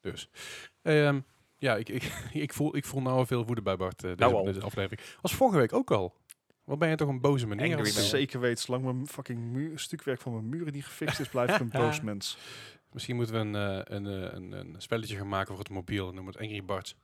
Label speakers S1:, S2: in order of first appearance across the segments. S1: Dus. Ehm, ja, ik, ik, ik, voel, ik voel nou al veel woede bij Bart eh, deze,
S2: Nou al.
S1: deze aflevering. Was vorige week ook al. Wat ben je toch een boze meneer?
S2: Angry
S1: aan
S2: man.
S1: het
S2: Remember.
S1: zijn.
S3: Zeker weet, zolang mijn fucking muur, stukwerk van mijn muren niet gefixt is, blijf ik een boos mens.
S1: Misschien moeten we een, eh, een, eh, een, een spelletje gaan maken voor het mobiel. En noemen we het Angry Bart.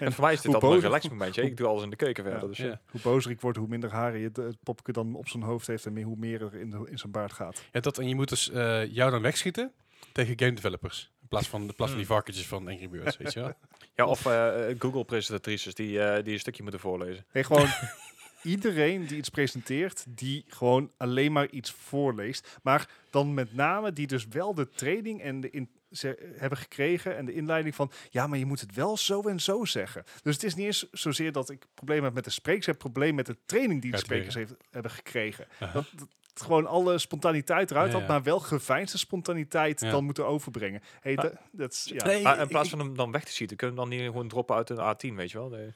S2: En voor mij is dit
S3: hoe
S2: altijd een
S3: boos-
S2: relaxed momentje. Ik doe alles in de keuken verder.
S3: Ja.
S2: Dus,
S1: Ja.
S2: ja.
S3: Hoe bozer ik word, hoe minder haren het, het popke dan op zijn hoofd heeft en meer, hoe meer er in, de- in zijn baard gaat.
S1: Ja, dat, en je moet dus eh, jou dan wegschieten tegen game developers. In plaats van, in plaats van die
S2: Hmm.
S1: varkentjes van Angry Birds, weet je wel.
S2: of eh, eh, Google-presentatrices die, eh, die een stukje moeten voorlezen.
S3: Nee, gewoon iedereen die iets presenteert, die gewoon alleen maar iets voorleest. Maar dan met name die dus wel de training en de in ze hebben gekregen en de inleiding van ja, maar je moet het wel zo en zo zeggen. Dus het is niet eens zozeer dat ik probleem heb met de sprekers, ik heb probleem met de training die de
S1: Ja, training.
S3: sprekers heeft, hebben gekregen.
S1: Aha.
S3: Dat, dat het gewoon alle spontaniteit eruit
S1: Ja,
S3: had,
S1: ja.
S3: maar wel geveinsde spontaniteit
S1: Ja.
S3: dan moeten overbrengen. Hey,
S2: Maar-
S3: da- dat is ja.
S1: Nee,
S2: Maar Ah, in
S1: ik-
S2: plaats van hem dan weg te schieten, kunnen we hem dan niet gewoon droppen uit een A10, weet je wel? Nee.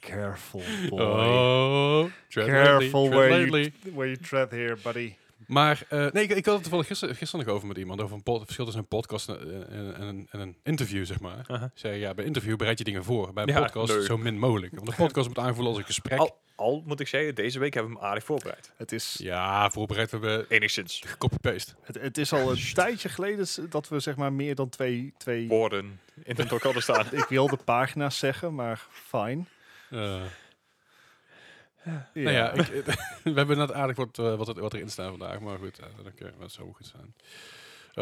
S3: Careful,
S1: Oh, tread
S3: Careful
S1: lightly,
S3: where
S1: tread
S3: you-
S1: lightly.
S3: Where you tread here, buddy.
S1: Maar eh, nee, ik, ik had het toevallig gisteren, gisteren nog over met iemand. Over een pod- het verschil tussen een podcast en, en, en- en een interview, zeg maar.
S2: Aha.
S1: Ik Zei, ja, bij een interview bereid je dingen voor. Bij een
S2: Ja,
S1: podcast
S2: leuk.
S1: zo min mogelijk. Want een podcast moet aanvoelen als een gesprek.
S2: Al, al moet ik zeggen, deze week hebben we hem aardig voorbereid.
S3: Het is
S1: Ja, voorbereid hebben we
S2: Enigszins.
S1: gecopy-paste.
S3: Het, het is al een tijdje geleden s- dat we zeg maar meer dan twee... twee
S2: Woorden in de elkaar staan.
S3: ik wilde pagina's zeggen, maar fijn.
S1: Eh, Nou ja, ik, we hebben net aardig wat, eh, wat, het- wat erin staan vandaag. Maar goed, eh, dat kan- dat zou wel goed zijn.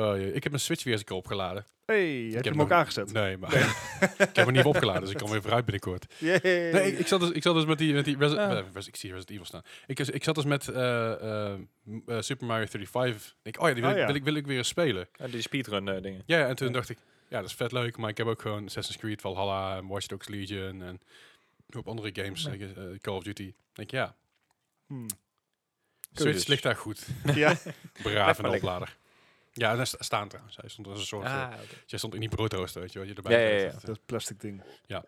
S1: Oh, jee, ik heb mijn Switch weer eens een keer opgeladen.
S3: hey, heb je
S1: heb
S3: hem ook
S1: nog-
S3: aangezet?
S1: Nee, maar ik heb hem niet opgeladen, dus ik kan weer vooruit binnenkort.
S3: Yay.
S1: Nee, ik, ik zat dus, ik zat dus met die... Met die Resi-
S2: Ah.
S1: eh, Resi- ik zie Resident Evil staan. Ik, ik zat dus met eh, eh, m- eh, Super Mario 35. Ik, oh ja, die wil,
S3: Ah,
S1: ik,
S3: ja.
S1: wil, ik, wil ik weer eens spelen.
S2: Ja, die speedrun eh, dingen.
S1: Ja, ja, en toen dacht ik... Ja, dat is vet leuk, maar ik heb ook gewoon Assassin's Creed, Valhalla, en Watch Dogs Legion en op andere games,
S2: Ja.
S1: eh, eh, Call of Duty. Ik denk ja,
S3: Hmm.
S1: Switch
S2: dus.
S1: ligt daar goed.
S3: Ja,
S1: Braaf en
S2: maar lekker.
S1: oplader. Ja, en daar sta- staan trouwens. Hij stond als een soort... eh, jij stond in die broodrooster, weet je wel. Je erbij
S2: Ah. Ja, ja,
S1: zet.
S2: ja.
S3: dat plastic ding.
S1: Ik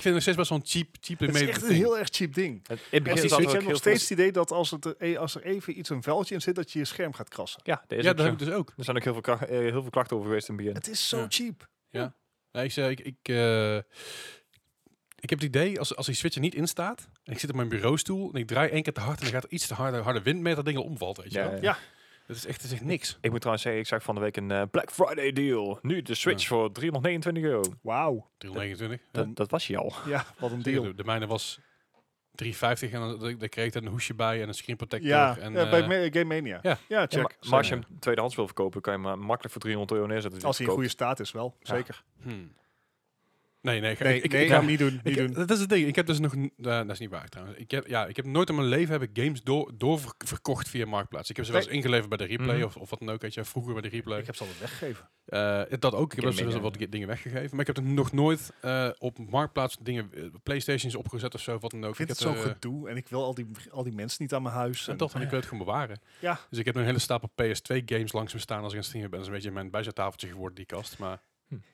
S1: vind het nog steeds best wel een cheap, cheap
S3: Het is
S1: made
S3: echt een
S1: thing.
S3: heel erg cheap ding.
S2: Het, in het
S3: Echt,
S2: begin
S3: ik
S2: zat er ook
S3: heb nog
S2: heel
S3: steeds
S2: veel...
S3: het idee dat als, het er, e- als er even iets een vuiltje in zit, dat je je scherm gaat krassen.
S2: Ja, deze
S1: Ja, dat heb ik dus ook.
S2: Er zijn ook heel veel, krach- eh, heel veel klachten over geweest in het begin.
S3: Het is zo
S1: Ja.
S3: cheap.
S1: Nee, ik, zeg, ik, ik, eh, ik heb het idee, als, als die switcher niet in staat, en ik zit op mijn bureaustoel, en ik draai één keer te hard, en dan gaat er iets te harde, harde wind mee, dat ding al omvalt, weet je
S2: Ja,
S1: wel.
S2: ja.
S3: Ja.
S1: Dat is echt, dat is echt niks.
S2: Ik moet trouwens zeggen, ik zag van de week een eh, Black Friday deal. Nu de Switch
S1: Ja.
S2: voor 329 euro.
S3: Wauw.
S1: 329.
S2: Dat-
S3: Dan-
S2: dat was je al.
S3: Ja, wat een
S1: Zeker,
S3: deal.
S1: De, de mijne was 350, en dan, dan kreeg ik er een hoesje bij, en een screen protector.
S3: Ja,
S1: en,
S3: ja, bij
S1: eh,
S3: Me- Game Mania.
S1: ja.
S3: Ja,
S2: Ja,
S3: check.
S2: maar, maar als je hem tweedehands wil verkopen, kan je hem eh, makkelijk voor 300 euro neerzetten. Dus
S3: Als hij in
S2: verkoopt.
S3: goede staat is wel,
S2: Ja.
S3: zeker.
S1: hmm. Nee, nee, ik,
S3: Nee,
S1: ik, ik-
S3: nee,
S1: ik-
S3: ga hem niet doen.
S1: ik-
S3: Niet doen.
S1: dat is het ding. Ik heb dus nog... n- eh, dat is niet waar trouwens. Ik heb, ja, ik heb nooit in mijn leven heb ik games door, doorverkocht via Marktplaats. Ik heb ze wel eens ingeleverd bij de replay
S2: Mhm.
S1: of, of wat dan ook. Weet je, vroeger bij de replay.
S3: Ik heb ze al weggegeven.
S1: Eh, dat ook. Ik heb
S2: Game
S1: best wel
S2: Mania.
S1: wat ge- dingen weggegeven. Maar ik heb er nog nooit eh, op marktplaats dingen, eh, Playstations opgezet of zo, of wat dan ook.
S3: Ik vind
S1: ik
S3: het
S1: heb
S3: zo
S1: er, eh,
S3: gedoe en ik wil al die, al die mensen niet aan mijn huis.
S1: en dat, want ik wil het gewoon bewaren.
S3: Ja.
S1: Dus ik heb een hele stapel PS2 games langs me staan als ik aan het streamen ben. Dat is een beetje mijn bijzettafeltje geworden, die kast. Maar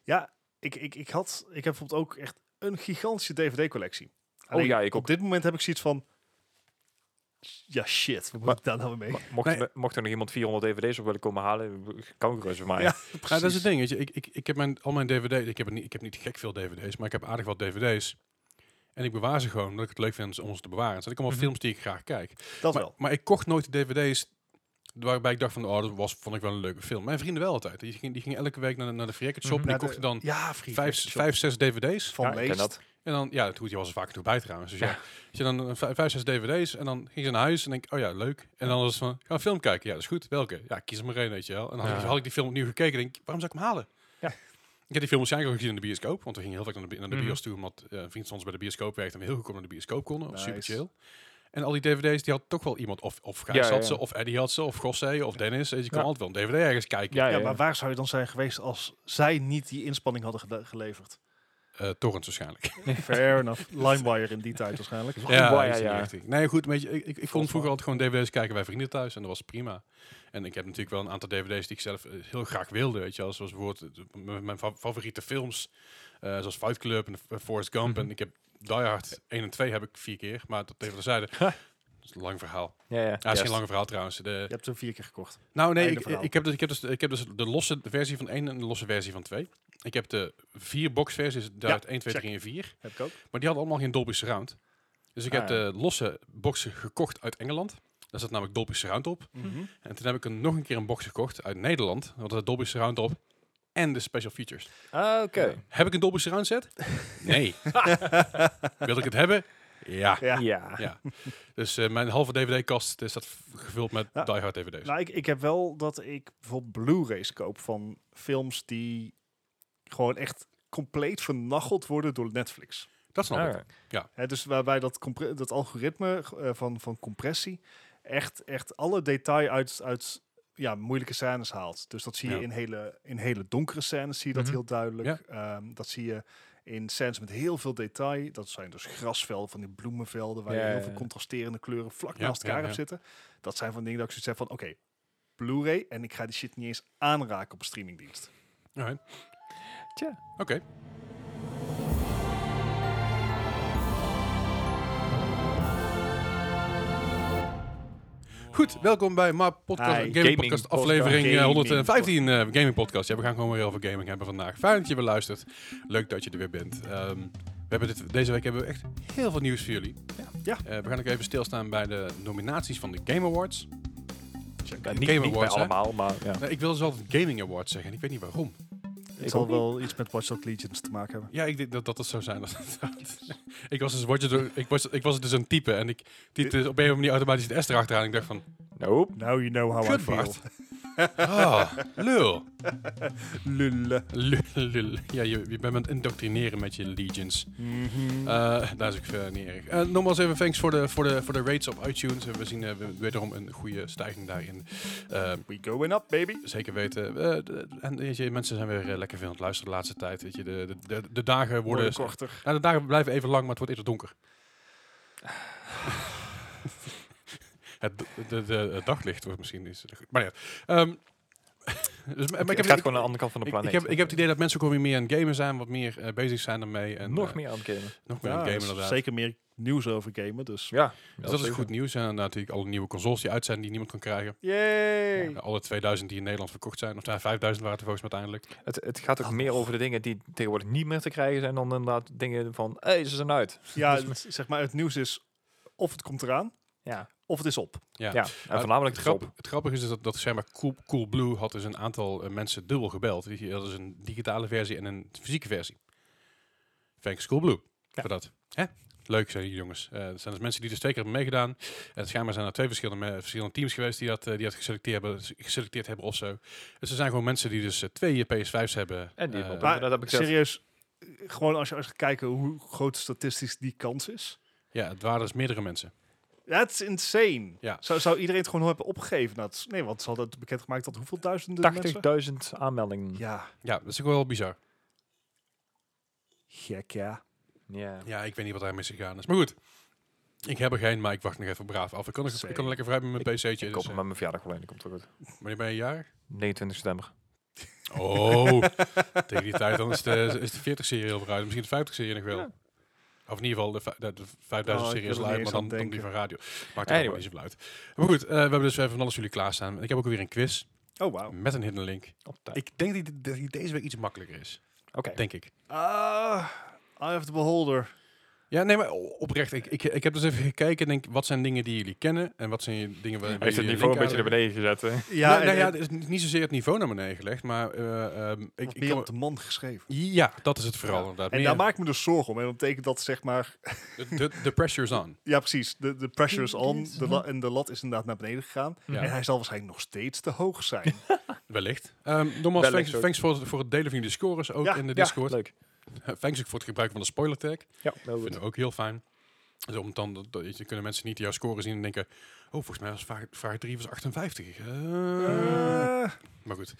S3: Ja, ik, ik, ik, had, ik heb bijvoorbeeld ook echt een gigantische DVD-collectie.
S1: Oh
S2: Oh ja, ik ook.
S3: Op dit moment heb ik zoiets van... Ja, shit. Wat moet
S2: Maar-
S3: ik daar nou mee?
S2: Maar Mocht,
S1: Nee.
S2: er- mocht er nog iemand 400 DVD's op willen komen halen, kan gerust voor mij.
S3: Ja,
S1: ja,
S3: precies.
S1: dat is het ding. Weet je. Ik, ik, ik heb mijn, al mijn DVD's. Ik heb, er niet, ik heb niet gek veel DVD's, maar ik heb aardig wat DVD's. En ik bewaar ze gewoon, omdat ik het leuk vind om ze te bewaren. Het zijn ook allemaal
S2: Mhm.
S1: films die ik graag kijk.
S3: Dat
S1: maar,
S3: wel.
S1: maar ik kocht nooit de dvd's waarbij ik dacht van, oh, dat was, vond ik wel een leuke film. Mijn vrienden wel altijd. Die gingen, die gingen elke week naar, de- naar de verrekkerd shop
S2: Mhm.
S1: en
S3: Naar
S1: die kochten dan
S3: de- ja, vriend,
S1: vijf,
S3: shop
S1: vijf, zes dvd's.
S3: van
S2: Ja, ik ken
S3: Leest.
S2: dat.
S1: En dan, ja, toen, die was er vaak nog bij trouwens. Dus ja,
S2: Ja.
S1: als je dan eh, vijf, vijf, zes dvd's en dan ging ze naar huis en denk ik, oh ja, leuk. En dan was het van, ga een film kijken. Ja, dat is goed. Welke? Ja, kies er maar één, weet je wel. En dan had, ik,
S2: Ja.
S1: had ik die film opnieuw gekeken en denk ik, waarom zou ik hem halen?
S2: Ja.
S1: Ik heb die film waarschijnlijk al gezien in de bioscoop, want we gingen heel vaak naar de, bi- naar de
S2: Mhm.
S1: bios toe, omdat eh, een vriend van ons bij de bioscoop werkte en we heel goedkoop naar de bioscoop konden. Of super
S3: Nice.
S1: chill. En al die dvd's, die had toch wel iemand, of, of Gijs
S2: Ja, ja,
S1: had ze,
S2: ja.
S1: of Eddie had ze, of Gossé, of Dennis. Dus je kon
S2: Ja.
S1: altijd wel een dvd ergens kijken.
S2: Ja,
S3: Ja,
S2: ja, ja.
S3: maar waar zou je dan zijn geweest als zij niet die inspanning hadden gede- geleverd?
S1: Eh, torrents waarschijnlijk.
S3: Fair enough. LimeWire in die tijd waarschijnlijk.
S2: Ja,
S1: dat
S2: ja,
S1: is die
S2: ja.
S1: richting. Nee, goed, weet je, ik, ik, ik kon
S2: Volgens
S1: vroeger
S2: mij.
S1: altijd gewoon dvd's kijken bij vrienden thuis en dat was prima. En ik heb natuurlijk wel een aantal dvd's die ik zelf eh, heel graag wilde, weet je wel. Zoals bijvoorbeeld eh, m- m- mijn fa- favoriete films, eh, zoals Fight Club en eh, Forrest Gump.
S2: Mhm.
S1: En ik heb Die Hard 1 en 2 heb ik vier keer, maar dat even terzijde. is een lang verhaal.
S2: Ja, ja.
S1: Ja, het is
S2: juist.
S1: geen lang verhaal trouwens. De,
S3: Je hebt hem vier keer gekocht.
S1: Nou nee,
S3: Einde
S1: ik,
S3: verhaal.
S1: ik, heb dus, ik, heb dus, ik heb dus de losse versie van 1 en de losse versie van 2. Ik heb de vier box versies, daaruit 1, 2,
S3: check.
S1: 3 en 4.
S3: Heb ik ook.
S1: Maar die hadden allemaal geen Dolby Surround. Dus ik
S2: Ah,
S1: heb
S2: ja.
S1: de losse boxen gekocht uit Engeland. Daar zat namelijk Dolby Surround op.
S3: Mhm.
S1: En toen heb ik een, nog een keer een box gekocht uit Nederland. Daar had de Dolby Surround op. En de special features.
S2: Ah, oké.
S1: Heb ik een Dolby Surround set? Nee. Wil ik het hebben? Ja.
S3: Ja.
S2: Ja.
S1: ja. Dus eh, mijn halve DVD-kast is dat eh, gevuld met
S3: Ja.
S1: Die Hard DVD's.
S3: Nou, ik, ik heb wel dat ik bijvoorbeeld Blu-rays koop van films die gewoon echt compleet vernacheld worden door Netflix.
S1: dat snap ik.
S2: Alright.
S3: Hè, dus waarbij dat, compre- dat algoritme eh, van, van compressie echt, echt alle detail uit, uit ja, moeilijke scènes haalt. Dus dat zie je
S1: Ja.
S3: in, hele, in hele donkere scènes, zie je dat
S2: Mhm.
S3: heel duidelijk. Ehm, dat zie je in scènes met heel veel detail. Dat zijn dus grasvelden van die bloemenvelden, waar
S2: Ja,
S3: je heel
S2: ja,
S3: veel
S2: ja.
S3: contrasterende kleuren vlak
S1: Ja,
S3: naast elkaar
S1: ja,
S3: hebt
S1: ja.
S3: zitten. Dat zijn van dingen dat ik zoiets heb van, oké, Blu-ray en ik ga die shit niet eens aanraken op een streamingdienst.
S1: Alright.
S2: Tja.
S1: Oké. Goed, welkom bij Ma Podcast,
S3: Hi,
S1: Gaming,
S2: gaming
S1: Podcast,
S2: podcast,
S1: aflevering eh,
S3: gaming
S1: 115 eh, Gaming Podcast. Ja, we gaan gewoon weer heel veel gaming hebben vandaag. Fijn dat je weer luistert. Leuk dat je er weer bent. Ehm, we hebben dit, deze week hebben we echt heel veel nieuws voor jullie.
S3: Ja.
S1: Eh, we gaan ook even stilstaan bij de nominaties van de Game Awards.
S2: Ja,
S1: Game
S2: niet niet bij
S1: Awards, hè?
S2: allemaal, maar ja.
S1: Nee, ik wil dus altijd Gaming Awards zeggen. Ik weet niet waarom.
S3: Het zal wel iets met Watch Dogs Legions te maken hebben.
S1: Ja, ik denk dat dat het zou zijn. ik, was dus Watch Dogs- ik, was, ik was dus een type en ik typte op een of andere manier automatisch de S erachteraan. En ik dacht van,
S2: Nope.
S3: Now you know how I
S1: kut
S3: feel.
S1: Bart. Ah, lul.
S3: Lulle.
S1: Lul, lul. Ja, je, je bent aan het indoctrineren met je legions. Eh, dat is ook eh, niet erg. Eh, nogmaals even thanks voor de, voor, de, voor de rates op iTunes. En we zien eh, we- wederom een goede stijging daarin. Eh,
S3: We going up, baby.
S1: zeker weten. eh, de- de- en weet je, mensen zijn weer eh, lekker veel aan het luisteren de laatste tijd. Weet je, de, de, de, de dagen worden...
S3: korter.
S1: Nou, de dagen blijven even lang, maar het wordt eerder donker. het, de, de, het daglicht wordt misschien iets. Maar ja. ehm, dus, maar
S2: Maar
S1: ik,
S2: het
S1: heb, ik,
S2: gaat gewoon aan de andere kant van de
S1: ik- ik
S2: planeet.
S1: heb, ik heb het idee dat mensen ook wel weer meer aan het gamen zijn, wat meer eh, bezig zijn ermee. En,
S2: Nog
S1: eh,
S2: meer aan het gamen.
S1: nog meer aan het gamen, inderdaad.
S3: zeker meer nieuws over gamen, dus...
S2: Ja.
S1: Dus dat is goed nieuws. En natuurlijk alle nieuwe consoles die uit zijn, die niemand kan krijgen.
S3: Yay!
S1: Ja, alle 2000 die in Nederland verkocht zijn. Of nou, 5000 waren het er volgens mij uiteindelijk.
S2: Het, het gaat ook
S3: Ah,
S2: meer over de dingen die tegenwoordig niet meer te krijgen zijn dan inderdaad dingen van, hé, hey, ze zijn uit.
S3: Ja, het- Dus zeg maar, het nieuws is of het komt eraan,
S2: Ja,
S3: of het is op.
S1: Ja.
S2: ja. en voornamelijk
S1: Het,
S2: de
S1: grap,
S2: grap.
S1: het grappige is dus dat, dat zeg maar, cool, Coolblue had dus een aantal eh, mensen dubbel gebeld. Die hadden dus een digitale versie en een fysieke versie. Thanks Coolblue voor dat. Hè? Leuk zijn die jongens. Eh, er zijn dus mensen die dus twee keer hebben meegedaan. En schijnbaar zijn er twee verschillende, me- verschillende teams geweest die dat, eh, die dat geselecteerd, hebben, geselecteerd hebben of zo. Dus er zijn gewoon mensen die dus eh, twee eh, PS5's hebben.
S2: En die
S1: Eh,
S2: hebben op-
S3: maar
S2: dat heb ik zelf.
S3: serieus, eh, gewoon als je, als je gaat kijken hoe groot statistisch die kans is.
S1: ja, het waren dus meerdere mensen.
S3: That's insane.
S1: Ja.
S3: Zou, zou iedereen het gewoon hebben opgegeven? Nou, het is- nee, want ze hadden het bekendgemaakt dat hoeveel duizenden mensen...
S2: 80.000 aanmeldingen. Ja.
S3: Ja,
S1: Ja, dat is ook wel bizar.
S3: gek ja.
S1: Ja, ik weet niet wat daar misgegaan is. Maar goed, ik heb er geen, maar ik wacht nog even braaf af. Ik kan, nog- ik kan
S3: Same.
S1: lekker vrij met mijn pc'tje.
S2: Ik
S1: dus,
S2: koop hem met mijn verjaardag alleen, dat komt wel goed.
S1: eh, wanneer ben je jarig?
S2: 29 september.
S1: Oh, tegen die tijd dan is de, is de 40-serie al vooruit. Misschien de 50-serie nog wel.
S2: Ja.
S1: Of in ieder geval de, vij- de, de 5000-serie
S3: Oh, ik
S1: is
S3: wil
S1: live,
S3: er
S1: maar
S3: niet
S1: dan,
S3: eens
S1: dan
S3: aan
S1: die
S3: denken.
S1: van radio. Maakt het
S2: Anyway.
S1: ook niet zoveel uit. Maar goed, eh, we hebben dus even van alles voor jullie klaarstaan. Ik heb ook weer een quiz
S3: Oh, wauw.
S1: met een hidden link.
S2: Op tijd.
S1: Ik denk dat die, dat die deze week iets makkelijker is,
S2: Oké.
S1: denk ik.
S3: Ah, Eye of the Beholder.
S1: Ja, nee, maar o- oprecht. Ik, ik, ik heb dus even gekeken en denk, wat zijn dingen die jullie kennen? En wat zijn dingen waar
S2: Hij heeft het
S1: jullie
S2: niveau een
S1: link
S2: beetje
S1: aan-
S2: naar beneden gezet. eh? hè.
S3: Ja,
S1: nou, nou
S3: en-
S1: ja,
S3: en-
S1: het is niet- niet zozeer het niveau naar beneden gelegd, maar... eh, ehm, ik,
S3: of
S1: ik
S3: meer
S1: kan-
S3: op de man geschreven.
S1: ja, dat is het vooral
S3: Ja.
S1: inderdaad.
S3: En
S1: Meer-
S3: daar maak ik me dus zorgen om. En dat betekent dat, zeg maar,
S1: de, de, de pressure is on.
S3: Ja, precies. De, de pressure is on.
S2: Yes.
S3: De la- en de lat is inderdaad naar beneden gegaan.
S1: Ja.
S3: En hij zal waarschijnlijk nog steeds te hoog zijn.
S1: Wellicht. Ehm nogmaals,
S2: Wellicht
S1: thanks,
S2: ook.
S1: thanks voor, het- voor het delen van jullie scores ook
S3: Ja,
S1: in de
S2: Ja,
S1: Discord.
S2: leuk.
S1: thanks ook voor het gebruik van de spoiler tag.
S2: Ja, heel goed.
S1: Vinden we ook heel fijn. Dus om dan, dat- dat- je- kunnen mensen niet jouw score zien en denken... Oh, volgens mij was vraag, vraag 3 was 58. Eh,
S3: Eh,
S1: Maar goed.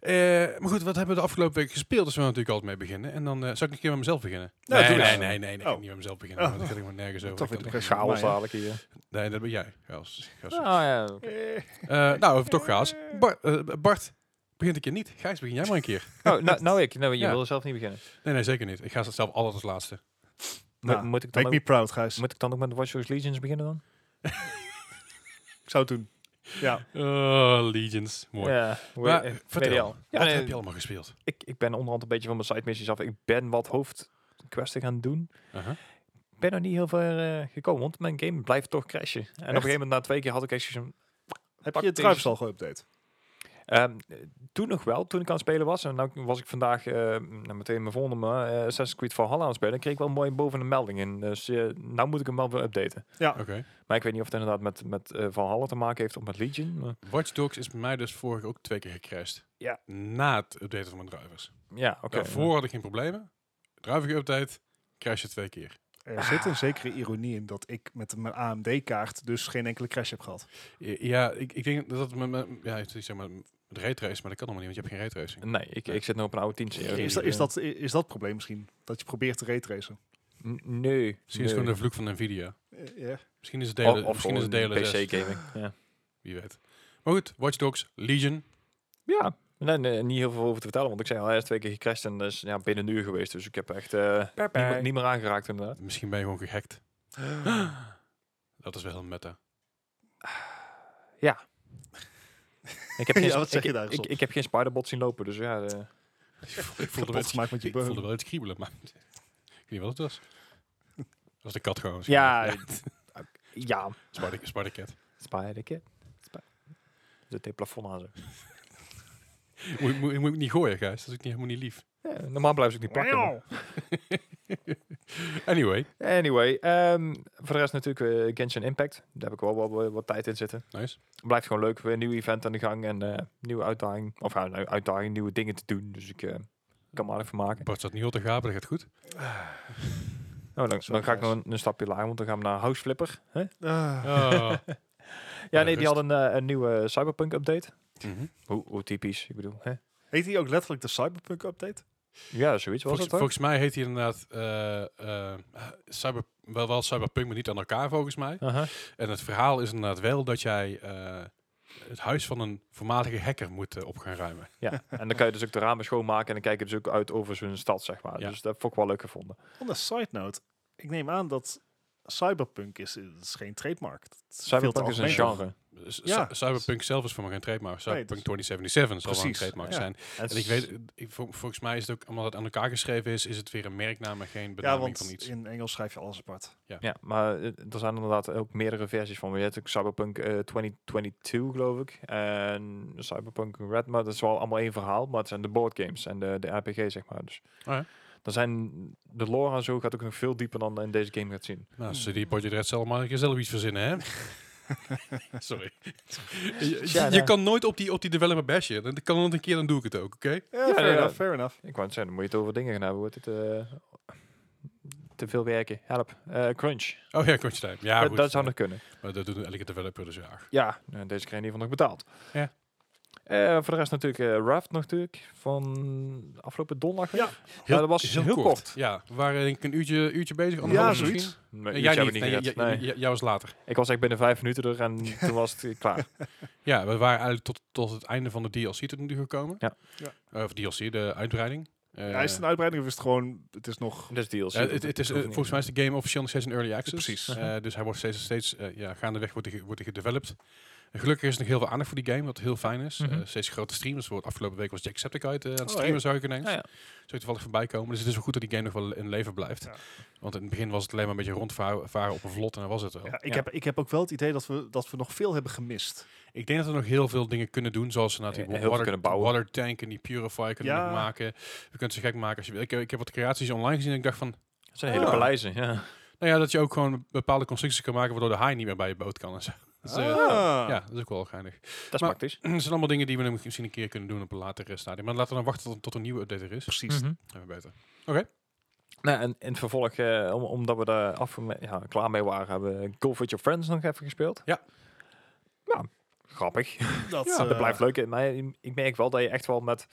S1: Eh, maar goed, wat hebben we de afgelopen week gespeeld? Dus we natuurlijk altijd mee beginnen. En dan eh zou ik een keer met mezelf beginnen.
S3: Nou,
S1: nee,
S3: doe
S1: nee,
S3: dat.
S1: nee, nee, nee,
S3: Oh.
S1: ik niet met mezelf beginnen.
S3: Oh.
S1: want Dat gaat helemaal nergens over.
S3: Toch
S1: Ik
S3: weer
S1: kan-
S3: de pressure.
S2: Chaos
S3: Maar ja.
S2: dadelijk hier.
S1: Nee, dat ben jij. Chaos. Chaos.
S2: Ah, ja. oké.
S3: eh,
S1: Eh, nou, over toch chaos. Bar- eh, Bart, begint een keer niet. Gijs, begin jij maar een keer.
S2: Oh, nou, nou ik. Nou, je
S1: Ja.
S2: wil zelf niet beginnen.
S1: Nee, nee, zeker niet. Ik ga zelf altijd als laatste.
S3: nou,
S2: Moet- moet, ik dan
S3: make me
S2: ook,
S3: proud, Gijs.
S2: moet ik dan ook met Watch Dogs Legions beginnen dan?
S3: Ik zou het doen. Ja,
S1: Oh, Legions. Mooi.
S2: Ja, hoe-
S1: Maar,
S2: eh,
S1: vertel,
S2: weet je al. Ja,
S1: Wat
S2: nee,
S1: heb je allemaal gespeeld?
S2: ik, ik ben onderhand een beetje van mijn side missies af. Ik ben wat hoofdquesten gaan doen.
S1: Aha.
S2: Ik ben nog niet heel ver eh, gekomen, want mijn game blijft toch crashen. En op een gegeven moment, na twee keer, had ik echt zoiets van,
S3: heb
S2: Pak
S3: je het
S2: deze.
S3: druipstal geüpdate?
S2: Ehm, eh, toen nog wel, toen ik aan het spelen was. En nou was ik vandaag eh, nou meteen mijn volgende maar, eh Assassin's Creed Valhalla aan het spelen. En kreeg ik wel mooi boven een melding in. Dus eh, nou moet ik hem wel weer updaten.
S1: Oké.
S2: Maar ik weet niet of het inderdaad met, met eh, Valhalla te maken heeft of met Legion. maar
S1: Watch Dogs is bij mij dus vorige ook twee keer gecrashed.
S2: Ja.
S1: Na het updaten van mijn drivers.
S2: ja, oké.
S1: Daarvoor had ik geen problemen. Driver geüpdate, crash je twee keer.
S3: Er zit een zekere ironie in dat ik met mijn AMD-kaart dus geen enkele crash heb gehad.
S1: I- Ja, ik, ik denk dat dat met mijn... Ja, ik zeg maar, het raytrace, maar dat kan allemaal niet, want je hebt geen raytracing.
S2: Nee, ik, ik zit nu op een oude 10 serie.
S3: Is, dat is, dat, is dat het probleem misschien? Dat je probeert te raytracen?
S2: nee.
S1: Misschien is het gewoon de vloek van Nvidia.
S3: Eh, ja.
S1: Misschien is het
S2: Of-
S1: delen,
S2: of
S1: misschien is het
S2: gewoon
S1: delen zes.
S2: PC-gaming. Ja.
S1: Wie weet. Maar goed, Watch Dogs, Legion.
S2: ja. Nee, nee, niet heel veel over te vertellen, want ik zei al, hij is twee keer gecrashed en dat is ja, binnen een uur geweest. Dus ik heb echt eh, niet, meer, niet meer aangeraakt inderdaad.
S1: Misschien ben je gewoon gehackt. Dat is wel heel meta.
S2: Ik heb
S3: Ja,
S2: geen,
S3: wat zeg
S2: ik,
S3: je daar eens
S2: ik,
S3: op?
S2: ik heb geen spiderbot zien lopen, dus ja. eh,
S1: Ik voelde, wel
S3: Kapot
S1: iets,
S3: gemaakt met je
S1: ik voelde
S3: beun.
S1: wel iets kriebelen, maar ik weet niet wat het was. Dat was de kat gewoon.
S2: Ja, eh,
S1: waarschijnlijk.
S2: ja.
S1: Spider- Spider-Cat.
S2: Spiderkid. Sp- Zet dit plafond aan ze.
S1: moet, moet, moet ik niet gooien, Gijs. Dat is ook niet, helemaal niet lief.
S2: Ja, normaal blijf ik niet pakken. maar-
S1: Anyway,
S2: Anyway, ehm, voor de rest natuurlijk eh, Genshin Impact. Daar heb ik wel wat, wat, wat tijd in zitten.
S1: nice.
S2: Blijft gewoon leuk. Weer een nieuw event aan de gang en eh, nieuwe uitdaging. Of ja, nou, uitdaging, nieuwe dingen te doen. Dus ik eh, kan me aardig van maken.
S1: Bart staat niet al te gapen, dat gaat goed.
S2: Nou, dan,
S3: Zo
S2: dan ga ik nog
S3: nice.
S2: een, een stapje lager, want dan gaan we naar House Flipper. hè?
S3: Ah.
S2: Oh.
S1: Ah.
S2: Ja,
S1: Ja,
S2: nee, die
S1: rust.
S2: hadden een, eh, een nieuwe Cyberpunk update.
S1: Mhm.
S2: Hoe, hoe typisch, ik bedoel. Hè?
S3: Heet die ook letterlijk de Cyberpunk-update?
S2: Ja, zoiets was
S1: volgens,
S2: het hoor.
S1: volgens mij heet hij inderdaad eh, eh, cyber, wel, wel Cyberpunk, maar niet aan elkaar volgens mij.
S2: Aha.
S1: En het verhaal is inderdaad wel dat jij eh, het huis van een voormalige hacker moet eh, op gaan ruimen.
S2: Ja, en dan kan je dus ook de ramen schoonmaken en dan kijk je dus ook uit over zo'n stad, zeg maar.
S1: Ja.
S2: Dus dat vond ik wel leuk gevonden.
S3: On a side note, ik neem aan dat Cyberpunk is, dat is geen trademark. Dat is veel te
S2: Cyberpunk is een
S3: algemeen.
S2: genre.
S1: Dus
S3: Ja.
S1: Cy- Cyberpunk zelf is voor me geen trademark.
S3: Nee,
S1: Cyberpunk
S3: dus-
S1: 2077 zal wel een
S3: Precies,
S1: trademark
S3: ja.
S1: zijn.
S2: En
S1: En ik weet, ik, vol- volgens mij is het ook, omdat het aan elkaar geschreven is, is het weer een merknaam en geen
S3: Ja,
S1: benaming van
S3: want
S1: iets.
S3: in Engels schrijf je alles apart.
S2: Ja, maar eh, er zijn inderdaad ook meerdere versies van. Je hebt ook Cyberpunk eh, 2022, geloof ik. En Cyberpunk Red, maar dat is wel allemaal één verhaal. Maar het zijn de boardgames en de, de RPG, zeg maar. Dus
S1: Oh ja.
S2: dan zijn de lore en zo gaat ook nog veel dieper dan in deze game gaat zien.
S1: Nou,
S3: Hmm.
S1: CD Projekt Red zal maar een keer zelf iets verzinnen, hè? Sorry. je,
S2: Tja,
S1: je
S2: nou.
S1: kan nooit op die, op die developer bashen. Dan kan het een keer, dan doe ik het ook, oké?
S3: Ja,
S2: Ja,
S3: fair
S2: ja.
S3: enough, fair enough.
S2: Ik wou het zeggen, dan moet je het over dingen gaan hebben. Wordt het eh, te veel werken? Help. Eh, crunch.
S1: Oh ja, crunch time. Ja,
S2: Dat-
S1: goed. eh,
S2: dat zou nog kunnen.
S1: Maar dat doet elke developer dus ja.
S2: Ja, nou, deze kreeg in ieder geval nog betaald.
S1: Ja.
S2: Eh, voor de rest natuurlijk eh, Raft nog natuurlijk, van afgelopen donderdag.
S3: Ja.
S2: Ja, dat was heel kort.
S1: Ja, we waren denk ik een uurtje, uurtje bezig.
S3: Ja,
S1: anderhalf
S3: zoiets.
S1: misschien. Eh,
S2: Nee, iets
S1: Jij
S2: hebben
S1: niet,
S2: we
S1: nee,
S2: gered,
S1: jij-
S2: nee.
S1: jij- jij was later.
S2: Ik was echt binnen vijf minuten er en toen was het eh, klaar.
S1: Ja, we waren eigenlijk tot, tot het einde van de DLC tot nu toe gekomen.
S2: Ja.
S3: Ja.
S1: Eh, of DLC, de uitbreiding. Eh,
S3: ja, is het een uitbreiding of is het gewoon, het is nog...
S2: Dus deals.
S1: ja, het, het is, eh, volgens mij is de game officieel nog steeds een early access.
S3: Precies.
S1: Eh, dus hij wordt steeds, steeds eh, ja, gaandeweg wordt hij, ge- wordt hij gedeveloped. En gelukkig is er nog heel veel aandacht voor die game, wat heel fijn is.
S2: Mhm.
S1: Eh, steeds grote streamers. Voor afgelopen week was Jacksepticeye eh, aan het
S3: Oh,
S1: streamen,
S3: hey.
S1: zou ik ineens.
S2: Ah, ja.
S1: Zou ik toevallig voorbij komen. Dus het is wel goed dat die game nog wel in leven blijft.
S3: Ja.
S1: Want in het begin was het alleen maar een beetje rondvaren varen op een vlot en dan was het wel.
S3: Ja, ik,
S2: Ja.
S3: Heb, ik heb ook wel het idee dat we, dat we nog veel hebben gemist.
S1: Ik denk dat we nog heel veel dingen kunnen doen, zoals inderdaad
S2: Ja,
S1: die
S2: heel veel
S1: water,
S2: kunnen bouwen.
S1: water tank en die purify kunnen we nog
S3: Ja.
S1: maken. Je kunt ze gek maken als je wil. Ik, heb- ik heb wat creaties online gezien en ik dacht van,
S2: Het zijn hele
S3: Ah.
S2: paleizen, ja.
S1: nou ja, dat je ook gewoon bepaalde constructies kan maken waardoor de haai niet meer bij je boot kan en zo. Dus, eh,
S3: Ah.
S1: Ja, dat is ook wel geinig.
S2: Dat is
S1: Maar-
S2: praktisch.
S1: Dat zijn allemaal dingen die we nog misschien een keer kunnen doen op een later eh, stadium. Maar laten we dan wachten tot, tot een nieuwe update er is.
S3: Precies.
S1: Zijn we beter.
S2: Nou, en in het vervolg, eh, om- omdat we daar af, ja, klaar mee waren, hebben we Golf With Your Friends nog even gespeeld.
S1: Ja.
S2: Nou, grappig.
S1: Mhm.
S3: Dat,
S2: Ja, dat
S3: eh,
S2: blijft leuk. Maar ik merk wel dat je echt wel met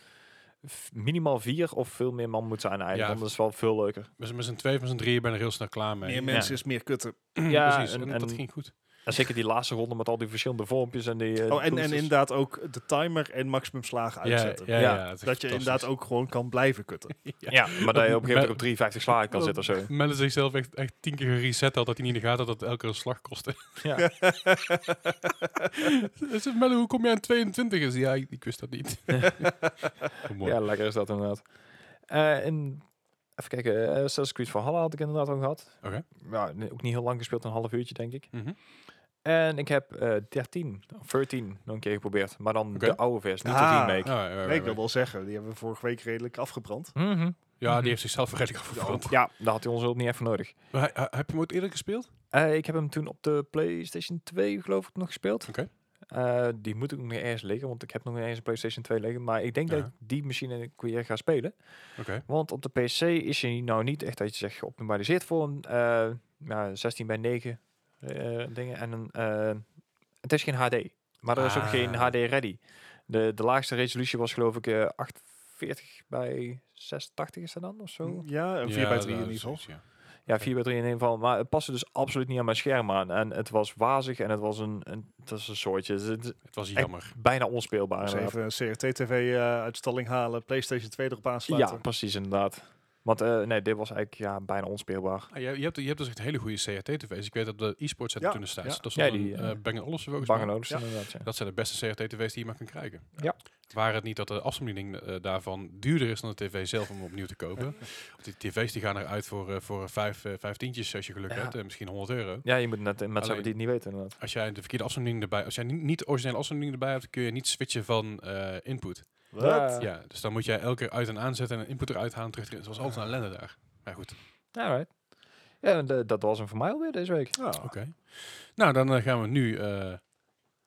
S2: f- minimaal vier of veel meer man moet zijn eigenlijk.
S1: Ja.
S2: Want dat is wel veel leuker.
S1: We zijn met z'n tweeën, met z'n drieën, ben er heel snel klaar mee.
S3: Meer mensen is meer kutten.
S2: Ja,
S1: Precies,
S2: en-
S1: en,
S2: en-
S1: dat ging goed.
S2: En zeker die laatste ronde met al die verschillende vormpjes en die... eh,
S3: Oh, en, en
S2: boosters.
S3: inderdaad ook de timer en maximum slagen uitzetten.
S1: dus- ja,
S2: Ja,
S1: ja, het is
S3: Dat je
S1: fantastisch.
S3: inderdaad ook gewoon kan blijven kutten.
S2: Ja, maar dat je op een gegeven moment op 53 slagen kan
S3: Oh.
S1: Dat-
S2: zitten of zo.
S1: Mellen zichzelf echt, echt tien keer gereset had dat hij niet in de gaten had dat het elke keer een slag kostte.
S2: Ja.
S1: Hij zegt, Mellen, hoe kom jij aan 22? Is? Ja, ik, ik wist dat niet. Hoe mooi.
S2: ja, lekker is dat inderdaad. Eh, en even kijken, eh, Assassin's Creed Valhalla had ik inderdaad ook gehad.
S1: Oké.
S2: Ja, nee, ook niet heel lang gespeeld, een half uurtje denk ik.
S1: Mhm.
S2: En ik heb eh 13, of 13 nog een keer geprobeerd. Maar dan
S1: Oké.
S2: de oude versie, niet de
S3: Ah.
S2: remake.
S1: Ja, ja, ja, ja,
S3: Nee, ik wil
S1: ja.
S3: wel zeggen, die hebben we vorige week redelijk afgebrand.
S2: Mhm.
S1: Ja, die heeft zichzelf redelijk afgebrand.
S2: Ja, daar had hij ons ook niet even voor nodig.
S1: Maar hij- hij- Heb je hem ooit eerder gespeeld?
S2: Eh, ik heb hem toen op de PlayStation 2 geloof ik nog gespeeld.
S1: Oké.
S2: Eh, die moet ook nog ergens liggen, want ik heb nog niet eens een PlayStation 2 liggen. Maar ik denk
S1: Ja.
S2: dat ik die machine weer ga spelen.
S1: Oké.
S2: Want op de PC is je nou niet echt dat je zegt geoptimaliseerd voor een eh, ja, 16 bij 9 eh, dingen. En een, eh, het is geen HD, maar er is ook
S1: Ah.
S2: geen HD ready. De, de laagste resolutie was geloof ik eh 48 bij 86 is dat dan of zo?
S3: Ja, een 4
S1: Oh. Ja,
S3: bij 3
S1: dat
S3: in ieder
S1: is
S3: geval.
S1: zoiets, ja.
S2: Ja, 4 bij 3 in ieder geval. Maar het paste dus absoluut niet aan mijn scherm aan. En het was wazig en het was een, een, het was een soortje. Het is- het is
S1: Het was jammer.
S2: bijna onspeelbaar.
S3: Dus
S2: inderdaad.
S3: even een CRT-TV-uitstalling eh, halen, PlayStation 2 erop
S2: Ja,
S3: aansluiten.
S2: precies inderdaad. Want eh, nee, dit was eigenlijk ja, bijna onspeelbaar.
S1: Ah, je, je, hebt, je hebt dus echt hele goede CRT-tv's. Ik weet dat de e-sport center
S3: Ja,
S1: toen destijds.
S3: ja.
S1: Dat
S2: Ja,
S1: was een
S2: die, eh,
S1: eh, Bang Olufsen volgens mij.
S2: Bang Olufsen
S3: Ja.
S2: inderdaad, ja.
S1: Dat zijn de beste CRT-tv's die je maar kan krijgen.
S2: Ja.
S1: Waar het niet dat de afstandsbediening eh, daarvan duurder is dan de tv zelf om opnieuw te kopen. Want die tv's die gaan eruit voor, eh, voor vijf, eh, vijf tientjes als je geluk
S2: Ja.
S1: hebt. en misschien 100 euro.
S2: Ja, je moet net eh, met mensen
S1: Alleen-
S2: die het niet weten inderdaad.
S1: Als jij de verkeerde afstandsbediening erbij, als jij ni- niet de originele afstandsbediening erbij hebt, kun je niet switchen van eh, input.
S3: Wat?
S1: Ja, dus dan moet jij elke keer uit en aanzetten en een input eruit halen en terug erin. Het was altijd een ellende daar. Maar goed,
S2: Alright. Ja, en, eh, dat was hem voor mij alweer deze week.
S3: Ja.
S1: oké. Nou, dan eh, gaan we nu... eh, naar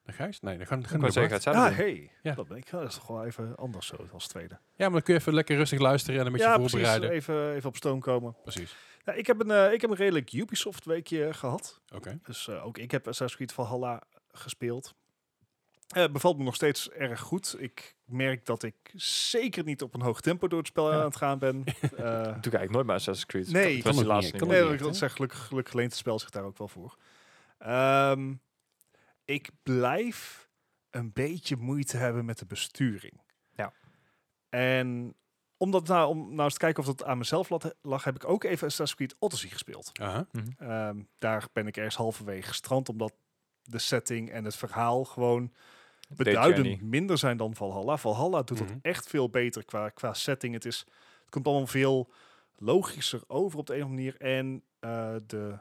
S1: Gijs? Nee, dan gaan, dan gaan
S2: Ik
S1: we
S2: wou
S1: naar
S2: zeggen,
S1: Bart.
S2: het zou
S3: Ah,
S2: doen.
S3: hey.
S1: Ja.
S3: Dat, ben ik, dat is toch wel even anders zo als tweede.
S1: Ja, maar dan kun je even lekker rustig luisteren en een beetje
S3: ja, precies.
S1: voorbereiden.
S3: Even, even op stoom komen.
S1: Precies.
S3: Nou, ik, heb een, eh, ik heb een redelijk Ubisoft-weekje gehad.
S1: Oké.
S3: Dus eh, ook ik heb Assassin's Creed Valhalla gespeeld. Eh bevalt me nog steeds erg goed. Ik merk dat ik zeker niet op een hoog tempo door het spel
S1: Ja.
S3: aan het gaan ben. Eh,
S2: Doe ik eigenlijk nooit bij Assassin's Creed.
S3: Nee,
S2: Dat
S3: ik
S1: kan
S2: was de
S1: ook niet,
S2: laatste
S1: ik kan
S2: niet.
S1: ook
S3: nee,
S1: niet
S3: dat
S1: echt,
S3: dat
S1: hè?
S3: zeg gelukkig, gelukkig leent het spel zich daar ook wel voor. Ehm, ik blijf een beetje moeite hebben met de besturing.
S2: Ja.
S3: En om, dat nou, om nou eens te kijken of dat aan mezelf lat- lag, heb ik ook even Assassin's Creed Odyssey gespeeld.
S1: Aha.
S3: Ehm, daar ben ik ergens halverwege gestrand, omdat de setting en het verhaal gewoon
S2: Day
S3: beduidend
S2: Journey.
S3: minder zijn dan Valhalla. Valhalla doet
S1: Mhm.
S3: dat echt veel beter qua, qua setting. Het, is, het komt allemaal veel logischer over op de een of andere manier. En eh, de,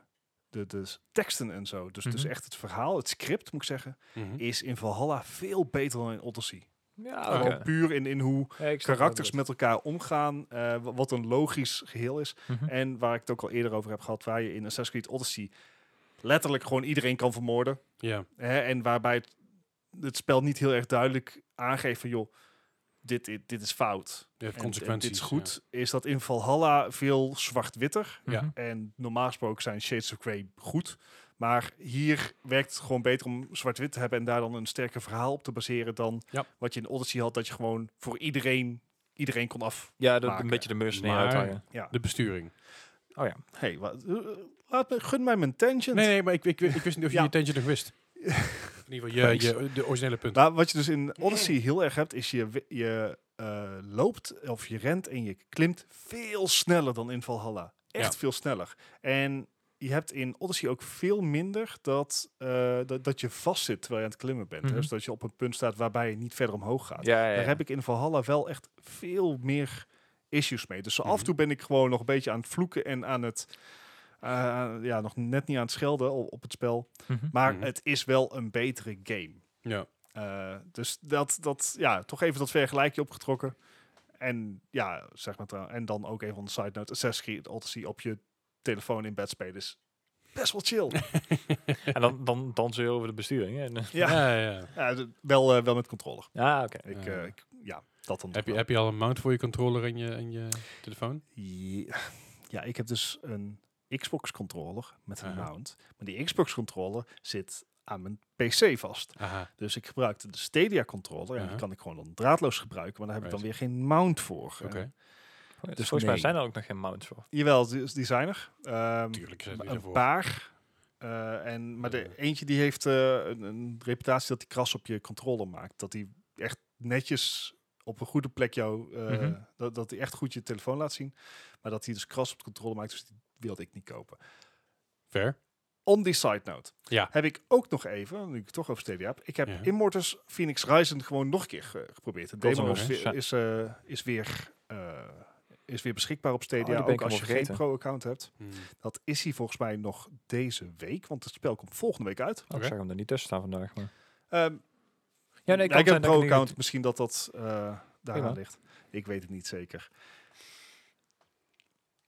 S3: de, de s- teksten en zo. Dus, dus
S2: Mhm.
S3: echt het verhaal, het script moet ik zeggen,
S1: Mhm.
S3: is in Valhalla veel beter dan in Odyssey.
S2: Oh, Ja,
S3: Gewoon puur in, in hoe
S2: Ja, ik snap
S3: karakters
S2: wel
S3: met elkaar omgaan, eh, wa- wat een logisch geheel is.
S2: dat. Mhm.
S3: En waar ik het ook al eerder over heb gehad, waar je in Assassin's Creed Odyssey letterlijk gewoon iedereen kan vermoorden.
S1: Ja.
S3: Hè? En waarbij het, het spel niet heel erg duidelijk aangeeft van joh, dit, dit, dit is fout.
S1: Je hebt
S3: En- En
S1: consequenties.
S3: dit is goed. Is dat in Valhalla veel zwart-witter.
S1: Ja.
S2: Mhm.
S3: En normaal gesproken zijn Shades of Grey goed. Maar hier werkt het gewoon beter om zwart-wit te hebben en daar dan een sterker verhaal op te baseren dan
S1: Ja.
S3: wat je in Odyssey had, dat je gewoon voor iedereen, iedereen kon af.
S2: Ja, dat
S3: maken.
S2: een beetje de mercenary
S1: Maar-
S2: uithangen.
S3: Ja.
S1: De besturing.
S2: Oh ja.
S3: hey, wat, eh, laat me, gun mij mijn tangent.
S1: Nee, nee, maar ik, ik, ik wist niet of je
S3: Ja.
S1: je tentje nog wist. In ieder geval, je,
S3: Thanks.
S1: je, de originele punten.
S3: Maar wat je dus in Odyssey heel erg hebt, is je, wi- je eh, loopt of je rent en je klimt veel sneller dan in Valhalla. Echt
S1: Ja.
S3: veel sneller. En je hebt in Odyssey ook veel minder dat, eh, dat, dat je vast zit terwijl je aan het klimmen bent.
S2: Mhm.
S3: Dus dat je op een punt staat waarbij je niet verder omhoog gaat.
S2: Ja, ja, ja.
S3: Daar heb ik in Valhalla wel echt veel meer issues mee. Dus zo af en
S1: Mhm.
S3: toe ben ik gewoon nog een beetje aan het vloeken en aan het... eh, ja, nog net niet aan het schelden op, op het spel.
S2: Mhm.
S3: Maar
S1: Mhm.
S3: het is wel een betere game.
S1: Ja.
S3: Eh, dus dat, dat, ja, toch even dat vergelijkje opgetrokken. En ja, zeg maar, trouw- en dan ook even on de side note, Assassin's Creed Odyssey op je telefoon in bed spelen is best wel chill.
S2: En dan, dan, dan zeur je over de besturing. hè. En, eh,
S3: ja,
S1: Ja, ja, ja.
S3: Ja, d- wel, eh, wel met controller.
S2: ja, oké.
S3: Ik,
S1: Ja.
S3: eh, ik, ja, dat dan.
S1: Heb, je,
S3: wel.
S1: heb je al een mount voor je controller en je, en je telefoon?
S3: Ja, ja, ik heb dus een Xbox controller met een
S1: Aha.
S3: mount. Maar die Xbox controller zit aan mijn PC vast.
S1: Aha.
S3: Dus ik gebruikte de Stadia controller. En
S1: Aha.
S3: die kan ik gewoon dan draadloos gebruiken. Maar daar heb ik dan
S1: Right.
S3: weer geen mount voor.
S1: Oké.
S3: En-
S2: Dus
S3: Dus
S2: volgens mij
S3: nee.
S2: zijn er ook nog geen mounts voor.
S3: Jawel, die is designer. Ehm,
S1: Tuurlijk. zet
S3: maar
S1: die
S3: een
S1: ervoor.
S3: paar. Eh, en, maar de
S1: Ja.
S3: eentje die heeft eh, een, een reputatie dat hij kras op je controle maakt. Dat hij echt netjes op een goede plek jou... eh,
S1: Mhm.
S3: dat, dat hij echt goed je telefoon laat zien. Maar dat hij dus kras op de controle maakt. Dus die wilde ik niet kopen.
S1: Ver.
S3: On die side note.
S1: Ja.
S3: Heb ik ook nog even, nu ik het toch over Stadia heb. Ik heb
S1: Ja.
S3: Immortals Phoenix Rising gewoon nog een keer ge- geprobeerd. De
S2: Klopt,
S3: demo
S1: oké.
S3: is, weer-
S1: Sa-
S3: is, eh, is, weer, eh, is weer beschikbaar op
S2: Oh, die
S3: Stadia.
S2: ben ik
S3: ook als je
S2: helemaal
S3: geen
S2: vergeten.
S3: pro-account hebt.
S1: Hmm.
S3: Dat is hij volgens mij nog deze week. Want het spel komt volgende week uit.
S2: Ik zag hem er niet tussen staan vandaag. Maar.
S3: Ehm,
S2: Ja,
S3: ja, ik heb een pro-account. Misschien dat dat eh daaraan
S2: Prima.
S3: ligt. Ik weet het niet zeker.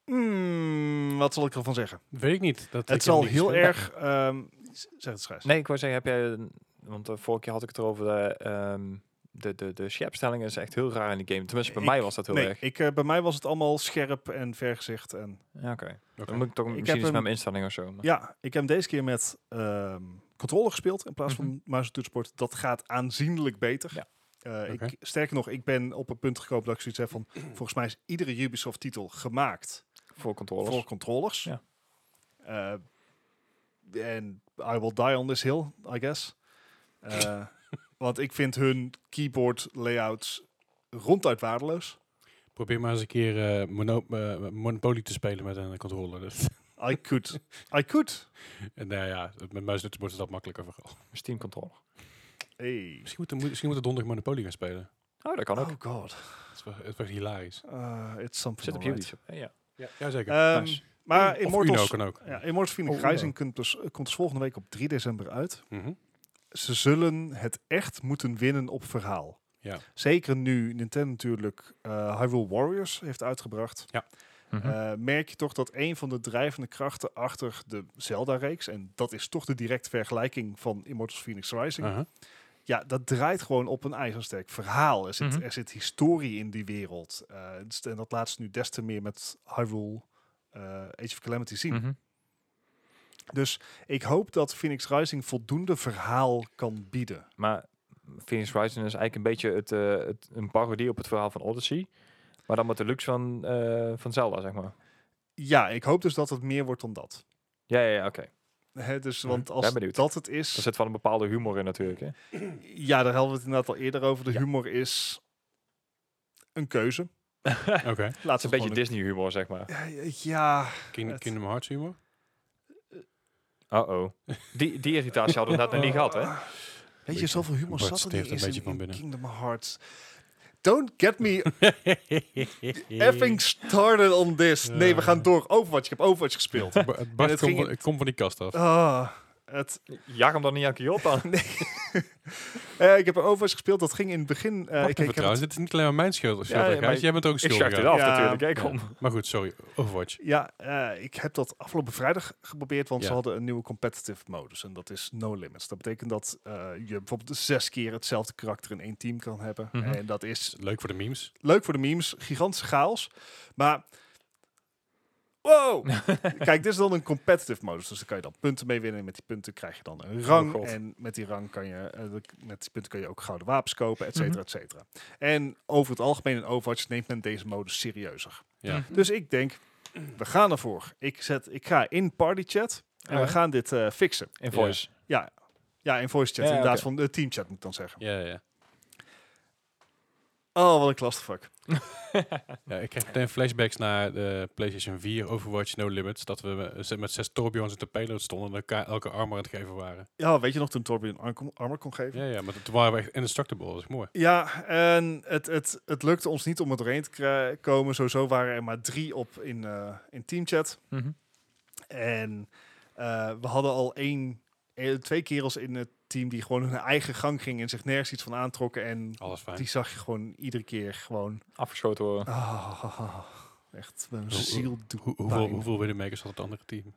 S3: Hmm, wat zal ik ervan zeggen?
S1: Weet ik niet. Dat
S3: het zal heel erg... ehm, z- zeg het schrijf.
S2: Nee, ik wou zeggen, heb jij... een- Want de vorige keer had ik het erover. De, ehm, de, de, de scherpstelling is echt heel raar in die game. Tenminste, bij
S3: Ik-
S2: mij was dat heel
S3: Nee,
S2: erg.
S3: ik, eh, bij mij was het allemaal scherp en vergezicht. En,
S2: Ja, oké. Dan
S1: Oké.
S2: moet ik toch
S3: Ik
S2: misschien
S3: heb
S2: iets met
S3: hem-
S2: mijn instelling of zo. maar-
S3: ja, ik heb hem deze keer met ehm controller gespeeld in plaats
S2: Mhm.
S3: van muis en toetsenbord. Dat gaat aanzienlijk beter.
S2: Ja.
S3: Eh,
S1: Oké.
S3: ik, sterker nog, ik ben op een punt gekomen dat ik zoiets heb van... volgens mij is iedere Ubisoft-titel gemaakt
S2: Voor controllers.
S3: voor controllers.
S2: Ja.
S3: Eh, En I will die on this hill, I guess. Eh, want ik vind hun keyboard layouts ronduit waardeloos.
S1: Probeer maar eens een keer eh, mono- eh, Monopoly te spelen met een controller. Dus.
S3: I could. I could.
S1: en nou ja, met muis en toetsenbord is dat makkelijker vooral.
S2: Een Steam controller.
S3: Hey.
S1: Misschien moet, misschien moet donderdag Monopoly gaan spelen.
S2: Oh, dat kan ook.
S3: Oh god.
S1: Het is wel, het is wel hilarisch.
S3: Uh, it's something
S2: Zit op
S3: alright.
S2: YouTube. Eh, Ja.
S1: Ja, zeker.
S3: Ehm,
S2: Nice.
S3: Maar
S1: of Uno
S3: Immortals,
S1: kan ook.
S3: ja, Immortals Phoenix
S2: Oh, Uno.
S3: Rising komt dus, komt dus volgende week op 3 december uit.
S1: Mhm.
S3: Ze zullen het echt moeten winnen op verhaal.
S1: Ja.
S3: Zeker nu Nintendo natuurlijk eh, Hyrule Warriors heeft uitgebracht.
S2: Mhm.
S3: eh, merk je toch dat een van de drijvende krachten achter de Zelda-reeks... en dat is toch de directe vergelijking van Immortals Phoenix Rising...
S1: Aha.
S3: Ja, dat draait gewoon op een ijzersterk verhaal. Er zit,
S2: Mhm.
S3: er zit historie in die wereld. Eh, het is- en dat laat ze nu des te meer met Hyrule eh, Age of Calamity zien.
S2: Mhm.
S3: Dus ik hoop dat Phoenix Rising voldoende verhaal kan bieden.
S2: Maar Phoenix Rising is eigenlijk een beetje het, eh, het, een parodie op het verhaal van Odyssey. Maar dan met de luxe van, eh, van Zelda, zeg maar.
S3: Ja, ik hoop dus dat het meer wordt dan dat.
S2: Ja, ja, ja, oké.
S3: Hè, dus,
S1: Ja,
S3: want als
S2: ben benieuwd.
S3: dat het
S2: Er
S3: is...
S2: zit wel een bepaalde humor in natuurlijk, hè?
S3: Ja, daar hadden we het inderdaad al eerder over. De
S1: Ja.
S3: humor is een keuze.
S1: Oké.
S2: Het
S3: Laat ze
S2: is een beetje
S3: gewoon
S2: Disney humor, zeg maar.
S3: een- Ja,
S1: King,
S3: Het-
S1: Kingdom Hearts humor?
S2: Uh-oh. Die, die irritatie hadden we net nog niet gehad, hè?
S3: Weet je,
S1: Beetje-
S3: zoveel humor
S1: Bart
S3: zat er
S1: stift
S3: niet
S1: een
S3: eens
S1: beetje
S3: in,
S1: van
S3: in
S1: binnen.
S3: Kingdom Hearts. Don't get me effing started on this. Nee, we
S1: Eh.
S3: gaan door. Overwatch, ik heb Overwatch gespeeld.
S1: Ba- Bart komt
S3: het ging-
S1: van, komt van die kast af.
S3: Ah, het,
S2: Jaag hem dan niet aan Kyoto aan.
S3: eh, ik heb Overwatch gespeeld, dat ging in het begin... eh,
S1: Wacht
S3: ik,
S1: even
S3: ik heb
S1: trouwens,
S3: het-
S1: dit is niet alleen maar mijn schuld.
S2: Ja, ja,
S1: schuldigheid.
S2: maar
S1: Jij bent ook
S2: Ik
S1: schuldig.
S2: schuif dit
S1: aan.
S2: af
S3: Ja.
S2: natuurlijk, hè?
S1: Ja.
S2: Kom.
S1: Maar goed, sorry. Overwatch.
S3: ja, eh, ik heb dat afgelopen vrijdag geprobeerd, want ze
S1: Ja.
S3: hadden een nieuwe competitive modus. En dat is no limits. Dat betekent dat eh, je bijvoorbeeld zes keer hetzelfde karakter in één team kan hebben.
S2: Mhm.
S3: En dat is
S1: Leuk voor de memes.
S3: leuk voor de memes, gigantische chaos. Maar. Wow! Kijk, dit is dan een competitive modus. Dus daar kan je dan punten mee winnen. En met die punten krijg je dan een rang.
S2: Oh, God.
S3: en met die rang kan je. eh, met die punten kan je ook gouden wapens kopen, et
S2: Mhm.
S3: cetera, et cetera. En over het algemeen in Overwatch neemt men deze modus serieuzer.
S1: Ja.
S2: Mhm.
S3: Dus ik denk, we gaan ervoor. Ik, zet, ik ga in partychat. En
S2: Ja.
S3: we gaan dit eh, fixen.
S2: In voice.
S3: Ja, ja in voice chat.
S2: Ja, ja,
S3: inderdaad,
S2: oké.
S3: van de teamchat moet ik dan zeggen.
S1: Ja, ja.
S3: Oh, wat een clusterfuck.
S1: ja, ik krijg meteen flashbacks naar de PlayStation 4 Overwatch No Limits. Dat we eh, met zes Torbjorns in de payload stonden en elkaar elke armor aan het geven waren.
S3: Ja, weet je nog toen Torbjörn arm- armor kon geven?
S1: Ja, ja, maar toen waren we echt indestructible. Dat is mooi.
S3: Ja, en het, het, het lukte ons niet om er doorheen te kra- komen. Sowieso waren er maar drie op in, eh, in teamchat.
S2: Mhm.
S3: En eh, we hadden al één, eh, twee kerels in het team die gewoon hun eigen gang gingen en zich nergens iets van aantrokken. En
S2: Oh,
S1: Alles fijn.
S3: die zag je gewoon iedere keer gewoon.
S2: Afgeschoten worden.
S3: Ah, echt, mijn
S1: Hoe-
S3: ziel doet
S1: Hoe- hoeveel,
S3: pijn.
S1: hoeveel Widowmakers had het andere team?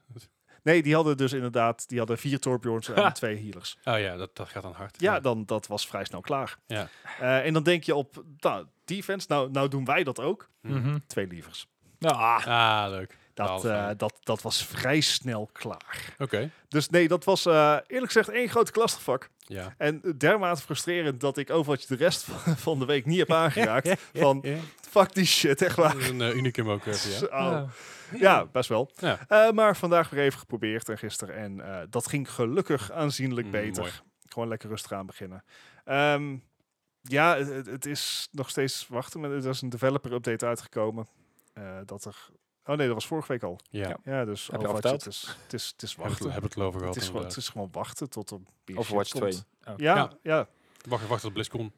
S3: Nee, die hadden dus inderdaad, die hadden vier Torbjorns en
S2: Ha.
S3: twee healers.
S1: Oh ja, dat, dat gaat dan hard.
S3: Ja, dan dat was vrij snel klaar.
S1: Ja.
S3: Eh, en dan denk je op, nou, defense, nou, nou doen wij dat ook.
S1: Mm. Hm.
S2: Mhm.
S3: Twee lievers.
S2: Ah.
S1: Ah, leuk.
S3: Dat,
S1: Twaalf,
S3: eh,
S1: ja.
S3: dat, dat was vrij snel klaar.
S1: Oké.
S3: Dus nee, dat was eh, eerlijk gezegd één grote klasgevak.
S1: Ja.
S3: En dermate frustrerend dat ik Overwatch de rest van, van de week niet heb aangeraakt. van, Fuck die shit, echt
S1: Dat
S3: waar. Oh,
S1: is een eh, unicum ook. eh, voor jou.
S3: Zo. Ja, best wel.
S1: Ja.
S3: Eh, maar vandaag weer even geprobeerd en gisteren. En eh, dat ging gelukkig aanzienlijk
S1: Mm,
S3: beter.
S1: mooi.
S3: Gewoon lekker rustig aan beginnen. Ehm, ja, het- het, het is nog steeds wachten. Maar er is een developer update uitgekomen. eh, dat er... Oh nee, dat was vorige week al.
S1: Ja,
S2: Ja.
S3: Ja, dus
S2: Heb je al
S3: Overwatch,
S2: verteld?
S3: Het is, het is, het is
S1: hebben we
S3: wachten.
S1: het- hebben we het over gehad.
S3: Het is, gewoon,
S1: inderdaad.
S3: het is gewoon wachten tot er meer
S2: Overwatch
S3: shit komt.
S2: 2. Oh.
S3: Ja, ja,
S1: Ja.
S3: ja.
S1: Wacht, wacht op BlizzCon.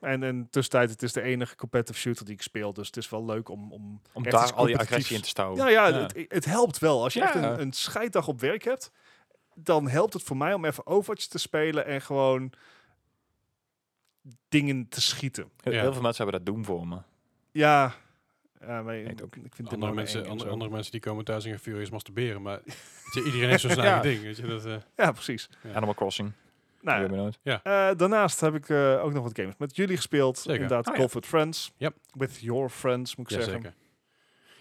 S3: En in tussentijd, het is de enige competitive shooter die ik speel. Dus het is wel leuk om... om
S2: Om
S3: echt
S2: daar
S3: iets
S2: al die
S3: competitiefs-
S2: agressie in te stouwen.
S3: Ja, ja,
S1: Ja.
S3: Het, het helpt wel. Als je
S2: Oh, Ja.
S3: echt een, een scheiddag op werk hebt, dan helpt het voor mij om even Overwatch te spelen en gewoon dingen te schieten.
S2: Heel,
S1: Ja.
S2: heel veel mensen hebben dat Doom voor me.
S3: Ja, ja, maar
S2: Ik ook.
S3: ik vind het
S1: Andere mensen, andere, andere mensen die komen thuis en gaan furieus masturberen. Maar weet je, iedereen heeft zo zijn
S2: Ja.
S1: eigen ding. Weet je, dat, eh,
S3: Ja, precies.
S1: Ja.
S2: Animal Crossing.
S3: Nou, ja.
S2: Ik weet maar nooit.
S3: Eh, daarnaast heb ik eh, ook nog wat games met jullie gespeeld.
S1: Zeker.
S3: Inderdaad,
S2: Ah, ja.
S3: Golf with Friends.
S1: Yep.
S3: With your friends, moet ik zeggen.
S1: Jazeker.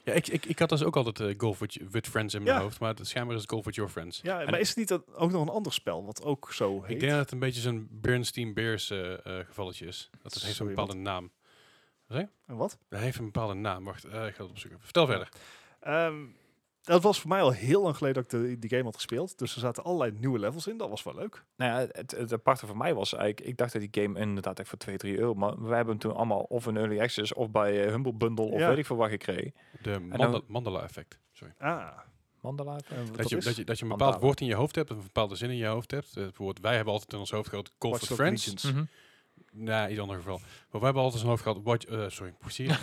S1: Ja, ik, ik, ik had dus ook altijd eh, Golf with, with Friends in mijn
S3: Ja.
S1: hoofd, maar het, schijnbaar is het Golf with Your Friends.
S3: Ja,
S1: En
S3: maar is het niet dat ook nog een ander spel wat ook zo heet?
S1: Ik denk dat het een beetje zo'n Bernstein Bears eh, eh, gevalletje is. Dat het heeft een
S3: Sorry,
S1: bepaalde naam.
S3: En wat?
S1: Dat heeft een bepaalde naam. Wacht, eh, ik ga het opzoeken. Vertel verder.
S3: Ehm, dat was voor mij al heel lang geleden dat ik de, die game had gespeeld. Dus er zaten allerlei nieuwe levels in. Dat was wel leuk.
S2: Nou ja, het, het aparte voor mij was eigenlijk, ik dacht dat die game inderdaad echt voor 2, 3 euro, maar we hebben hem toen allemaal of in Early Access of bij eh, Humble Bundle of
S3: Ja.
S2: weet ik veel waar gekregen.
S1: De
S2: dan-
S1: manda- mandala-effect. Sorry.
S3: Ah,
S2: Mandala?
S3: eh, wat
S1: Dat je,
S3: is?
S1: dat, je, dat je een bepaald
S2: Mandala.
S1: woord in je hoofd hebt, een bepaalde zin in je hoofd hebt. Eh, bijvoorbeeld, wij hebben altijd in ons hoofd gehad Golf
S3: Watch
S1: with
S3: Dogs
S1: Friends.
S3: Legions.
S2: Mhm.
S1: Nee, iets ander geval. Maar we hebben altijd een hoofd gehad. What, eh, sorry, plezier.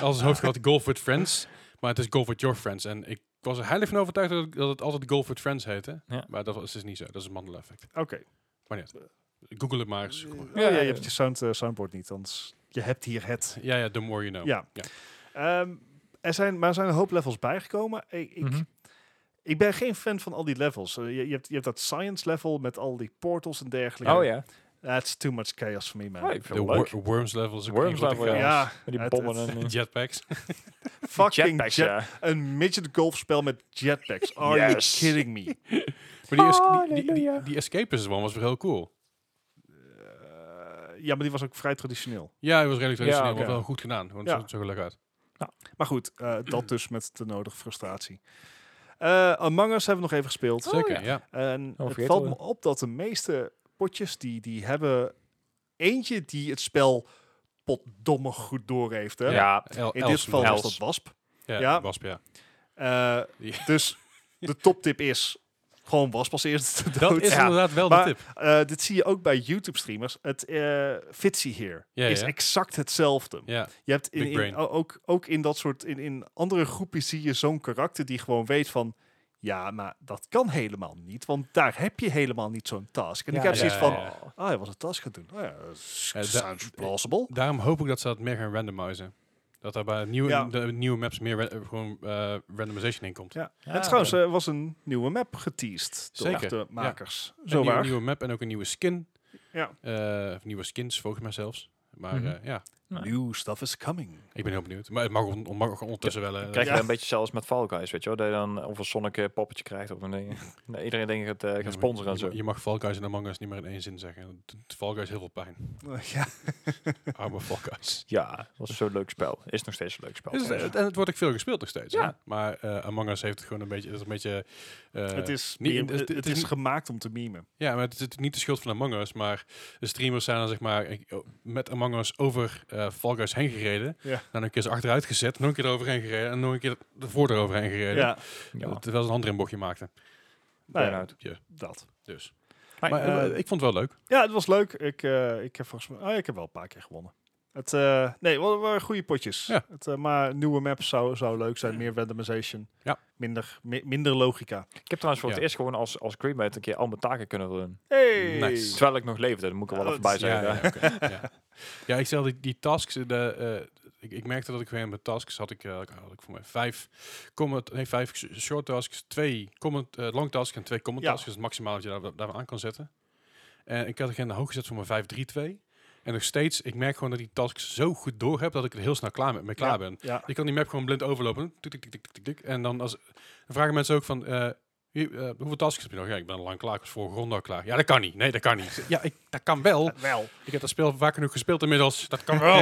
S1: als een hoofd gehad Golf with Friends. Maar het is Golf with Your Friends. En ik was er heilig van overtuigd dat, het- dat het altijd Golf with Friends heette.
S2: Ja.
S1: Maar dat is dus niet zo. Dat is een mandela effect.
S2: Hm.
S3: Oké.
S1: Maar niet. Google het maar eens.
S3: Eh,
S1: Kom maar.
S3: oh ja,
S2: Ja,
S3: je
S2: ja.
S3: hebt je sound, eh, soundboard niet, anders je hebt hier het.
S1: Ja, ja, the more you know.
S3: Ja. Ehm, er zijn, maar er zijn een hoop levels bijgekomen. Ik, ik,
S2: Mhm.
S3: ik ben geen fan van al die levels. Eh, je, je, hebt, je hebt dat science level met al die portals en dergelijke.
S2: Oh ja,
S3: That's too much chaos for me, man.
S2: oh, ik
S1: De
S2: vind het leuk.
S1: wor- Worms level is ook
S2: Worms
S1: een grote
S2: level,
S1: chaos.
S3: ja,
S2: Met die
S3: het-
S2: bommen
S3: het-
S2: en eh,
S1: Jetpacks.
S3: fucking
S2: jetpacks,
S3: jet-
S2: ja.
S3: Een midget golf spel met jetpacks. Are
S2: Yes.
S3: you kidding me?
S1: Maar die, es- die, die, die,
S2: Halleluja.
S1: die Escapist one was wel heel cool.
S3: Eh, ja, maar die was ook vrij traditioneel.
S1: Ja, hij was redelijk traditioneel,
S2: oké.
S1: maar wel goed gedaan. Want
S3: Ja.
S1: het zag er leuk uit.
S3: Maar goed, eh, dat dus met de nodige frustratie. Eh, Among Us hebben we nog even gespeeld.
S1: Zeker,
S2: ja.
S1: ja.
S3: En het
S2: vergeten
S3: valt
S2: we.
S3: me op dat de meeste potjes die, die hebben eentje die het spel potdomme goed door heeft. Hè?
S2: Ja,
S1: El-
S3: In dit
S1: Els-
S3: geval was
S2: Els.
S3: dat Wasp.
S1: Ja,
S3: ja.
S1: Wasp, ja.
S3: Eh,
S1: Ja.
S3: Dus de toptip is gewoon Wasp als eerste te
S1: Dat
S3: dood.
S1: is
S2: Ja.
S1: inderdaad wel
S3: Maar-
S1: de tip.
S3: Eh, dit zie je ook bij YouTube streamers. Het eh Fitzy here
S1: Ja,
S3: is
S1: ja.
S3: exact hetzelfde.
S1: Ja,
S3: Je hebt in,
S1: Big
S3: in-
S1: brain.
S3: o- ook, ook in dat soort, in, in andere groepen zie je zo'n karakter die gewoon weet van, ja, maar dat kan helemaal niet, want daar heb je helemaal niet zo'n task. En ik heb
S1: ja,
S3: zoiets
S1: ja,
S3: van,
S1: ja.
S3: ah, hij was een task gaan doen. Oh ja, dat is-
S1: Ja, Eh, da-
S3: sounds plausible.
S1: daarom hoop ik dat ze dat meer gaan randomizen. Dat daar bij nieuwe,
S3: Ja.
S1: de nieuwe maps meer ra- eh, gewoon eh, randomization in komt.
S3: Ja.
S2: Ja,
S3: en trouwens, er was een nieuwe map geteased door
S1: Zeker,
S3: de
S1: ja.
S3: makers.
S1: een
S3: Zo
S1: nieuwe,
S3: waar.
S1: nieuwe map en ook een nieuwe skin.
S3: Ja.
S1: Eh, of nieuwe skins, volgens mij zelfs. Maar
S2: Mhm.
S1: eh, ja,
S3: New stuff is coming.
S1: ik ben heel benieuwd. Maar het mag, on- on- mag ondertussen wel... eh,
S2: krijg je
S3: Ja.
S2: een beetje zelfs met Fall Guys, weet je wel, dat je dan of een Sonic eh, poppetje krijgt of een ding. Nee, iedereen denkt het eh,
S1: Ja,
S2: gaat sponsoren
S1: je,
S2: en zo.
S1: Je mag Fall Guys en Among Us niet meer in één zin zeggen. Dat doet Fall Guys heel veel pijn.
S3: ja.
S1: Arme Fall Guys.
S2: Ja, dat was zo'n leuk spel. Is nog steeds een leuk spel.
S1: Is het-
S2: trouwens.
S1: en het wordt ook veel gespeeld nog steeds. hè?
S2: Ja.
S1: Maar eh, Among Us heeft gewoon een beetje... Het is een beetje eh,
S3: het is,
S1: niet-
S3: meme-
S1: het-
S3: het,
S1: het
S3: is
S1: is-
S3: gemaakt om te memen.
S1: Ja, maar het is niet de schuld van Among Us, maar de streamers zijn dan zeg maar ik- oh, met Among Us over eh Fall Guys heen gereden. Nou,
S3: Ja.
S1: Dan een keer ze achteruit gezet, nog een keer eroverheen gereden en nog een keer ervoor eroverheen gereden.
S3: Ja,
S2: Ja,
S1: Eh, Terwijl ze een ander een bochtje maakten.
S3: nou ja,
S2: Burnout.
S3: dat.
S1: Dus.
S2: Maar,
S1: Maar eh, ik vond het wel leuk.
S3: Ja, het was leuk. Ik, eh, ik heb volgens mij... Oh, ik heb wel een paar keer gewonnen. Het, eh, nee, wel, wel goede potjes.
S1: Ja.
S3: Het, eh, maar nieuwe maps zou, zou leuk zijn. Meer randomization.
S1: Ja.
S3: Minder, mi- minder logica.
S2: Ik heb trouwens voor
S1: Ja.
S2: het eerst gewoon als, als crewmate een keer al mijn taken kunnen doen.
S3: Hey!
S1: Nice.
S2: Terwijl ik nog leefde, dat moet ik er wel
S3: Ja,
S2: even
S3: dat
S2: bij
S3: is-
S1: Ja,
S2: zeggen.
S1: ja, oké, ja. ja, ik stelde die tasks. De, eh, ik, ik merkte dat ik weer in mijn tasks had ik, eh, had ik voor mij vijf, comment, nee, vijf sh- short tasks, twee comment, eh, long tasks en twee comment
S3: Ja.
S1: tasks. Dat is het maximaal wat je daar, daar aan kan zetten. En ik had agenda hoog gezet voor mijn 5-3-2. En nog steeds, ik merk gewoon dat die tasks zo goed door heb dat ik er heel snel klaar mee, mee klaar ben.
S3: Ja.
S1: Je kan die map gewoon blind overlopen. Tik, tik, tik, tik, tik, tik. En dan, als, dan vragen mensen ook van... eh, hier, eh, hoeveel tasks heb je nog? Ja, ik ben al lang klaar. Ik was vorige ronde al klaar. Ja, dat kan niet. Nee, dat kan niet. Ja, ik, dat kan wel.
S3: Eh, wel.
S1: Ik heb dat spel vaak genoeg gespeeld inmiddels. Dat kan wel.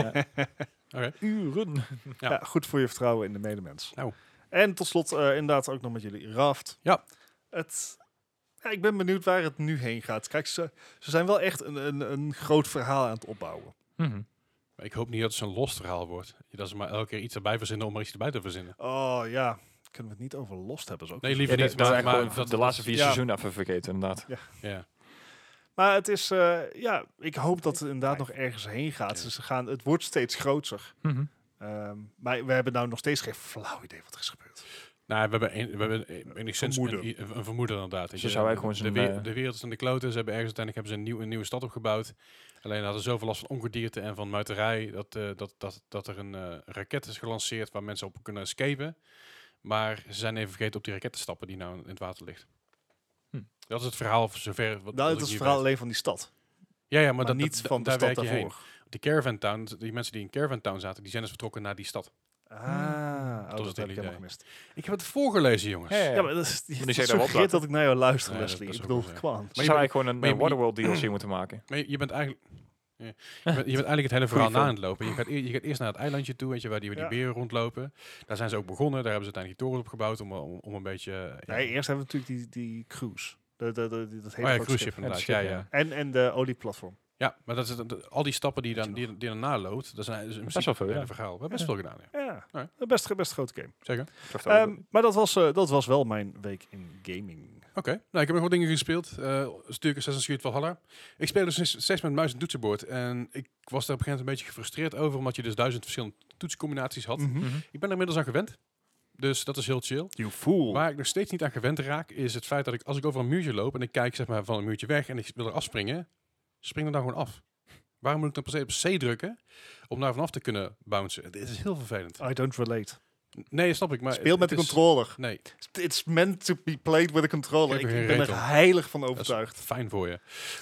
S1: Oké.
S2: Uren.
S1: Ja.
S3: Ja. goed voor je vertrouwen in de medemens.
S1: Nou.
S3: En tot slot eh, inderdaad ook nog met jullie Raft.
S1: Ja.
S3: Het, ja, ik ben benieuwd waar het nu heen gaat. Kijk, ze, ze zijn wel echt een, een, een groot verhaal aan het opbouwen.
S1: Maar ik hoop niet dat het zo'n los verhaal wordt. Dat ze maar elke keer iets erbij verzinnen om er iets erbij te verzinnen.
S3: Oh ja, kunnen we het niet over Lost hebben? Is ook
S1: Nee,
S2: Ja,
S1: liever
S2: dat-
S1: niet.
S2: dat
S1: Maar,
S2: is
S1: maar
S2: eigenlijk gewoon
S1: dat,
S2: de laatste vier
S1: ja.
S2: seizoenen even vergeten, inderdaad.
S1: Ja.
S3: Maar het is, eh, ja, ik hoop dat het inderdaad nog ergens heen gaat. Ze- Ze gaan, het wordt steeds groter. Ehm, maar we hebben nou nog steeds geen flauw idee wat er is gebeurd.
S1: Nou, we hebben, een, we hebben een, enigszins
S3: Vermoeden.
S1: Een, een- een vermoeden inderdaad. Weet
S2: Ze
S1: je,
S2: zou
S1: de-
S2: eigenlijk gewoon
S1: de,
S2: zijn,
S1: weer-
S2: eh,
S1: de wereld is in de kloten. Ze hebben ergens uiteindelijk hebben ze een, nieuw, een nieuwe stad opgebouwd. Alleen hadden ze zoveel last van ongedierte en van muiterij... dat, eh, dat, dat, dat er een eh, raket is gelanceerd waar mensen op kunnen escapen. Maar ze zijn even vergeten op die raket te stappen die nou in het water ligt.
S2: Hm.
S1: Dat is het verhaal voor zover... Wat,
S3: nou,
S1: wat
S3: het
S1: ik
S3: is
S1: hier
S3: het verhaal
S1: weet.
S3: alleen van die stad.
S1: Ja, ja, maar,
S3: Maar,
S1: dat,
S3: niet
S1: dat-
S3: van de
S1: daar
S3: stad
S1: werk je heen.
S3: daarvoor.
S1: Die caravan town, die mensen die in caravan town zaten... die zijn dus vertrokken naar die stad.
S3: Ah, oh,
S1: was
S3: dat
S1: Hmm. het hele
S3: heb
S1: idee.
S3: ik helemaal gemist.
S1: ik heb het voorgelezen, jongens.
S2: Ja, ja.
S3: Ja, maar dat is
S2: je
S3: die,
S2: zei
S3: dat
S2: daar wat
S3: suggereert
S2: laten.
S3: dat ik naar jou luister,
S1: Nee, dat-
S3: Leslie.
S1: dat
S3: Ik
S1: is
S3: bedoel,
S1: ook wel zo.
S3: come on.
S2: Ze
S1: je bent-
S2: zou eigenlijk gewoon een
S1: maar je
S2: eh,
S1: bent-
S2: Waterworld DLC moeten maken.
S1: Maar je, je bent eigenlijk... ja. Je, bent, je bent eigenlijk het hele verhaal na aan het lopen. Je gaat, eer- je gaat eerst naar het eilandje toe, weet je, waar die, waar die
S3: Ja.
S1: beren rondlopen. Daar zijn ze ook begonnen. Daar hebben ze uiteindelijk die torens op gebouwd om, om, om een beetje... eh, ja.
S3: Nee, eerst hebben we natuurlijk die, die cruise. Dat, dat, dat, dat hele
S1: oh ja,
S3: grote
S1: cruise
S3: schip.
S1: ship inderdaad. Ja,
S2: Ja, het schip,
S1: ja.
S3: En, en de olieplatform.
S1: ja, maar dat is, het- dat- al die stappen die,
S3: Weet
S1: dan,
S3: je
S1: die, die daarna loopt, dat zijn dus in
S2: Best
S1: principe
S2: wel
S1: het
S2: veel,
S1: hele
S2: ja.
S1: verhaal. We hebben best veel gedaan, ja.
S3: Ja,
S1: Nee.
S3: een best, best grote game.
S1: Zeker.
S3: Ehm, maar dat was, eh, dat was wel mijn week in gaming.
S1: Oké, nou, ik heb nog wat dingen gespeeld. Eh natuurlijk Assassin's Creed Valhalla. Ik speel dus sinds- steeds met muis en toetsenbord. En ik was daar op een gegeven moment een beetje gefrustreerd over, omdat je dus duizend verschillende toetscombinaties had.
S3: Mhm.
S1: Ik ben er inmiddels aan gewend. Dus dat is heel chill.
S3: You fool.
S1: Waar ik nog steeds niet aan gewend raak, is het feit dat ik als ik over een muurtje loop en ik kijk zeg maar, van een muurtje weg en ik wil er afspringen, spring er dan gewoon af. Waarom moet ik dan per se op C drukken om daar vanaf te kunnen bouncen? Dit is heel vervelend.
S3: I don't relate.
S1: N- Nee, snap ik. Maar
S3: Ah. Speel
S1: het-
S3: met de
S1: het is-
S3: controller.
S1: Nee,
S3: It's meant to be played with a controller.
S1: Ik
S3: Ik,
S1: heb er
S3: ik
S1: geen
S3: ben er
S1: reet op.
S3: heilig van
S1: dat is
S3: overtuigd.
S1: fijn voor je.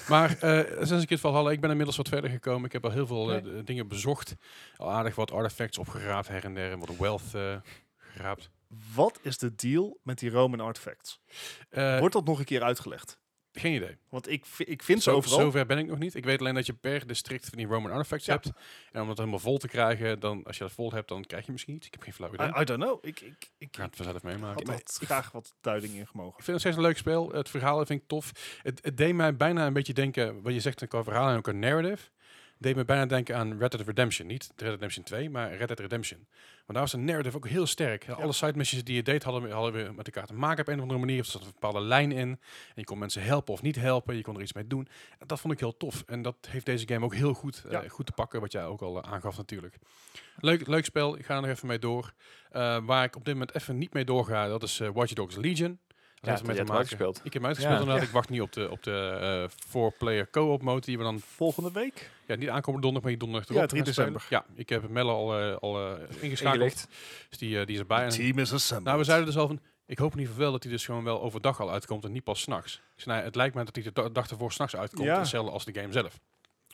S1: Maar eh sinds ik het Valhalla, ik ben inmiddels wat verder gekomen. Ik heb al heel veel eh, d- dingen bezocht. Al aardig wat artifacts opgeraapt her en der en wat wealth eh, geraapt.
S3: Wat is de deal met die Roman artifacts?
S1: Eh,
S3: Wordt dat nog een keer uitgelegd?
S1: geen idee.
S3: Want ik, vi- ik vind ze
S1: Zo-
S3: overal.
S1: Zover ben ik nog niet. Ik weet alleen dat je per district van die Roman artifacts
S3: Ja.
S1: hebt. En om dat helemaal vol te krijgen, dan als je dat vol hebt, dan krijg je misschien iets. Ik heb geen flauw idee.
S3: I, I don't know. Ik, ik, ik,
S1: ik ga het vanzelf
S3: had
S1: meemaken.
S3: dat graag Ah, wat duiding in gemogen.
S1: Ik vind het steeds een leuk spel. Het verhaal vind ik tof. Het, het deed mij bijna een beetje denken, wat je zegt qua verhaal en ook een narrative. Het deed me bijna denken aan Red Dead Redemption. Niet Red Dead Redemption 2, maar Red Dead Redemption. Want daar was de narrative ook heel sterk. Alle side missions die je deed hadden, hadden weer met elkaar te maken op een of andere manier. Of er zat een bepaalde lijn in. En je kon mensen helpen of niet helpen. Je kon er iets mee doen. En dat vond ik heel tof. En dat heeft deze game ook heel goed, eh,
S3: Ja.
S1: goed te pakken. Wat jij ook al eh, aangaf natuurlijk. Leuk, leuk spel. Ik ga er nog even mee door. Eh, waar ik op dit moment even niet mee doorga, dat is eh, Watch Dogs Legion.
S2: Ja,
S1: heeft
S2: die
S1: ermee
S2: heb
S1: te
S2: ik
S1: maken.
S2: uitgespeeld.
S1: Ik heb hem uitgespeeld
S2: Ja.
S1: inderdaad. Ik wacht niet op de, op de eh, four-player co-op mode die we dan
S3: Volgende week?
S1: ja, niet aankomende donderdag, maar die donderdag
S3: Ja,
S1: erop
S3: 3
S1: gaan spelen.
S3: december.
S1: Ja, ik heb Melle al, eh, al eh, ingeschakeld.
S2: Ingelicht.
S1: Dus die, eh, die is erbij. En,
S3: Team is assembled.
S1: nou, we zeiden dus al van, ik hoop in ieder geval wel dat hij dus gewoon wel overdag al uitkomt en niet pas s'nachts. Dus, nou, het lijkt mij dat hij de da- dag ervoor s'nachts uitkomt,
S3: Ja.
S1: hetzelfde als de game zelf.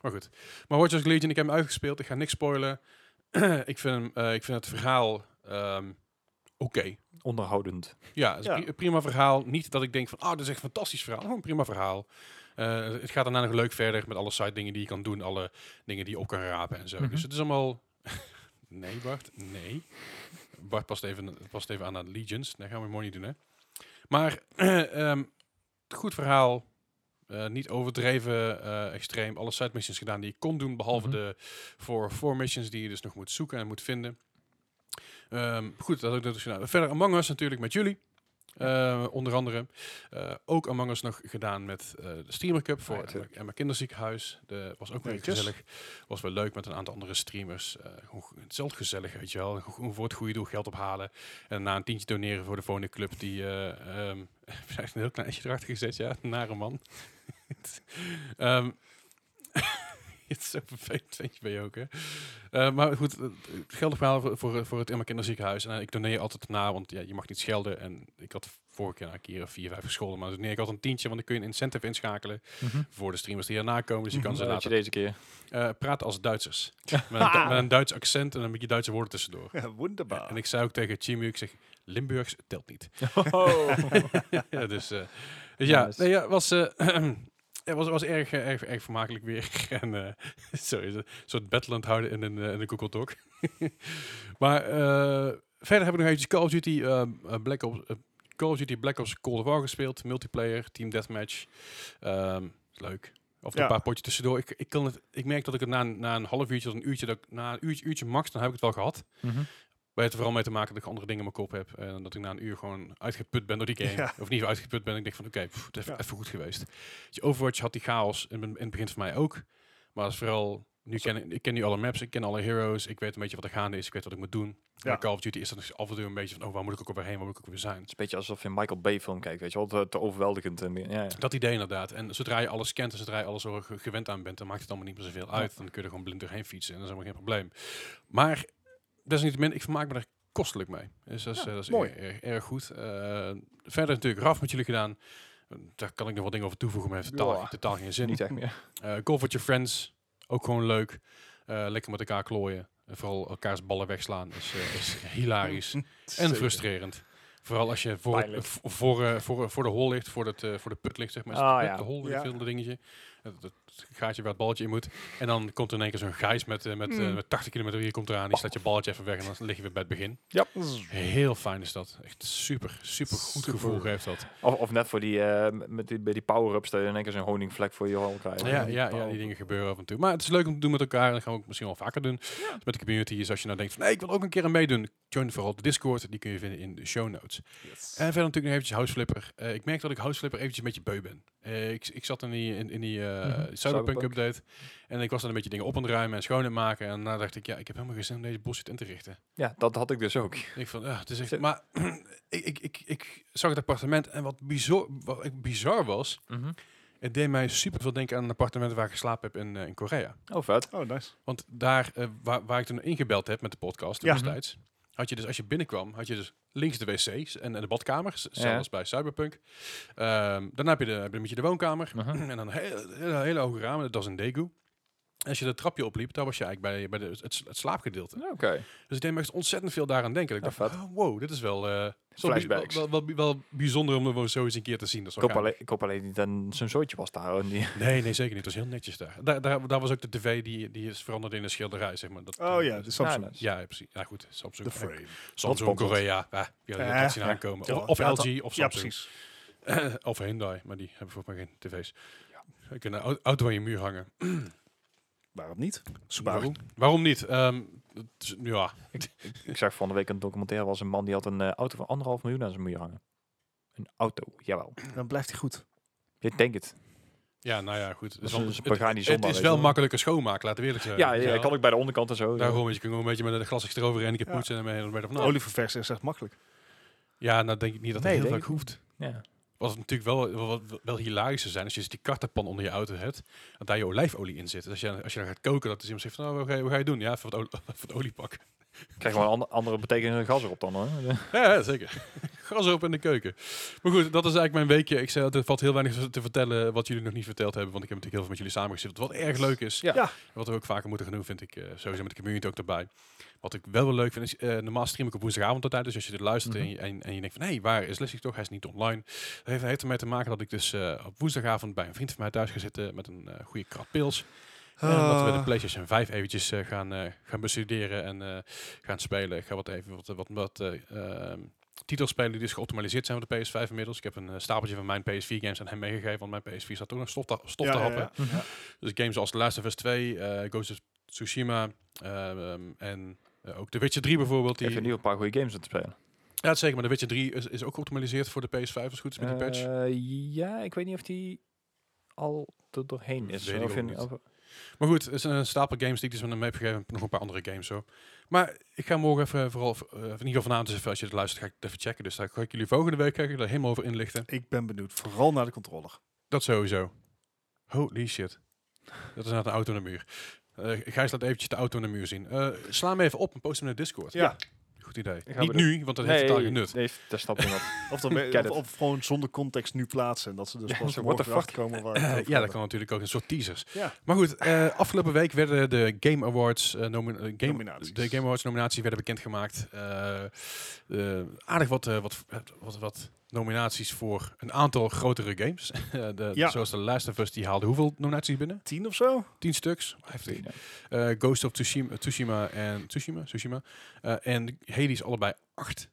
S1: Maar goed. Maar Watch Dogs Legion, ik heb hem uitgespeeld. Ik ga niks spoilen. ik, vind hem, eh, ik vind het verhaal ehm, oké.
S2: Onderhoudend.
S1: Ja, het is
S3: Ja.
S1: pri- een prima verhaal. Niet dat ik denk van, ah, dat is echt een fantastisch verhaal. Gewoon een prima verhaal. Eh, het gaat daarna nog leuk verder met alle side dingen die je kan doen. Alle dingen die je op kan rapen en zo.
S2: Mhm.
S1: Dus het is allemaal... nee, Bart. Nee. Bart past even, past even aan aan Legions. Dat gaan we mooi niet doen, hè. Maar ehm, goed verhaal. Eh, niet overdreven, eh, extreem. Alle side missions gedaan die je kon doen. Behalve
S2: Mhm.
S1: de voor four missions die je dus nog moet zoeken en moet vinden. Ehm, goed, dat heb ik dus gedaan. Verder Among Us natuurlijk met jullie. Eh, onder andere. Eh, ook Among Us nog gedaan met eh, de Streamer Cup voor
S2: Ah, ja,
S1: Emma-
S2: tuurlijk.
S1: Emma Kinderziekenhuis. De, was ook weer
S3: Netjes.
S1: gezellig. Was wel leuk met een aantal andere streamers. Eh, gewoon go- hetzelfde gezellig, weet je wel. Gewoon voor het goede doel geld ophalen. En na een tientje doneren voor de volgende club. Die eh ehm heeft een heel klein esje erachter gezet, ja. Nare man. Ehm, het is zo vervelend, vind je, ben je ook, hè? Eh, maar goed, eh, het geldig verhaal voor, voor, voor het Emma Kinderziekenhuis. En eh, ik doneer altijd na, want ja, je mag niet schelden. En ik had vorige keer na een keer of vier, vijf gescholden. Maar dan doneer ik altijd een tientje, want dan kun je een incentive inschakelen
S2: Mhm.
S1: voor de streamers die daarna komen. Dus je kan
S3: Mhm.
S1: ze
S2: Dat je Ah.
S1: laten
S2: deze keer.
S1: eh, praten als Duitsers. met, een, Du- met een Duits accent en een beetje Duitse woorden tussendoor.
S3: Ja, wonderbaar.
S1: En ik zei ook tegen Chimu, ik zeg, Limburgs telt niet.
S2: Oh.
S1: ja, dus, eh, dus ja,
S2: Nice.
S1: nee, ja was, eh, Het was, was erg, eh, erg, erg vermakelijk weer. en, eh, sorry, een soort Badland houden in een, eh, in een Google Talk. maar eh, verder heb ik nog eventjes Call of Duty, eh, eh, Black Ops, eh, Call of Duty Black Ops Cold War gespeeld. Multiplayer, Team Deathmatch. Ehm, is leuk. Of
S3: Ja.
S1: een paar potjes tussendoor. Ik, ik, kan het, ik merk dat ik het na, een- na een half uurtje, tot een uurtje, dat ik, na een uurtje, uurtje max, dan heb ik het wel gehad.
S2: Mhm.
S1: Maar het heeft er vooral mee te maken dat ik andere dingen in mijn kop heb. En dat ik na een uur gewoon uitgeput ben door die game.
S3: Ja.
S1: Of niet uitgeput ben. Ik denk van oké, pff, het is even,
S3: Ja.
S1: even goed geweest. Dus Overwatch had die chaos in, in het begin voor mij ook. Maar het is vooral, nu ken, ik- ik ken nu alle maps, ik ken alle heroes. Ik weet een beetje wat er gaande is. Ik weet wat ik moet doen.
S3: Ja.
S1: Maar Call of Duty is dan af en toe een beetje van, oh waar moet ik ook weer heen? Waar moet ik ook weer zijn?
S2: is een beetje alsof je een Michael Bay film kijkt, weet je wel. Te, te overweldigend. En, ja, ja.
S1: Dat idee inderdaad. En zodra je alles kent en zodra je alles al ge- gewend aan bent, dan maakt het allemaal niet meer zoveel uit. Dan kun je er gewoon blind doorheen fietsen en dat is helemaal geen probleem. Maar desalniettemin, ik vermaak me er kostelijk mee. Dus dat is, eh, dat is
S3: mooi.
S1: Erg, erg, erg goed. Eh, verder natuurlijk RAF met jullie gedaan. Eh, Daar kan ik nog wat dingen over toevoegen, maar heeft totaal,
S2: Ja.
S1: totaal geen zin.
S2: Niet echt meer.
S1: Eh, golf with your friends, ook gewoon leuk. Eh, lekker met elkaar klooien. En vooral elkaars ballen wegslaan is, eh, is hilarisch. En frustrerend. Vooral als je voor,
S2: Pijnlijk.
S1: v- voor, eh, voor, voor de hol ligt, voor, het, eh, voor de put ligt, zeg maar. Is het
S2: Ah,
S1: de put,
S2: ja.
S1: De hol, weet ik
S3: Ja.
S1: veel, dat dingetje. Het, het gaatje waar het balletje in moet. En dan komt er in één keer zo'n gijs met, eh, met, eh,
S3: Hmm.
S2: Mm.
S1: met 80 kilometer hier komt eraan. Die
S3: Oh.
S1: slaat je balletje even weg en dan lig je weer bij het begin.
S2: Ja.
S1: Heel fijn is dat. Echt super, super goed
S3: Super.
S1: gevoel geeft dat.
S2: Of, of net voor die, eh, met die, bij die power-ups dat je in één keer zo'n honingvlek voor je hal krijgt.
S1: Ja,
S3: die
S1: ja, ja,
S3: paal.
S1: die dingen gebeuren af en toe. Maar het is leuk om te doen met elkaar. En dat gaan we ook misschien wel vaker doen. Dus Met de community is als je nou denkt van... Hey, ik wil ook een keer aan meedoen. Join vooral de Discord. Die kun je vinden in de show notes. En verder natuurlijk nog eventjes Houseflipper. Eh ik merk dat ik Houseflipper eventjes een beetje beu ben. Eh, ik, ik zat in die, in, in die eh, Cyberpunk,
S2: Mhm. Cyberpunk.
S1: update. En ik was dan een beetje dingen op aan het ruimen en schoon aan het maken. En daarna dacht ik, ja, ik heb helemaal geen zin om deze bullshit in te richten.
S2: Ja, dat had ik dus ook.
S1: Ik denk van, ah, het is echt...
S2: Zit-
S1: Maar ik, ik, ik, ik zag het appartement. En wat bizar, wat ik bizar was...
S2: Mhm.
S1: Het deed mij super veel denken aan een appartement waar ik geslapen heb in, eh, in Korea.
S2: Oh, vet.
S3: Oh, nice.
S1: Want daar, eh, waar, waar ik toen ingebeld heb met de podcast
S3: Ja.
S1: destijds, had je dus als je binnenkwam, had je dus links de wc's en, en de badkamer, z- zelfs
S2: Ja.
S1: als bij Cyberpunk. Ehm, daarna heb je, de, heb je een beetje de woonkamer
S2: Mhm.
S1: en dan hele, hele, hele hoge ramen, dat is een Daegu. En als je dat trapje opliep, daar was je eigenlijk bij, bij de, het, s- het slaapgedeelte.
S2: Oké.
S1: Dus ik deed me echt ontzettend veel daaraan denken. Ik
S2: Ja,
S1: dacht, van,
S2: vet.
S1: oh, wow, dit is wel, eh, zo bi- wel,
S2: Flashbacks.
S1: wel, wel, wel bijzonder om er wel zo eens een keer te zien. Dat is
S2: Ik
S1: wel
S2: hoop,
S1: gaaf.
S2: alleen, ik hoop alleen niet dat zijn zooitje was daar. En die,
S1: Nee, nee, zeker niet. Het was heel netjes daar. Daar, daar, daar was ook de tv die, die is veranderd in een schilderij, zeg maar. Dat,
S3: Oh
S1: eh,
S3: ja, de Samsung.
S2: Ja, nice.
S1: Ja, ja, precies. Ja, goed. Samsung. eh,
S3: De frame.
S1: Samsung,
S2: Wat
S1: Korea. Ah, die hadden
S3: Eh,
S1: dat zien
S2: ja.
S1: aankomen.
S3: Ja,
S1: Of, of
S3: ja,
S1: LG, of
S3: Ja,
S1: Samsung. Eh,
S3: precies.
S1: of Hyundai, maar die hebben volgens mij geen tv's. Je kunt een au- auto aan je muur hangen.
S3: Waarom niet?
S1: Waarom? Waarom niet? Ehm, het is- ja,
S2: ik zag van de week een documentaire was een man die had een eh, auto van anderhalf miljoen aan zijn muur hangen. Een auto, jawel.
S3: Dan blijft hij goed.
S2: Ik denk het.
S1: ja, nou ja, goed. Het
S2: is
S1: wel-
S2: een
S1: het-
S2: Pagani
S1: Het
S2: zondag,
S1: is wel
S2: weet je wel.
S1: makkelijker schoonmaken, laten we eerlijk zijn.
S2: ja,
S1: Weet
S2: ja,
S1: je wel?
S2: kan ik bij de onderkant en zo.
S1: Daarom is je kunt gewoon een beetje met een glasjes erover en ik heb
S3: Ja.
S1: poetsen en dan ben je er van
S3: Nou.
S1: nou,
S3: Olieverversen is echt makkelijk.
S1: Ja, nou denk ik niet dat het
S2: Nee,
S1: heel
S2: denk
S1: vaak
S2: ik
S1: hoeft.
S2: Ja.
S1: Wat natuurlijk wel, wel, wel- wel hilarisch zou zijn als je dus die kartenpan onder je auto hebt, dat daar je olijfolie in zit. Dus als je, als je dan gaat koken, dat is iemand zegt van, nou, wat ga je, wat ga je doen? Ja, voor het, olie, voor het oliepak.
S2: Ik krijg gewoon een ander- andere betekenis dan gas erop dan hoor.
S1: Ja, ja, zeker. Gras op in de keuken. Maar goed, dat is eigenlijk mijn weekje. Ik zei, dat er valt heel weinig te vertellen wat jullie nog niet verteld hebben, want ik heb natuurlijk heel veel met jullie samengezeten. Wat erg leuk is.
S2: Dus- Ja.
S3: Ja.
S1: Wat we ook vaker moeten gaan doen, vind ik eh, sowieso met de community ook erbij. Wat ik wel wel leuk vind, is eh, normaal stream ik op woensdagavond altijd. Dus als je dit luistert en je- en, en, je denkt van, hé, waar is Lessig toch? Hij is niet online. Dat heeft, heeft ermee te maken dat ik dus eh, op woensdagavond bij een vriend van mij thuis ga zitten met een eh, goede krat pils. En dat we de
S3: Ah.
S1: PlayStation 5 eventjes eh, gaan, eh, gaan bestuderen en eh, gaan spelen. Ik ga wat even wat, wat, wat eh, ehm, titels spelen die dus geoptimaliseerd zijn voor de PS5 inmiddels. Ik heb een eh, stapeltje van mijn PS4-games aan hem meegegeven, want mijn PS4 staat ook nog stof te, stof te happen.
S2: Mhm.
S1: Dus games als The Last of Us 2, eh, Ghost of Tsushima eh, ehm, en eh, ook The Witcher 3 bijvoorbeeld.
S2: Ik
S1: Die,
S2: heb nu een paar goede games aan te spelen.
S1: Ja, zeker, maar The Witcher 3 is, is ook geoptimaliseerd voor de PS5 als het goed is met die patch.
S2: Eh, ja, ik weet niet of die al er doorheen is.
S1: Weet ik
S2: Of
S1: ook
S2: in-
S1: niet.
S2: of-
S1: Maar goed, het is een stapel games die ik dus van hem heb gegeven. Nog een paar andere games zo. Maar ik ga morgen even vooral, eh, in ieder geval vanavond, dus even, als je het luistert, ga ik het even checken. Dus daar ga ik jullie volgende week ga ik er helemaal over inlichten.
S3: Ik ben benieuwd. Vooral naar de controller.
S1: Dat sowieso. Holy shit. Dat is net een auto aan de muur. Eh Gijs laat eventjes de auto aan de muur zien. Eh, sla hem even op en post hem in de Discord.
S3: Ja.
S1: Goed idee.
S2: we
S1: Niet
S2: doen.
S1: nu, want dat heeft totaal geen nut.
S2: Nee, dat snap ik niet.
S3: Of, dan we-
S2: Ken het.
S3: of, of gewoon zonder context nu plaatsen. en Dat ze dus
S2: Ja,
S3: pas
S2: zo,
S3: morgen
S2: what the fuck?
S3: erachter komen waar
S1: Eh,
S3: het over
S1: ja, dat
S3: hebben.
S1: kan natuurlijk ook een soort teasers.
S3: Ja.
S1: Maar goed, eh, afgelopen week werden de Game Awards, eh, nomi- eh, game,
S3: Nominaties.
S1: de Game Awards nominatie werden bekendgemaakt. Eh, eh, aardig wat, eh, wat, wat, wat nominaties voor een aantal grotere games. Eh, de,
S3: Ja.
S1: Zoals The Last of Us, die haalde hoeveel nominaties binnen?
S3: Tien of zo?
S1: Tien stuks? Heftig. Eh, Ghost of Tsushima, Tsushima en Tsushima, Tsushima. Eh, en Hades allebei acht.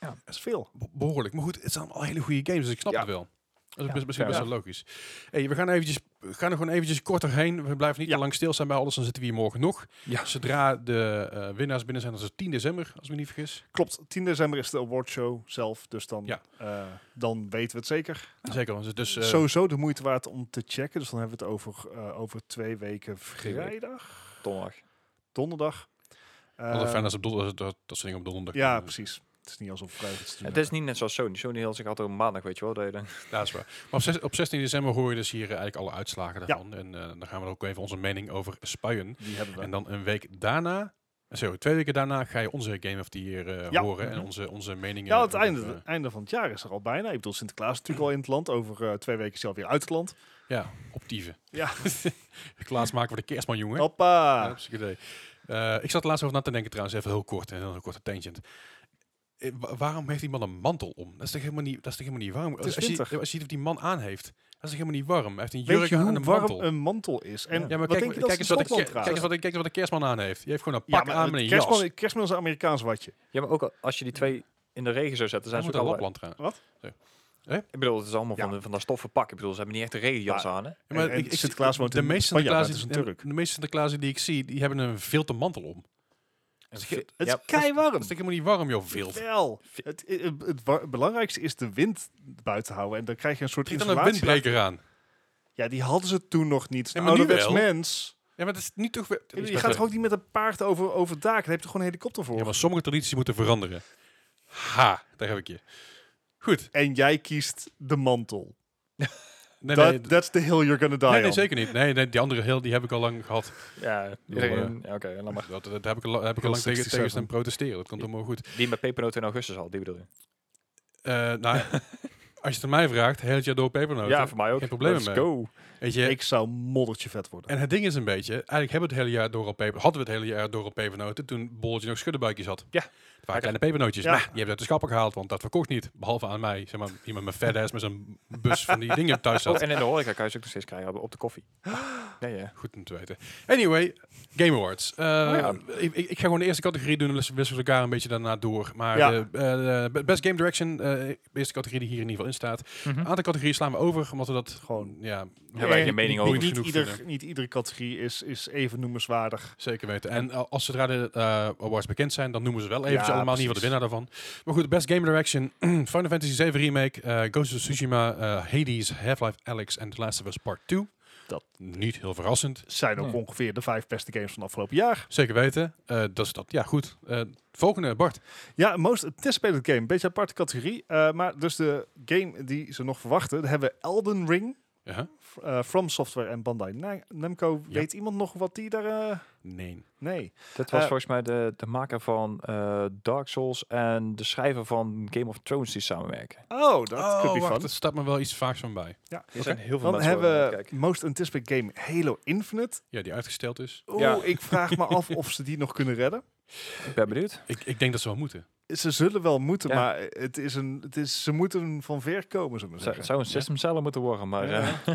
S3: Dat is veel.
S1: Be- behoorlijk. Maar goed, het zijn al hele goede games, dus ik snap
S2: Ja.
S1: het wel. Dat is
S2: Ja,
S1: best, best, best
S2: fair
S1: wel logisch. Hey, we gaan, eventjes, we gaan er gewoon eventjes korter heen. We blijven niet
S3: Ja.
S1: te lang stilstaan bij alles, dan zitten we hier morgen nog.
S2: Ja.
S1: Zodra de eh, winnaars binnen zijn, dat is 10 december, als ik me niet vergis.
S3: Klopt, 10 december is de awardshow zelf, dus dan,
S1: Ja.
S3: eh, dan weten we het zeker.
S1: Zeker, dus eh,
S3: Sowieso de moeite waard om te checken, dus dan hebben we het over, eh, over twee weken
S1: week.
S3: vrijdag,
S2: Donderdag.
S3: donderdag.
S1: altijd
S3: Eh,
S1: fijn als op donderdag, dat, dat ze dingen op donderdag
S3: ja,
S1: kunnen.
S3: precies. Het is niet alsof vrijdag iets te doen
S2: Het is niet net zoals Sony. Sony hield zich altijd op maandag, weet je wel. Dat je dan-
S1: Ja, dat is waar. Maar op, zes- op 16 december hoor je dus hier eh, eigenlijk alle uitslagen daarvan. En eh, dan gaan we er ook even onze mening over spuien.
S3: Die hebben we.
S1: En dan een week daarna, eh, sorry, twee weken daarna ga je onze Game of the Year eh,
S3: Ja.
S1: horen. En
S2: Mhm.
S1: onze, onze meningen.
S3: ja, het
S1: over,
S3: einde,
S1: eh,
S3: het einde van het jaar is er al bijna. Ik bedoel, Sinterklaas is natuurlijk al in het land. Over eh, twee weken is hij alweer uit het land.
S1: ja, op dieven.
S3: Ja.
S1: Klaas maken we de kerstman, jongen. Ja,
S3: Hoppa!
S1: dat is een idee. Eh, ik zat laatst over na te denken trouwens, even heel kort, een heel korte tangent. Eh, wa- waarom heeft die man een mantel om? Dat is toch helemaal niet, dat is toch helemaal niet warm?
S3: is
S1: als, je, als
S3: winter.
S1: je ziet of die man aan heeft, dat is toch helemaal niet warm? Hij heeft een
S3: Weet
S1: jurk
S3: je
S1: aan en
S3: hoe
S1: een
S3: warm
S1: mantel.
S3: een mantel is? En
S1: Ja, maar
S3: wat
S1: kijk,
S3: denk
S1: kijk,
S3: je dat ze
S1: eens
S3: in
S1: wat de,
S3: Schotland
S1: ke- kijk, eens
S3: dragen?
S1: wat, de- kijk eens wat de kerstman aan heeft. Die heeft gewoon een
S3: Ja,
S1: pak
S3: maar
S1: aan
S3: het
S1: met een
S3: kerstman,
S1: jas.
S3: kerstman is een Amerikaans watje.
S2: Ja, maar ook al- als je die twee in de regen zou zetten,
S1: Hij
S2: zijn
S1: moet
S2: ze
S1: naar
S2: ook al...
S1: Lapland gaan.
S2: Ik bedoel, het is allemaal
S3: Ja.
S2: van, de- van dat stoffen pak. Ik bedoel, ze hebben niet echt een regenjas aan, hè?
S1: Ja, maar
S3: En- en
S1: ik- ik-
S3: Sinterklaas woont in
S1: meeste
S3: Spanje, maar
S1: Sinterklaas-
S3: het is een Turk.
S1: De meeste Sinterklaas die ik zie, die hebben een vilte mantel om.
S2: En
S1: is
S2: vi-
S1: ge-
S3: Het
S2: ja,
S3: is kei warm.
S1: Dat is toch helemaal niet warm, joh, vilt.
S3: Wel. Het, het, het wa- belangrijkste is de wind buiten houden. En dan krijg je een soort
S1: Trek dan een
S3: isolatie.
S1: windbreker aan.
S3: Ja, die hadden ze toen nog niet.
S1: Nee,
S3: Een
S1: maar nu
S3: ouderwets
S1: wel.
S3: mens.
S1: Ja, maar dat is niet toch... weer- dat is
S3: Je
S1: best
S3: gaat
S1: wel-
S3: toch ook niet met een paard over, over het dak? Daar heb je gewoon een helikopter voor.
S1: Ja, maar sommige tradities moeten veranderen. Ha, daar heb ik je. Goed.
S3: En jij kiest de mantel.
S1: Nee,
S3: That-
S1: nee, d-
S3: that's the hill you're gonna die
S1: nee, nee,
S3: on.
S1: zeker niet. Nee, nee, die andere heel die heb ik al lang gehad.
S2: ja,
S1: Heel,
S2: iedereen... Ja, oké, laat maar.
S1: Dat, dat heb ik al, heb ik al
S3: Heel
S1: lang tegen,
S3: 67.
S1: tegen staan protesteren. Dat komt allemaal goed.
S2: Die met pepernoten in augustus al, die bedoel je?
S1: Eh, nou, als je het aan mij vraagt, heel het jaar door pepernoten.
S2: Ja, voor mij ook.
S1: Oh, geen probleem
S2: Let's
S1: mee.
S3: Oh.
S2: go.
S1: Weet je,
S3: Ik zou moddertje vet worden.
S1: En het ding is een beetje, eigenlijk hebben we het hele jaar door al peper, hadden we het hele jaar door al pepernoten toen Bolletje nog schuddebuikjes had.
S2: Ja.
S1: Het waren kleine pepernootjes.
S3: Ja.
S1: Nou, die hebben ze uit de schappen gehaald, want dat verkocht niet. Behalve aan mij, zeg maar, iemand met fat ass met zo'n bus van die dingen thuis
S2: Oh,
S1: zat.
S2: en in de horeca kan je ze ook nog steeds krijgen op de koffie. Nee, ja.
S1: Goed om te weten. Anyway, Game Awards. Eh,
S2: ja.
S1: ik, ik ik ga gewoon de eerste categorie doen, dus we wisselen elkaar een beetje daarna door. Maar
S3: Ja.
S1: de, eh, de Best Game Direction, eh, de eerste categorie die hier in ieder geval in staat. Een aantal categorieën slaan we over, omdat we dat
S3: Gewoon.
S1: ja,
S2: Hebben wij geen mening
S1: niet
S2: over.
S1: boeiend
S3: Eh, Niet,
S1: genoeg vinden.
S3: ieder, niet iedere categorie is, is even noemenswaardig.
S1: Zeker weten. En al- als zodra de eh, awards bekend zijn, dan noemen ze wel eventjes
S3: Ja,
S1: allemaal niet wat de
S3: precies.
S1: winnaar daarvan. Maar goed, Best Game Direction, Final Fantasy VII Remake, eh, Ghost of Tsushima, eh, Hades, Half-Life Alex en The Last of Us Part 2.
S3: Dat-
S1: Niet heel verrassend.
S3: Zijn ook
S2: Hmm.
S3: ongeveer de vijf beste games van afgelopen jaar.
S1: Zeker weten. Eh, dat is dat. Ja, goed. Eh, volgende, Bart.
S3: Ja, Most Anticipated Game. Beetje aparte categorie. eh, maar dus de game die ze nog verwachten. Dan hebben we Elden Ring.
S1: Ja.
S3: f- eh, From Software en Bandai Na- Namco.
S1: Ja.
S3: Weet iemand nog wat die daar... eh,
S1: Nee.
S3: Nee.
S2: Dit was
S3: Eh,
S2: volgens mij de, de maker van eh, Dark Souls en de schrijver van Game of Thrones die samenwerken.
S3: Oh, dat
S1: oh,
S3: could be
S1: wacht,
S3: fun.
S1: er staat me wel iets vaags van bij.
S3: Ja.
S2: Er zijn heel veel
S3: Dan
S2: mensen waar we
S3: hebben
S2: naar
S3: we
S2: kijken.
S3: Most Anticipated Game Halo Infinite.
S1: Ja, die uitgesteld is.
S3: Oeh,
S2: Ja.
S3: ik vraag me af of ze die nog kunnen redden.
S2: Ik ben benieuwd.
S1: Ik, ik denk dat ze wel moeten.
S3: Ze zullen wel moeten,
S2: Ja.
S3: maar het is een, het is, ze moeten van ver komen, zullen we
S2: Het zou-
S3: zeggen.
S2: zou een system seller moeten worden, maar...
S3: Ja.
S2: eh,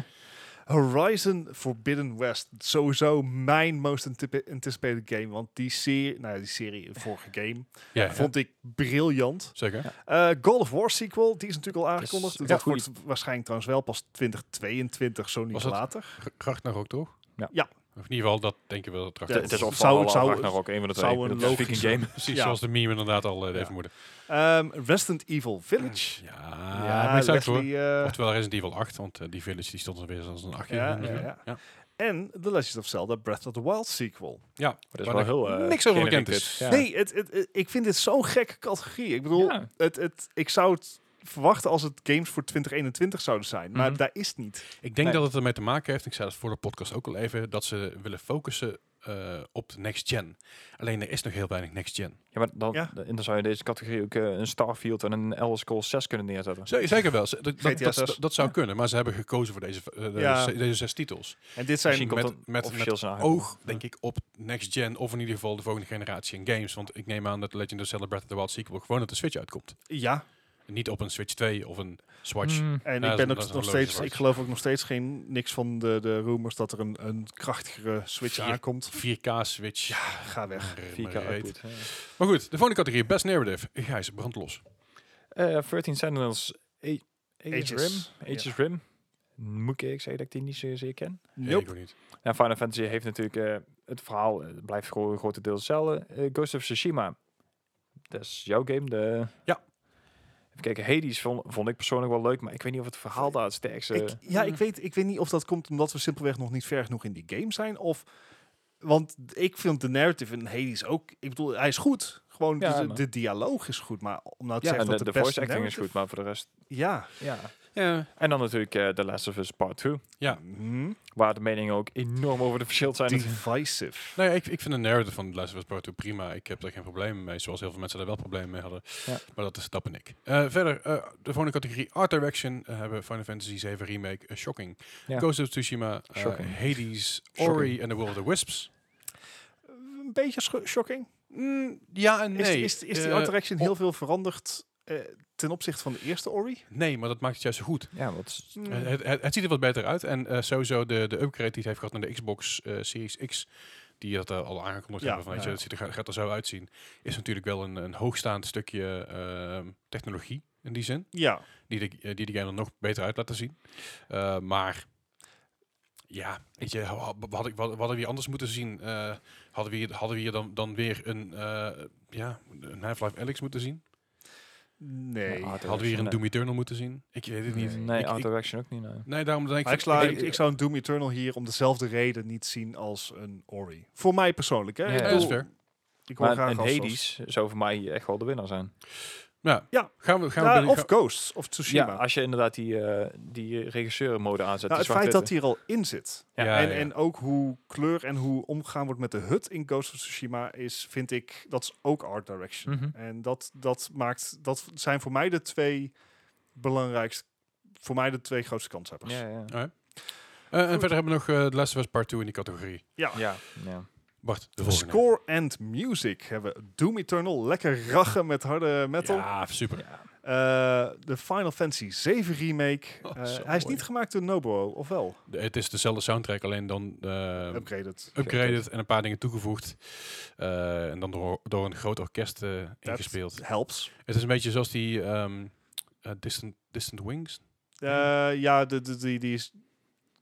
S3: Horizon Forbidden West. Sowieso mijn most antipi- anticipated game. Want die serie, nou ja, die serie, vorige game,
S1: Ja, ja.
S3: vond ik briljant.
S1: zeker.
S2: Ja.
S3: Eh God of War sequel, die is natuurlijk al
S2: is
S3: aangekondigd.
S2: echt
S3: dat
S2: goed.
S3: wordt waarschijnlijk trouwens wel pas 2022, zo
S1: Was
S3: niet
S1: dat-
S3: later.
S1: Gracht naar ook, toch?
S2: Ja.
S3: Ja.
S1: Of in ieder geval, dat denken we wel. Dat
S2: Het is
S1: is
S3: al-
S2: of
S3: zou-
S2: zou,
S3: zou-
S2: zou, naar ook een van de twee.
S3: zou
S2: Ik bedoel,
S3: een
S2: het is Viking
S3: logische-
S2: game.
S1: Precies
S3: ja.
S1: zoals de meme inderdaad al eh, deed
S3: Ja.
S1: vermoeden.
S3: Ehm, Resident Evil Village.
S1: Ja, Ah, maar ik zou het
S3: Leslie,
S1: voor.
S3: eh,
S1: Oftewel Resident Evil 8, want eh, die village die stond alweer als een 8
S3: ja,
S1: jaar.
S3: ja, ja. En The Legend of Zelda Breath of the Wild sequel.
S1: ja.
S2: Dat is
S1: waar
S2: wel
S1: nog
S2: heel... eh,
S1: niks over bekend
S2: generiek
S1: is.
S2: dit. Ja.
S3: Nee, het, het, het- ik vind dit zo'n gekke categorie. Ik bedoel,
S2: Ja.
S3: het, het, ik zou het verwachten als het games voor 2021 zouden zijn. Maar
S1: Mhm.
S3: daar is het niet.
S1: Ik denk
S2: Nee.
S1: dat het ermee te maken heeft, ik zei dat voor de podcast ook al even, dat ze willen focussen eh, op de next gen. Alleen er is nog heel weinig next gen.
S2: Ja, maar dan,
S3: Ja.
S2: en dan zou je in deze categorie ook eh, een Starfield en een Elder Scrolls 6 kunnen neerzetten.
S1: Ze- Zeker wel, ze- dat, dat,
S3: GTA
S1: dat,
S3: 6.
S1: dat- dat zou kunnen, maar ze hebben gekozen voor deze, eh, de-
S3: Ja.
S1: ze- deze zes titels.
S3: En dit
S2: Misschien
S3: zijn...
S1: met-
S2: komt met,
S1: met-
S2: met, officieel zijn aangekondigd.
S1: Oog, denk ik, op next gen of in ieder geval de volgende generatie in games. Want ik neem aan dat Legend of Zelda Breath of the Wild sequel gewoon op de Switch uitkomt.
S3: Ja,
S1: Niet op een Switch 2 of een Swatch.
S2: Mm.
S3: En
S1: Ja,
S3: ik,
S1: dat is-
S3: ben ook
S1: dat is
S3: nog
S1: een logische
S3: steeds,
S1: switch.
S3: ik geloof ook nog steeds geen, niks van de, de rumors dat er een, een krachtigere Switch
S1: Vier.
S3: aankomt.
S1: 4K Switch. eh, Ja,
S3: Ga weg.
S2: 4K output. ja.
S1: Maar goed, de volgende categorie, Best Narrative. Gijs, brand los.
S2: Eh, 13 Sentinels A- Aegis
S3: Aegis.
S2: Rim. Aegis Rim. Moet ik eerlijk zeggen dat ik die niet zozeer ken.
S1: Nee, Ik ook niet.
S2: En Final Fantasy heeft natuurlijk eh, het verhaal eh, blijft gewoon grotendeels hetzelfde. Eh, Ghost of Tsushima. Dat is jouw game. De...
S1: Ja.
S2: Even kijken, Hades vond, vond ik persoonlijk wel leuk, maar ik weet niet of het verhaal daar het Eh. sterkste...
S3: Ik, ja, ik weet, ik weet niet of dat komt omdat we simpelweg nog niet ver genoeg in die game zijn. Of, want ik vind de narrative in Hades ook... Ik bedoel, hij is goed. Gewoon,
S2: Ja,
S3: de,
S2: maar-
S3: de dialoog is goed. Maar om nou te
S2: ja, en
S3: zeggen
S2: de,
S3: dat de,
S2: de voice
S3: beste
S2: acting is
S3: narrative-
S2: goed, maar voor de rest...
S3: Ja.
S2: Ja.
S1: Ja,
S2: En dan natuurlijk eh, The Last of Us Part 2,
S1: ja.
S3: Mhm.
S2: waar de meningen ook enorm over de verschil zijn.
S3: Divisive.
S1: Nou ja, ik, ik vind de narrative van The Last of Us Part 2 prima. Ik heb daar geen problemen mee, zoals heel veel mensen daar wel problemen mee hadden.
S2: Ja.
S1: Maar dat is dat ben ik. Eh, verder, eh, de volgende categorie Art Direction eh, hebben we Final Fantasy 7 Remake, eh, Shocking,
S2: Ja.
S1: Ghost of Tsushima, eh,
S2: Shocking.
S1: Hades,
S2: Shocking.
S1: Ori en The World of the Wisps.
S3: Een beetje scho- shocking.
S1: Mm, ja en
S3: Is,
S1: nee.
S3: is, is die
S1: Eh,
S3: art direction
S1: op-
S3: heel veel veranderd eh, ten opzichte van de eerste Ori? Hmm,
S1: Nee, maar dat maakt het juist zo goed.
S2: Ja, wat...
S3: Mm.
S1: Eh, Het, het, het ziet er wat beter uit. En eh, sowieso de, de upgrade die het heeft gehad naar de Xbox eh, Series X, die dat eh, al aangekondigd
S3: Ja,
S1: hebben, van, weet je,
S3: ja.
S1: dat ziet er, gaat- gaat er zo uitzien, is natuurlijk wel een, een hoogstaand stukje ehm, technologie in die zin.
S3: Ja.
S1: die de, eh, die de game er nog beter uit laten zien. Eh, maar ja, weet je, ha- ha- we hadden, we hadden we hier anders moeten zien. Eh, hadden, we hier, hadden we hier dan, dan weer een, eh ja, een Half-Life Alyx moeten zien?
S3: Nee.
S2: Ja, Art
S1: hadden we hier een
S2: Direction,
S1: Doom Eternal moeten zien? Ik weet het niet.
S2: Nee,
S3: Nee.
S2: nee
S1: Ik-
S2: Art
S1: ik-
S2: Direction ook niet, nee.
S1: Nee, daarom denk ik...
S3: Maar ik, sla,
S1: ik-
S3: ik, ik zou een Doom Eternal hier om dezelfde reden niet zien als een Ori. Voor mij persoonlijk, hè?
S2: Ja,
S3: Ik
S1: ja,
S2: bedoel,
S1: dat is fair.
S3: Ik hoor
S2: Maar
S3: graag
S2: een
S3: als- als-
S2: Hades zou voor mij echt wel de winnaar zijn.
S1: Ja,
S3: Ja.
S1: gaan we... Gaan
S3: Ja,
S1: we binnen-
S3: of Ghosts of Tsushima.
S2: Ja, als je inderdaad die, eh, die regisseurenmode aanzet.
S3: nou,
S2: die
S3: het feit dat
S2: zwart-witte.
S3: hij er al in zit.
S1: Ja,
S3: en,
S1: ja.
S3: en ook hoe kleur en hoe omgegaan wordt met de hut in Ghost of Tsushima is, vind ik, dat is ook art direction.
S2: Mhm.
S3: En dat, dat maakt, dat zijn voor mij de twee belangrijkste, voor mij de twee grootste kanshebbers.
S2: Ja, ja.
S1: Eh, en verder hebben we nog eh The Last of Us Part 2 in die categorie.
S3: Ja.
S2: ja, ja.
S1: Bart, de
S3: Voor
S1: volgende.
S3: Score and music hebben we Doom Eternal, lekker rachen met harde metal.
S1: Ja, super.
S2: Ja.
S3: Eh, de Final Fantasy 7 remake.
S1: Oh,
S3: Eh,
S1: zo
S3: hij is
S1: mooi.
S3: niet gemaakt door Nobuo, of wel?
S1: De- het is dezelfde soundtrack, alleen dan... eh,
S3: Upgraded.
S1: upgraded en een paar dingen toegevoegd. Eh, en dan door, door een groot orkest eh, ingespeeld.
S3: Helps.
S1: Het is een beetje zoals die ehm, eh, Distant, Distant Wings.
S3: Eh, ja, de, de, die, die is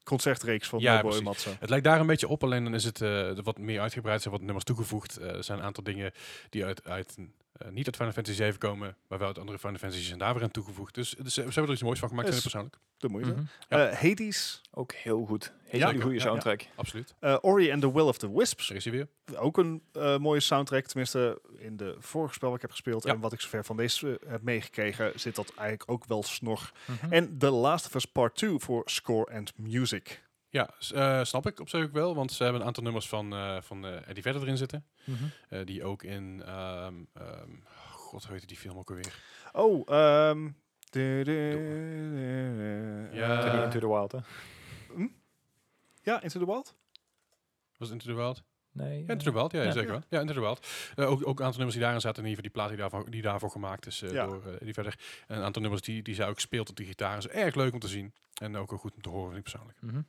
S3: concertreeks van
S1: Ja,
S3: Nobuo
S1: precies.
S3: Matsu.
S1: Het lijkt daar een beetje op, alleen dan is het eh, wat meer uitgebreid. Er zijn wat nummers toegevoegd. Eh, er zijn een aantal dingen die uit, uit eh, niet uit Final Fantasy 7 komen, maar wel uit andere Final Fantasy's en daar weer aan toegevoegd. Dus, dus, eh, ze hebben er iets moois van gemaakt,
S3: Is-
S1: vind ik persoonlijk.
S3: De moeite.
S2: Mhm.
S1: Ja.
S3: Eh, Hades,
S2: Ook heel goed.
S1: Ja,
S2: Hele
S1: zeker.
S2: goede
S3: Ja,
S2: soundtrack.
S1: Absoluut.
S3: eh, Ori and the Will of the Wisps.
S1: Zo is hij weer.
S3: Ook een eh, mooie soundtrack. Tenminste, in de vorige spel wat ik heb gespeeld
S1: Ja.
S3: en wat ik zover van deze eh, heb meegekregen, zit dat eigenlijk ook wel snor.
S2: Mhm.
S3: En The Last of Us Part 2 voor score and music.
S1: Ja, s- eh, snap ik op zich ook wel, want ze hebben een aantal nummers van, eh van eh, Eddie Vedder erin zitten.
S2: Mhm.
S1: Eh, die ook in, ehm, ehm, god, hoe heette die film ook alweer?
S3: Oh, ehm. du- du- du- du-
S1: Ja.
S2: Tony
S3: eh,
S2: Into the Wild, hè?
S3: ja, Into the Wild.
S1: Was het Into the Wild?
S2: Nee.
S1: Ja, Into the Wild, ja,
S2: Ja.
S1: zeker wel. Ja, Into the Wild. Eh, ook, ook een aantal nummers die daarin zaten, in ieder geval die plaat die daarvoor, die daarvoor gemaakt is eh,
S3: Ja.
S1: door eh, die verder. En een aantal nummers die, die zij ook speelt op de gitaar. Is erg leuk om te zien. En ook wel goed om te horen, vind ik persoonlijk.
S2: Mhm.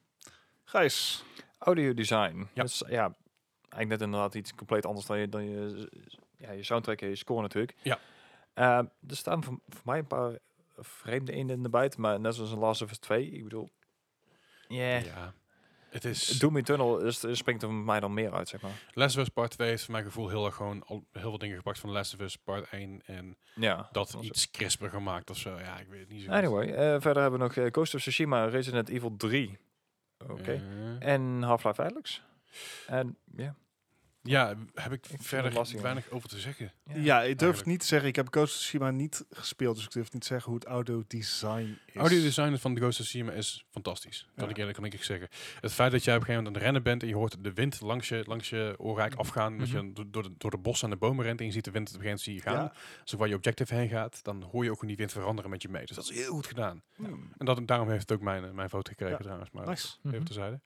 S3: Gijs.
S2: Audio design. Ja. Dat is, ja, eigenlijk net inderdaad iets compleet anders dan je, dan je, ja, je soundtrack en je score natuurlijk.
S1: Ja.
S2: Eh, er staan voor, voor mij een paar vreemde eenden in de buiten, maar net zoals in Last of Us 2, ik bedoel... ja
S1: Ja. Het is...
S2: Doom Eternal is, springt dus er voor mij dan meer uit, zeg maar.
S1: Last of Us Part 2 heeft voor mijn gevoel heel erg gewoon al heel veel dingen gepakt van Last of Us Part 1. En
S2: Ja.
S1: dat
S2: was-
S1: iets crisper gemaakt of zo. Ja, ik weet het niet zo goed.
S2: Anyway, eh, verder hebben we nog eh, Ghost of Tsushima, Resident Evil 3. Oké.
S1: Eh,
S2: En Half-Life Alyx. En ja.
S1: ja, heb ik,
S2: vind het
S1: verder
S2: lastig,
S1: weinig over te zeggen.
S2: Ja.
S3: Ja, ik durf
S1: Eigenlijk.
S3: het niet te zeggen. Ik heb Ghost of Tsushima niet gespeeld, dus ik durf niet te zeggen hoe het audio design is.
S1: Audio design van The Ghost of Tsushima is fantastisch. Dat
S3: Ja.
S1: ik eerlijk kan ik zeggen. Het feit dat jij op een gegeven moment aan het rennen bent en je hoort de wind langs je, langs je oorrijk afgaan. Dat je
S2: Mhm.
S1: dan do- door de, door de bossen en de bomen rent en je ziet de wind op een gegeven moment zie je gaan.
S3: Ja.
S1: Als je waar je objective heen gaat, dan hoor je ook hoe die wind veranderen met je mee. Dus dat is heel goed gedaan.
S3: Hmm,
S1: En dat, daarom heeft het ook mijn, eh, mijn vote gekregen
S3: Ja.
S1: trouwens. Maar
S3: Nice.
S2: Hm.
S3: Mhm.
S1: even terzijde.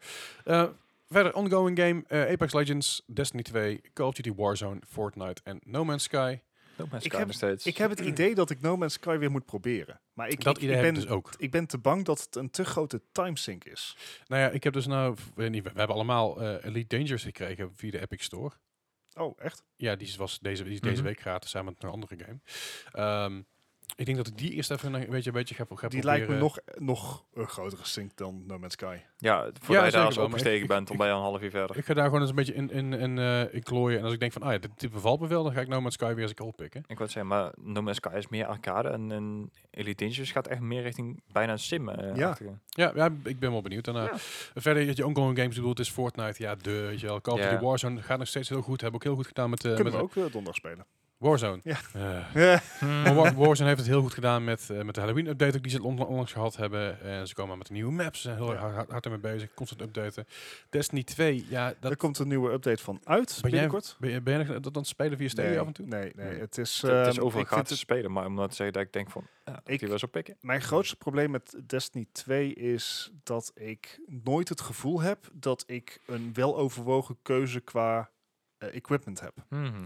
S1: Eh, verder, ongoing game. eh, Apex Legends, Destiny 2, Call of Duty Warzone, Fortnite en No Man's Sky.
S2: No Man's
S3: Ik
S2: Sky
S3: heb-
S2: nog steeds.
S3: Ik heb het idee dat ik No Man's Sky weer moet proberen. Maar ik,
S1: dat
S3: ik,
S1: idee
S3: ik
S1: heb
S3: ben,
S1: ik dus ook.
S3: ik ben te bang dat het een te grote timesink is.
S1: Nou ja, ik heb dus nou, weet niet, we we hebben allemaal eh, Elite Dangerous gekregen via de Epic Store.
S3: Oh, echt?
S1: Ja, die is- was deze, die is deze
S2: Mhm.
S1: week gratis samen met een andere game. Ehm, ik denk dat ik die eerst even een beetje, een beetje ga, pro- ga
S3: Die
S1: proberen.
S3: lijkt me nog, nog een grotere sink dan No Man's Sky.
S2: ja, voordat je
S1: zeker
S2: daar eens
S1: wel, maar ik-
S2: opgestegen
S1: ik-
S2: bent, dan
S1: ik-
S2: ben je al een half uur verder.
S1: Ik ga daar gewoon eens een beetje in, in, in, eh, in klooien. En als ik denk van, ah ja, dit, dit bevalt me wel, dan ga ik nou met Sky weer eens een call pikken.
S2: Ik wil zeggen, maar No Man's Sky is meer arcade en, en Elite Dangerous gaat echt meer richting bijna een sim. eh,
S3: Ja.
S2: achtige.
S1: Ja, ja, ik ben wel benieuwd. En, eh,
S2: Ja.
S1: Verder, dat je ongoing games bedoelt, is Fortnite. Ja, de, weet je wel. Call of
S2: Ja.
S1: Duty Warzone gaat nog steeds heel goed. Hebben ook heel goed gedaan met, eh,
S3: Kunnen
S1: met
S3: we ook eh, donderdag spelen.
S1: Warzone.
S3: Ja.
S1: Eh,
S3: Eh,
S1: Maar War- Warzone heeft het heel goed gedaan met, eh, met de Halloween-update ook die ze onla- onlangs gehad hebben. En ze komen met nieuwe maps. Ze zijn heel
S3: Ja.
S1: hard, hard, hard ermee bezig. Constant updaten. Destiny 2, ja, dat,
S3: er komt een nieuwe update van uit
S1: Ben jij
S3: binnenkort.
S1: ben, je, ben jij nog dat dan spelen via Stadia
S3: nee, Mm.
S1: af en toe?
S3: Nee, nee,
S2: Nee.
S3: het is...
S2: Het- het is
S3: ehm,
S2: overal
S3: ik vind
S2: gratis te spelen, maar omdat zeggen dat ik denk van, ja, dat die
S3: Ik-
S2: wel eens oppikken.
S3: Mijn grootste probleem met Destiny 2 is dat ik nooit het gevoel heb dat ik een weloverwogen keuze qua eh, equipment heb.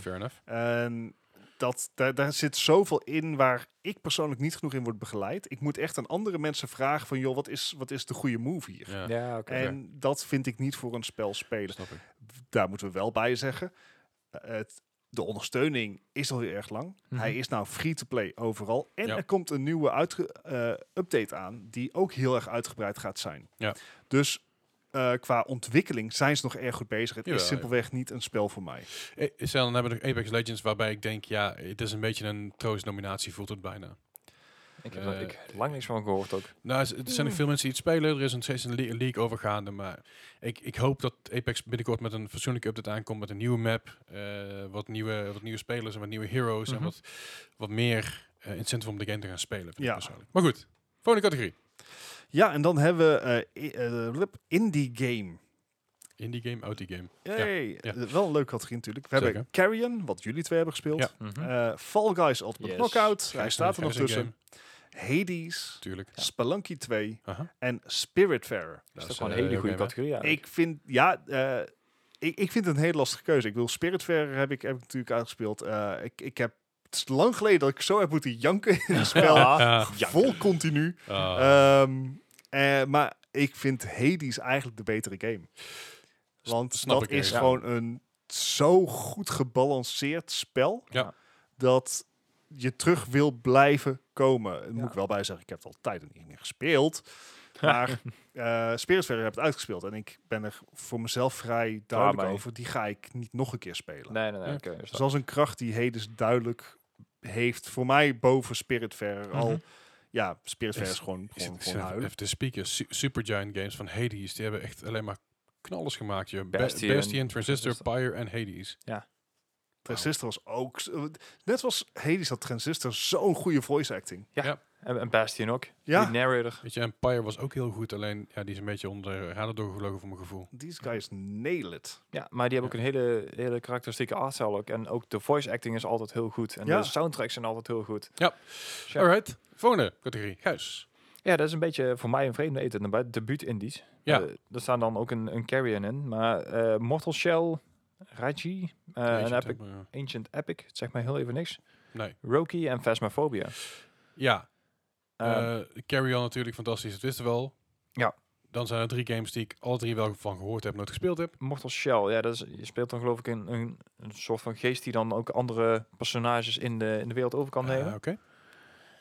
S1: Fair enough.
S3: En dat, daar, daar zit zoveel in waar ik persoonlijk niet genoeg in word begeleid. Ik moet echt aan andere mensen vragen van, joh, wat is, wat is de goede move hier?
S1: Ja,
S2: Ja, oké.
S3: En dat vind ik niet voor een spel spelen.
S1: snap ik.
S3: Daar moeten we wel bij zeggen. eh, het, de ondersteuning is al heel erg lang.
S2: Mhm.
S3: Hij is nou free-to-play overal. En
S1: Ja.
S3: er komt een nieuwe uitge- eh, update aan, die ook heel erg uitgebreid gaat zijn.
S1: Ja.
S3: Dus eh, qua ontwikkeling zijn ze nog erg goed bezig. Het
S1: Jawel,
S3: is simpelweg niet een spel voor mij.
S1: Eh, Stel, dan hebben we nog Apex Legends, waarbij ik denk, ja, het is een beetje een troostnominatie, voelt het bijna.
S2: Ik heb er-
S1: Eh,
S2: ik heb lang niks van gehoord ook.
S1: Nou, er zijn nog veel mensen die het spelen. Er is nog steeds een le- league overgaande. Maar ik, ik hoop dat Apex binnenkort met een fatsoenlijke update aankomt. Met een nieuwe map. eh, wat, nieuwe, wat nieuwe spelers en wat nieuwe heroes.
S2: Mhm.
S1: En wat, wat meer eh, incentive om de game te gaan spelen. Vind
S3: Ja.
S1: ik persoonlijk. Maar goed, volgende categorie.
S3: Ja, en dan hebben we eh, i- eh, blub, Indie Game.
S1: Indie game, out die game.
S3: Yay.
S1: ja.
S3: Eh, Wel een leuke categorie natuurlijk. We hebben
S1: Zeker.
S3: Carrion, wat jullie twee hebben gespeeld.
S1: Ja.
S3: Eh, Fall Guys Ultimate
S2: Yes.
S3: Knockout. Hij staat er nog
S1: Gijs- Gijs-
S3: tussen. Hades,
S1: Tuurlijk.
S3: Spelunky 2
S1: Aha.
S3: en Spiritfarer.
S1: Dat
S2: is toch gewoon
S1: eh,
S2: een hele goede
S1: game, hè?
S2: categorie eigenlijk.
S3: Ik vind, ja, eh, ik, ik vind het een hele lastige keuze. Ik wil Spiritfarer heb ik, heb ik natuurlijk uitgespeeld. Eh, ik, ik heb, het is lang geleden dat ik zo heb moeten janken in een spel.
S1: Ah,
S3: Vol continu.
S1: ah.
S3: Ehm, eh, maar ik vind Hades eigenlijk de betere game.
S1: S-
S3: Want
S1: snap
S3: dat
S1: ik
S3: is
S1: even.
S3: gewoon een zo goed gebalanceerd spel
S1: Ja.
S3: dat je terug wil blijven komen. Daar
S2: Ja.
S3: Moet ik wel bij zeggen, ik heb het al tijden niet meer gespeeld. Maar eh Spiritsverder heb het uitgespeeld en ik ben er voor mezelf vrij duidelijk
S2: mee.
S3: over. Die ga ik niet nog een keer spelen.
S2: Nee, nee, nee.
S1: Ja.
S2: oké, dus
S3: Dus dat is een kracht die Hades duidelijk heeft voor mij boven Spiritfarer al.
S2: Mhm.
S3: Ja, Spiritfarer
S1: Ik-
S3: is gewoon,
S1: Ik zit-
S3: gewoon,
S1: ik
S3: gewoon
S1: zit even-
S3: huilen.
S1: even de speakers, Su- Supergiant Games van Hades, die hebben echt alleen maar knallers gemaakt. Je
S2: Bastion.
S1: Bastion, Bastion Transistor,
S2: Transistor.
S1: Pyre en Hades.
S3: Transistor was ook... z- eh, Net was Hades had Transistor zo'n goede voice acting.
S2: En, en Bastion ook.
S3: Ja.
S2: Die narrator.
S1: Weet je, en Pyre was ook heel goed, alleen ja, die is een beetje onder de radar doorgevlogen voor mijn gevoel.
S3: These guys nail it.
S2: Ja, maar die hebben ook een hele, hele karakteristieke artstijl ook. En ook de voice acting is altijd heel goed. En
S3: Ja.
S2: de soundtracks zijn altijd heel goed. Ja.
S1: Alright, volgende categorie, Gijs.
S2: Ja, dat is een beetje voor mij een vreemde eten. Maar bij debuut indies.
S1: Ja.
S2: Eh, er staan dan ook een, een Carrion in. Maar eh, Mortal Shell, Raji eh en
S1: Ancient
S2: Epic,
S1: Temple, ja.
S2: Ancient Epic, het zegt mij heel even niks.
S1: Nee.
S2: Roki en Phasmophobia.
S1: Ja,
S2: Ehm,
S1: eh, Carry On natuurlijk fantastisch, dat wisten we al.
S2: Ja.
S1: Dan zijn er drie games die ik alle drie wel van gehoord heb, nooit gespeeld heb.
S2: Mortal Shell, ja, dat is, je speelt dan geloof ik een, een, een soort van geest die dan ook andere personages in de, in de wereld over kan
S1: Eh,
S2: nemen.
S1: Oké.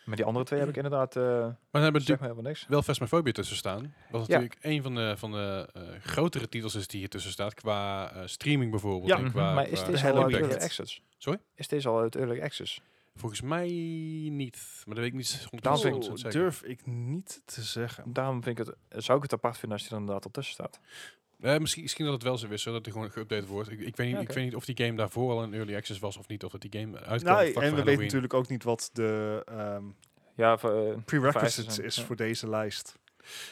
S2: Maar die andere twee heb ik inderdaad, eh
S1: Maar dan hebben we
S2: zeg
S1: natuurlijk
S2: maar helemaal niks.
S1: wel Phasmophobia tussen staan. Wat
S2: Ja.
S1: natuurlijk een van de, van de eh, grotere titels is die hier tussen staat. Qua eh, streaming bijvoorbeeld.
S3: Ja,
S1: en
S2: Mhm.
S1: qua,
S2: maar is
S1: qua
S2: deze
S3: Hello
S2: al uit
S1: impact.
S2: Early Access?
S1: Sorry?
S2: Is deze al uit Early Access?
S1: Volgens mij niet. Maar dat weet ik niet 100%
S2: Daarom vind ik-
S1: zeker.
S3: durf ik niet te zeggen.
S2: Daarom vind ik het, zou ik het apart vinden als die er inderdaad op tussen staat.
S1: Eh, misschien, misschien dat het wel zo is, zodat er gewoon geüpdate wordt. Ik, ik, weet niet,
S2: Ja,
S1: ik
S2: oké.
S1: weet niet of die game daarvoor al een early access was of niet. Of dat die game uitkwam.
S3: Nou,
S1: vlak
S3: en we
S1: voor Halloween.
S3: weten natuurlijk ook niet wat de ehm
S2: Ja, voor, eh,
S3: prerequisites
S2: zijn,
S3: is
S2: ja.
S3: voor deze lijst.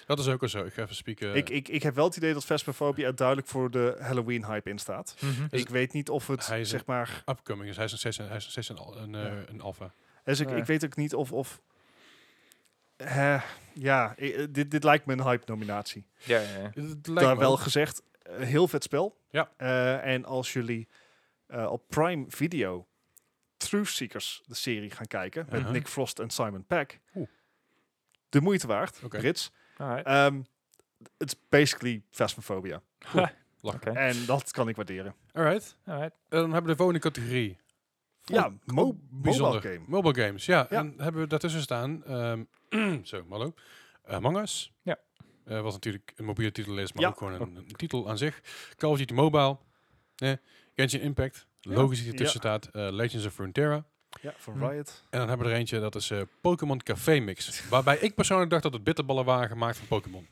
S1: Dat is ook al zo. Ik ga even spieken. eh,
S3: Ik, ik, ik heb wel het idee dat Vesperphobia er duidelijk voor de Halloween hype in staat.
S1: Dus
S3: ik weet niet of het,
S1: hij is
S3: zeg
S1: een-
S3: maar...
S1: Upcoming. Dus hij is nog steeds een, hij is nog steeds een, al- een, eh,
S3: Ja.
S1: een alpha.
S3: Dus ik,
S2: Nee.
S3: ik weet ook niet of... of eh, ja, i- eh, dit, dit lijkt me een hype-nominatie.
S2: Ja, ja, ja.
S1: Het
S3: Daar
S1: lijkt me
S3: wel
S1: ook.
S3: gezegd, eh, heel vet spel.
S1: Ja.
S3: Eh, en als jullie eh, op Prime Video Truth Seekers, de serie, gaan kijken.
S1: Uh-huh.
S3: Met Nick Frost en Simon Peck.
S1: Oeh.
S3: De moeite waard,
S1: Oké.
S3: Brits.
S2: Alright.
S3: Ehm, It's basically Phasmophobia.
S2: Oké.
S3: En dat kan ik waarderen.
S1: Alright.
S2: Alright.
S1: En dan hebben we de volgende categorie.
S3: Ja, mo mobile
S1: oh, Bijzonder.
S3: game.
S1: Mobile games, ja.
S3: Ja.
S1: En hebben we daartussen staan, ehm, zo, hallo, Among Us.
S2: Ja.
S1: Eh, wat natuurlijk een mobiele titel is, maar
S3: Ja.
S1: ook gewoon een, een titel aan zich. Call of Duty Mobile. Eh, Genshin Impact. Logisch die ertussen staat. eh, Legends of Frontera.
S3: Ja, van
S2: Hm.
S3: Riot.
S1: En dan hebben we er eentje, dat is eh, Pokémon Café Mix. Waarbij ik persoonlijk dacht dat het bitterballen waren gemaakt van Pokémon.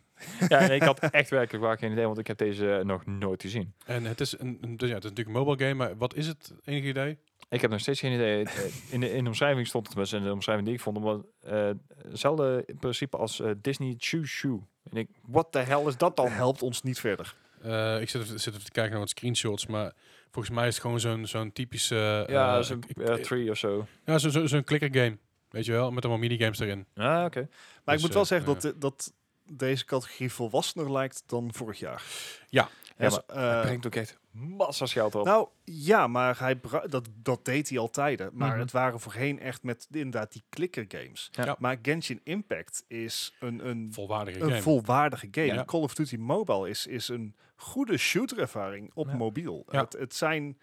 S2: Ja, nee, ik had echt werkelijk waar geen idee, want ik heb deze eh, nog nooit gezien.
S1: En het is, een, een- dus ja, het is natuurlijk een mobile game, maar wat is het? Enig idee?
S2: Ik heb nog steeds geen idee. Eh, In de, in de omschrijving stond het tenminste, in de omschrijving die ik vond, was eh hetzelfde in principe als eh, Disney Choo Choo. En ik, what the hell is dat dan?
S3: Helpt ons niet verder.
S1: Eh, ik zit even, zit even te kijken naar wat screenshots, maar volgens mij is het gewoon zo'n zo'n typische... eh,
S2: Ja,
S1: eh,
S2: zo'n
S1: ik-
S2: eh,
S1: ik-
S2: tree of zo.
S1: Ja, zo- zo- zo'n klikkergame. Weet je wel, met allemaal minigames erin.
S2: Ah, oké.
S1: Dus,
S3: Maar ik moet wel
S1: eh,
S3: zeggen
S1: ja.
S3: dat, de- dat deze categorie volwassener lijkt dan vorig jaar.
S1: Ja.
S3: Dus,
S2: Ja,
S3: eh,
S2: Hij brengt ook echt massa's geld op.
S3: nou ja, maar hij bra- dat, dat deed hij altijd. Maar
S2: Mhm.
S3: het waren voorheen echt met inderdaad die klikker games.
S2: Ja.
S1: Ja.
S3: Maar Genshin Impact is een, een,
S1: Volwaardige
S3: een
S1: game.
S3: volwaardige game.
S1: Ja.
S3: Call of Duty Mobile is, is een goede shooter-ervaring op
S2: Ja.
S3: mobiel.
S1: Ja.
S3: Het, het zijn,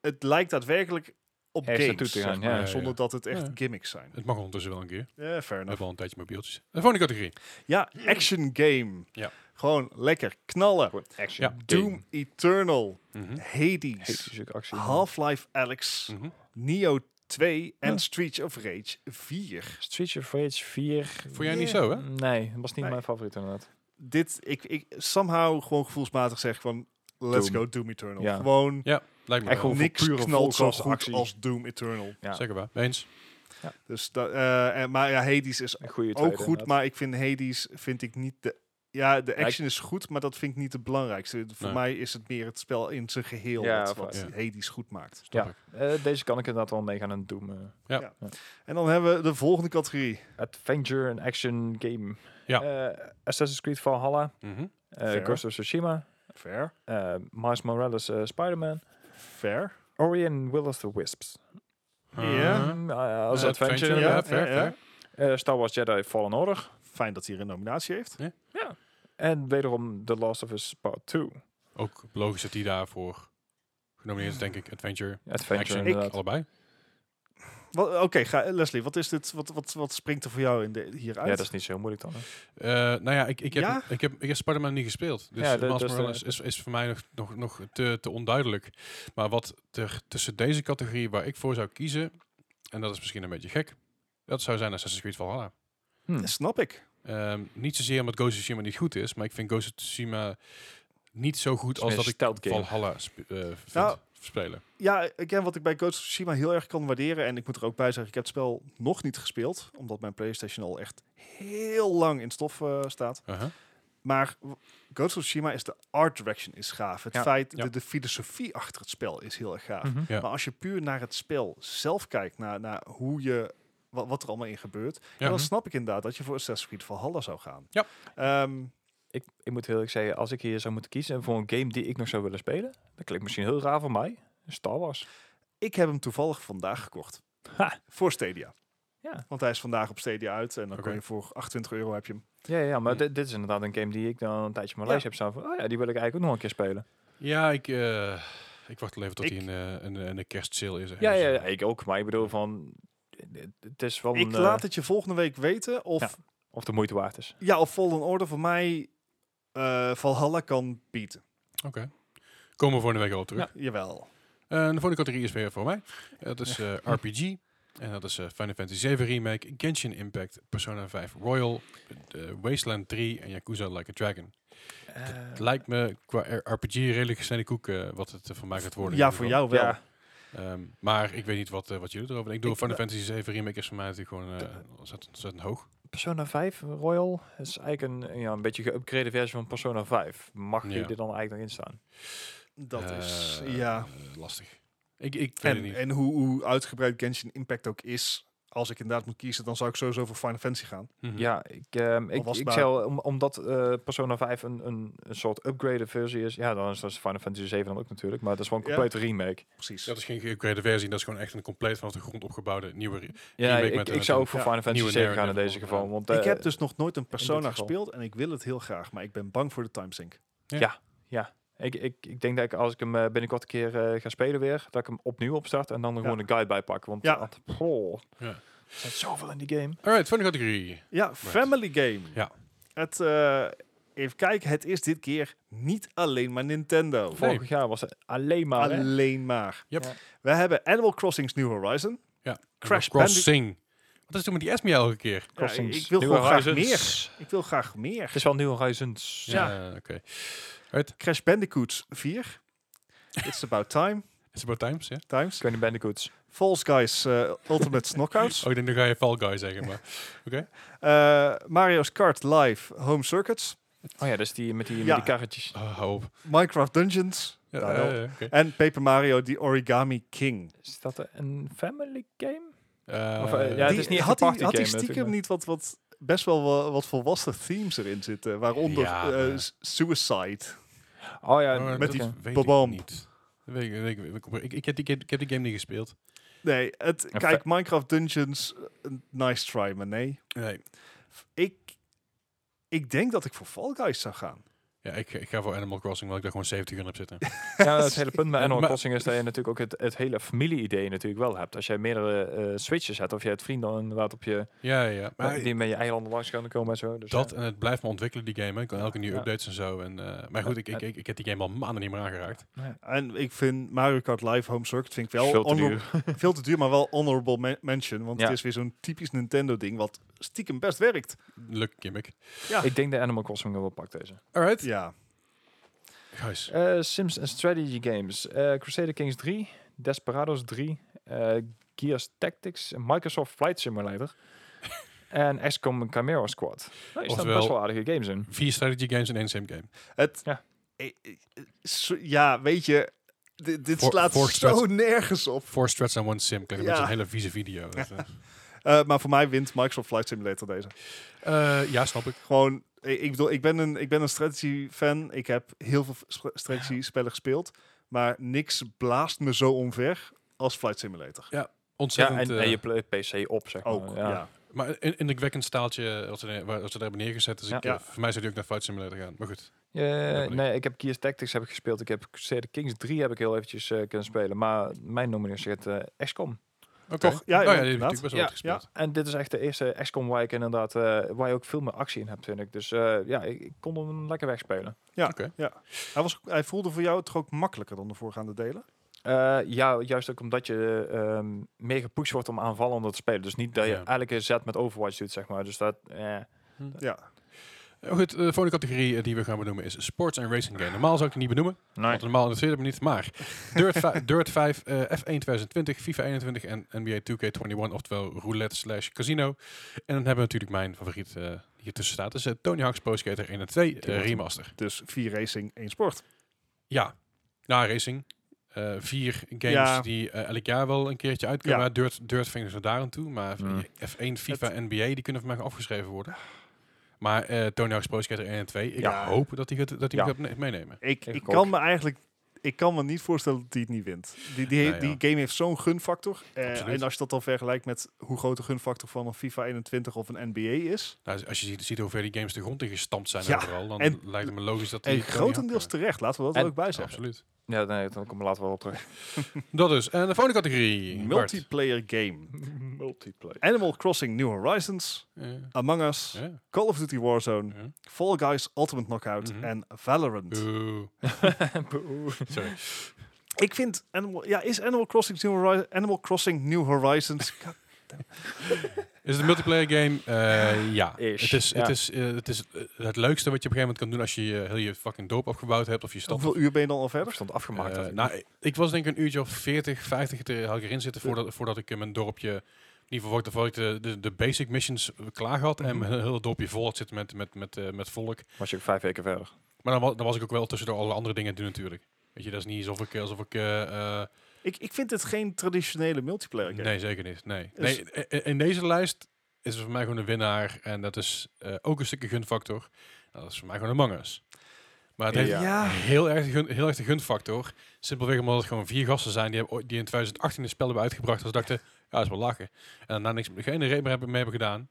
S3: het lijkt daadwerkelijk op
S2: Ergens
S3: games,
S2: naartoe te gaan,
S3: zeg maar,
S1: ja.
S3: zonder dat het echt
S1: Ja.
S3: gimmicks zijn.
S1: het mag ondertussen wel een keer.
S3: Ja, fair
S1: We
S3: enough.
S1: hebben al een tijdje mobieltjes. De volgende categorie.
S3: Ja, action game.
S1: Ja.
S3: Gewoon lekker knallen.
S2: Gewoon action.
S1: Ja.
S3: Doom Eternal,
S1: Mhm.
S3: Hades,
S2: Hectische actie.
S3: Half-Life Alex,
S1: Mhm.
S3: Neo 2 en
S2: Ja.
S3: Streets of Rage 4.
S2: Street of Rage 4.
S1: Vond jij niet zo, hè?
S2: Nee, dat was niet
S3: Nee.
S2: mijn favoriet inderdaad.
S3: Dit, ik, ik somehow gewoon gevoelsmatig zeg van, let's
S2: Doom.
S3: go Doom Eternal.
S2: Ja.
S3: Gewoon
S1: Lijkt me
S2: Echt
S1: wel.
S2: gewoon-
S3: niks
S2: pure
S3: knalt zo goed
S2: volksactie.
S3: als Doom Eternal.
S2: Ja.
S1: Zeker waar. Eens.
S3: Dus dat, eh, en, maar ja, Hades is
S2: Een goede
S3: ook
S2: tweede,
S3: goed,
S2: inderdaad.
S3: maar ik vind Hades vind ik niet de... Ja, de
S2: ik-
S3: action is goed, maar dat vind ik niet het belangrijkste. Voor
S1: Nee.
S3: mij is het meer het spel in zijn geheel
S2: Ja,
S3: wat,
S2: va-
S3: wat
S1: ja.
S3: Hades goed maakt.
S1: Snap
S2: Ja.
S1: ik.
S2: Eh, deze kan ik inderdaad wel meegaan en doen. eh,
S3: En dan hebben we de volgende categorie.
S2: adventure en action game.
S1: Ja.
S2: Eh, Assassin's Creed Valhalla.
S1: Mhm.
S2: eh,
S3: Fair.
S2: Ghost of Tsushima.
S3: Fair.
S2: eh Miles Morales eh, Spider-Man.
S3: Fair.
S2: Ori en Will of the Wisps.
S3: Ja.
S1: Eh,
S2: Mm, eh, als
S1: eh,
S2: adventure.
S1: ja.
S2: inderdaad.
S1: fair,
S3: ja, ja.
S1: fair.
S2: Eh, Star Wars Jedi Fallen Order.
S3: Fijn dat hij er een nominatie heeft.
S2: En wederom The Last of Us Part 2.
S1: Ook logisch dat die daarvoor genomineerd is, denk ik. Adventure,
S2: Adventure
S1: action,
S2: inderdaad.
S1: allebei.
S3: Wat- Oké, ga- Leslie, wat is dit? Wat, wat, wat springt er voor jou in de, hieruit?
S2: Ja, dat is niet zo moeilijk dan. hè.
S1: Eh, nou ja, ik, ik, heb,
S3: Ja?
S1: ik, heb, ik heb Spider-Man niet gespeeld. Dus
S2: Ja,
S1: ja,
S2: dat-
S1: Miles
S2: dat is eh, de-
S1: Morales is, is voor mij nog, nog, nog te, te onduidelijk. Maar wat er tussen deze categorie waar ik voor zou kiezen, en dat is misschien een beetje gek, dat zou zijn Assassin's Creed Valhalla.
S2: Hmm.
S3: Snap ik.
S1: Ehm, niet zozeer omdat Ghost of Tsushima niet goed is, maar ik vind Ghost of Tsushima niet zo goed als
S2: meer
S1: dat ik
S2: stealth game.
S1: Valhalla sp- eh, vind
S3: Nou.
S1: spelen.
S3: Ja, again, wat ik bij Ghost of Tsushima heel erg kan waarderen. En ik moet er ook bij zeggen, ik heb het spel nog niet gespeeld. Omdat mijn PlayStation al echt heel lang in stof eh, staat.
S1: Uh-huh.
S3: Maar w- Ghost of Tsushima is de art direction is gaaf. Het
S2: Ja,
S3: feit,
S1: ja.
S3: De, de filosofie achter het spel is heel erg gaaf.
S2: Mhm.
S1: Ja.
S3: Maar als je puur naar het spel zelf kijkt, naar, naar hoe je, wat, wat er allemaal in gebeurt,
S1: Ja.
S3: dan snap ik inderdaad dat je voor Assassin's Creed Valhalla zou gaan.
S1: Ja.
S3: Ehm,
S2: Ik, ik moet heel eerlijk zeggen, als ik hier zou moeten kiezen voor een game die ik nog zou willen spelen, dat klinkt misschien heel raar voor mij. Star Wars.
S3: ik heb hem toevallig vandaag gekocht.
S2: Ha.
S3: Voor Stadia.
S2: Ja.
S3: Want hij is vandaag op Stadia uit en dan
S1: Oké.
S3: kun je voor 28 euro heb je hem.
S2: Ja, ja maar
S1: Hm.
S2: dit, dit is inderdaad een game die ik dan een tijdje op mijn
S3: Ja.
S2: lijst heb staan. Van, oh ja, die wil ik eigenlijk ook nog een keer spelen.
S1: Ja, ik, eh, ik wacht wel even tot
S3: Ik-
S1: hij in, eh, in, in de kerstsale is.
S2: Ja,
S1: ergens.
S2: ja, ja, ik ook. Maar ik bedoel van, het- het is wel
S3: Ik
S2: een,
S3: laat
S2: eh,
S3: het je volgende week weten of,
S2: Ja.
S3: ja.
S2: of de moeite waard is.
S3: of Fallen Order voor mij eh, Valhalla kan bieden.
S1: Oké. Komen we volgende week al terug.
S3: Jawel.
S1: Eh, de volgende categorie is weer voor mij. Dat is eh, RPG. En dat is eh, Final Fantasy VII Remake, Genshin Impact, Persona 5 Royal, eh, Wasteland 3 en Yakuza Like a Dragon.
S2: Eh,
S1: Lijkt me qua R- RPG redelijk gesneden koek eh, wat het eh, voor mij gaat worden. in
S3: Ja,
S1: ieder
S3: voor
S1: geval.
S3: jou wel.
S2: Ja,
S1: Ehm, maar ik weet niet wat, eh, wat jullie erover denken. Ik
S2: Ik-
S1: bedoel, Final Fantasy 7 Remake is voor mij natuurlijk gewoon eh, ontzettend, ontzettend hoog.
S2: Persona 5 Royal is eigenlijk een, ja, een beetje geüpgrade versie van Persona 5. Mag
S1: Ja.
S2: je er dan eigenlijk nog in staan?
S3: Dat is,
S1: Eh,
S3: ja.
S1: eh, lastig. Ik, ik weet het
S3: En,
S1: niet.
S3: en hoe, hoe uitgebreid Genshin Impact ook is, als ik inderdaad moet kiezen, dan zou ik sowieso voor Final Fantasy gaan.
S1: Mhm.
S2: Ja, ik, ehm, ik,
S3: was het
S2: ik
S3: maar-
S2: zou, om, omdat eh, Persona 5 een, een, een soort upgraded versie is, ja, dan is dat Final Fantasy 7 dan ook natuurlijk, maar dat is gewoon een
S3: Ja.
S2: complete remake.
S3: Precies.
S1: Dat is geen geüpgrade versie, dat is gewoon echt een compleet vanaf de grond opgebouwde nieuwe... re-
S2: Ja,
S1: Remake
S2: ik,
S1: met
S2: ik
S1: een-
S2: zou ook voor
S3: ja,
S2: Final Fantasy
S1: nieuwe
S2: 7 gaan in
S1: narrative
S2: deze
S1: of,
S2: geval,
S1: ja.
S2: want
S3: ik
S2: eh,
S3: heb dus nog nooit een Persona
S2: geval.
S3: gespeeld en ik wil het heel graag, maar ik ben bang voor de timesync.
S2: ik, ik, ik denk dat ik als ik hem eh, binnenkort een keer eh, ga spelen weer, dat ik hem opnieuw opstart en dan er
S3: Ja.
S2: gewoon een guide bij pak, want
S3: Ja.
S2: ja. goh,
S1: Ja.
S2: er zit zoveel in die game.
S1: Alright, volgende categorie.
S3: Ja, Family Game.
S1: Ja.
S3: Het, eh, even kijken, het is dit keer niet alleen maar Nintendo.
S1: Nee.
S2: Vorig jaar was het alleen maar... hè.
S3: alleen maar.
S1: Yep.
S2: Ja.
S3: We hebben Animal Crossing's New Horizon. Crash
S1: Crossing. Wat is toen met die S meer elke keer?
S2: Crossings,
S3: ik wil
S2: New
S3: gewoon graag
S2: Horizons.
S3: Ik wil graag meer.
S2: Het is wel New Horizons.
S3: Ja.
S1: Oké.
S3: Crash Bandicoot 4. It's about time.
S1: It's about times, ja?
S3: Times.
S2: Crash Bandicoots.
S3: False Guys eh, Ultimate Knockouts.
S1: Oh, ik denk dan ga je Fall Guy zeggen, maar...
S3: Eh, Mario's Kart Live Home Circuits.
S2: Oh ja, dat is die met die,
S3: Ja.
S2: met die karretjes.
S1: Oh, hou op.
S3: Minecraft Dungeons.
S1: Ja, eh.
S3: Nou,
S1: ja,
S3: wel.
S1: ja, oké.
S3: En Paper Mario The Origami King.
S2: Is dat een family game?
S1: Eh,
S2: Of, eh, ja, het
S3: Die-
S2: is niet echt een
S3: had die- Had
S2: partygame
S3: die
S2: natuurlijk,
S3: stiekem
S2: maar-
S3: niet wat, wat best wel wa- wat volwassen themes erin zitten? Waaronder
S1: Ja,
S3: eh,
S1: maar-
S3: s- Suicide.
S2: Oh ja,
S1: maar
S2: dat-
S1: dat
S3: die-
S2: oké.
S1: weet ik
S3: Babam.
S1: niet. Dat weet ik- weet ik- ik- ik- ik heb die- Ik heb die game niet gespeeld.
S3: Nee, het,
S2: Ja,
S3: kijk, Minecraft Dungeons, eh, nice try, maar nee.
S1: Nee.
S3: Ik, ik denk dat ik voor Fall Guys zou gaan.
S1: Ja, ik, ik ga voor Animal Crossing, want ik daar gewoon 70 uur op zitten.
S2: Ja, het hele punt met
S1: Ja,
S2: Animal
S1: maar-
S2: Crossing is dat je natuurlijk ook het, het hele familie-idee natuurlijk wel hebt. Als jij meerdere eh, switches hebt, of je hebt vrienden inderdaad op je,
S1: ja, ja, ja. Maar
S2: die met je eigen handen langs gaan komen en zo. Dus
S1: dat
S2: ja.
S1: en het blijft me ontwikkelen, die game. hè. Ik kan elke nieuwe
S2: Ja.
S1: updates en zo. En, eh, maar goed, ik, ik, ik, ik heb die game al maanden niet meer aangeraakt.
S3: En ik vind Mario Kart Live Home Circuit vind ik wel
S2: Veel te
S3: honor-
S2: duur.
S3: veel te duur, maar wel honorable men- mention. Want
S2: Ja.
S3: het is weer zo'n typisch Nintendo ding, wat stiekem best werkt.
S1: Leuk gimmick.
S2: Ik denk dat Animal Crossing wel pakt deze.
S1: Alright.
S3: Ja,
S1: Guys.
S2: Eh, Sims en Strategy Games. eh, Crusader Kings 3, Desperados 3, eh, Gears Tactics, Microsoft Flight Simulator en XCOM Chimera Squad. Nou, er staan
S1: Oftewel-
S2: best wel aardige games in.
S1: Vier strategy games in één sim game.
S3: het,
S2: Ja.
S3: Eh, eh, eh, so- ja weet je, dit, dit
S1: Voor-
S3: slaat
S1: voor
S3: zo nergens op.
S1: Four strats on one sim. Klinkt
S3: Ja.
S1: met een hele vieze video. Dat, eh.
S3: Eh, maar voor mij wint Microsoft Flight Simulator deze.
S1: Eh, ja, snap ik.
S3: Gewoon, ik, ik bedoel, ik ben een, ik ben een strategy fan. Ik heb heel veel sp- strategy spellen gespeeld. Maar niks blaast me zo omver als Flight Simulator.
S2: Ja,
S1: Ontzettend.
S2: en, en
S1: eh,
S2: je pla- PC op, zeg
S3: Ook,
S2: maar.
S3: ja.
S1: Maar in, in een wekkend staaltje, als ze, er- waar als ze daar hebben neergezet. Dus
S2: Ja.
S1: ik, eh,
S3: Ja.
S1: voor mij zou die ook naar Flight Simulator gaan. Maar goed.
S2: Eh,
S1: Dat ben ik.
S2: nee, ik heb Gears Tactics heb ik gespeeld. Ik heb Crusader Kings 3 heb ik heel eventjes eh, kunnen spelen. Maar mijn nominatie is eh XCOM.
S1: Oké.
S3: Toch? Ja,
S1: Oh, ja,
S3: ja,
S1: die heb ik natuurlijk
S3: inderdaad.
S1: best wel wat
S3: Ja,
S1: gespeeld.
S2: En dit is echt de eerste XCOM waar ik inderdaad eh, waar je ook veel meer actie in hebt, vind ik. Dus eh, ja, ik, ik kon hem lekker wegspelen.
S3: Hij, was, hij voelde voor jou toch ook makkelijker dan de voorgaande delen?
S2: Eh, ja, juist ook omdat je ehm, meer gepusht wordt om aanvallender te spelen. Dus niet dat je
S1: Ja.
S2: elke zet met Overwatch doet, zeg maar. Dus dat, eh,
S3: Ja.
S1: Eh, Goed, de volgende categorie eh, die we gaan benoemen is sports en racing game. Normaal zou ik het niet benoemen,
S2: nee.
S1: want normaal interesseert het me niet. Maar Dirt, vij- Dirt 5, eh, F1 2020, FIFA 21 en NBA 2K21, oftewel roulette slash casino. En dan hebben we natuurlijk mijn favoriet eh, die hier tussen staat. Dus eh, Tony Hawk's Pro Skater 1 en 2 eh,
S2: Tuurlijk.
S1: remaster.
S3: Dus vier racing, één sport.
S1: Ja, na racing. Eh, vier games
S3: Ja.
S1: die eh, elk jaar wel een keertje uitkomen.
S3: Ja.
S1: Maar Dirt, Dirt vingen ze daar aan toe. Maar
S2: Mm.
S1: F1, FIFA, NBA, die kunnen van mij afgeschreven worden. Maar eh Tony Hawk's Pro Skater 1 en 2, ik
S2: Ja.
S1: hoop dat hij het- dat hij
S2: Ja.
S1: het gaat ne- meenemen.
S3: Ik,
S2: Ik
S3: ik
S2: ook.
S3: kan me eigenlijk... Ik kan me niet voorstellen dat hij het niet wint. Die, die,
S1: Nee, ja.
S3: die game heeft zo'n gunfactor. Eh,
S1: Absoluut.
S3: en als je dat dan vergelijkt met hoe groot de gunfactor van een FIFA 21 of een NBA is.
S1: Nou, als je ziet, ziet hoeveel die games de grond in gestampt zijn
S3: Ja,
S1: overal, dan
S3: en-
S1: lijkt het me logisch dat die...
S3: En
S1: Tony Hawk
S3: grotendeels
S1: kunnen.
S3: terecht, laten we dat
S2: En-
S3: er ook bij zeggen.
S1: Absoluut.
S2: Ja, nee, dan kom ik later wel op terug.
S1: Dat is. En de volgende categorie. Bart.
S3: Multiplayer game.
S2: Multiplayer.
S3: Animal Crossing New Horizons,
S1: Eh,
S3: Among Us,
S1: eh,
S3: Call of Duty Warzone,
S1: eh.
S3: Fall Guys Ultimate Knockout
S1: Mhm.
S3: en Valorant.
S1: Oeh.
S2: Boe.
S1: Sorry.
S3: Ik vind Animal, ja, is Animal Crossing New, Hori- Animal Crossing New Horizons. God,
S1: Is het een multiplayer game? Eh, ja.
S2: Ish,
S1: Het is,
S2: ja.
S1: het, is, eh, het is eh, het leukste wat je op een gegeven moment kan doen als je je heel je fucking dorp opgebouwd hebt of je stad.
S3: hoeveel uur ben je dan al
S2: Verder
S3: verder?
S2: stond
S1: Eh,
S2: afgemaakt. dat ik-
S1: nou, ik- ik was denk ik een uurtje of 40, 50 er, had ik erin zitten voordat, voordat ik in mijn dorpje... In ieder geval voordat ik de, de, de basic missions eh, klaar had en
S2: Mhm.
S1: mijn hele dorpje vol had zitten met, met, met, eh, met volk.
S2: was je ook vijf weken verder.
S1: Maar dan, wa- dan was ik ook wel tussendoor alle andere dingen aan het doen natuurlijk. Weet je, dat is niet alsof ik, alsof ik eh, eh,
S3: Ik, ik vind het geen traditionele multiplayer game.
S1: Nee, zeker niet. Nee.
S3: Dus-
S1: nee i- i- in deze lijst is er voor mij gewoon een winnaar. En dat is eh, ook een stukje gunfactor. Nou, dat is voor mij gewoon Among Us. Maar het heeft
S2: Ja.
S1: heel, erg de gun, heel erg de gunfactor. Simpelweg omdat het gewoon vier gasten zijn die, hebben, ooit- die in 2018 een spel hebben uitgebracht. Dat ze dachten, ja, dat is wel lachen. En daarna niks, geen reden meer hebben, mee hebben gedaan.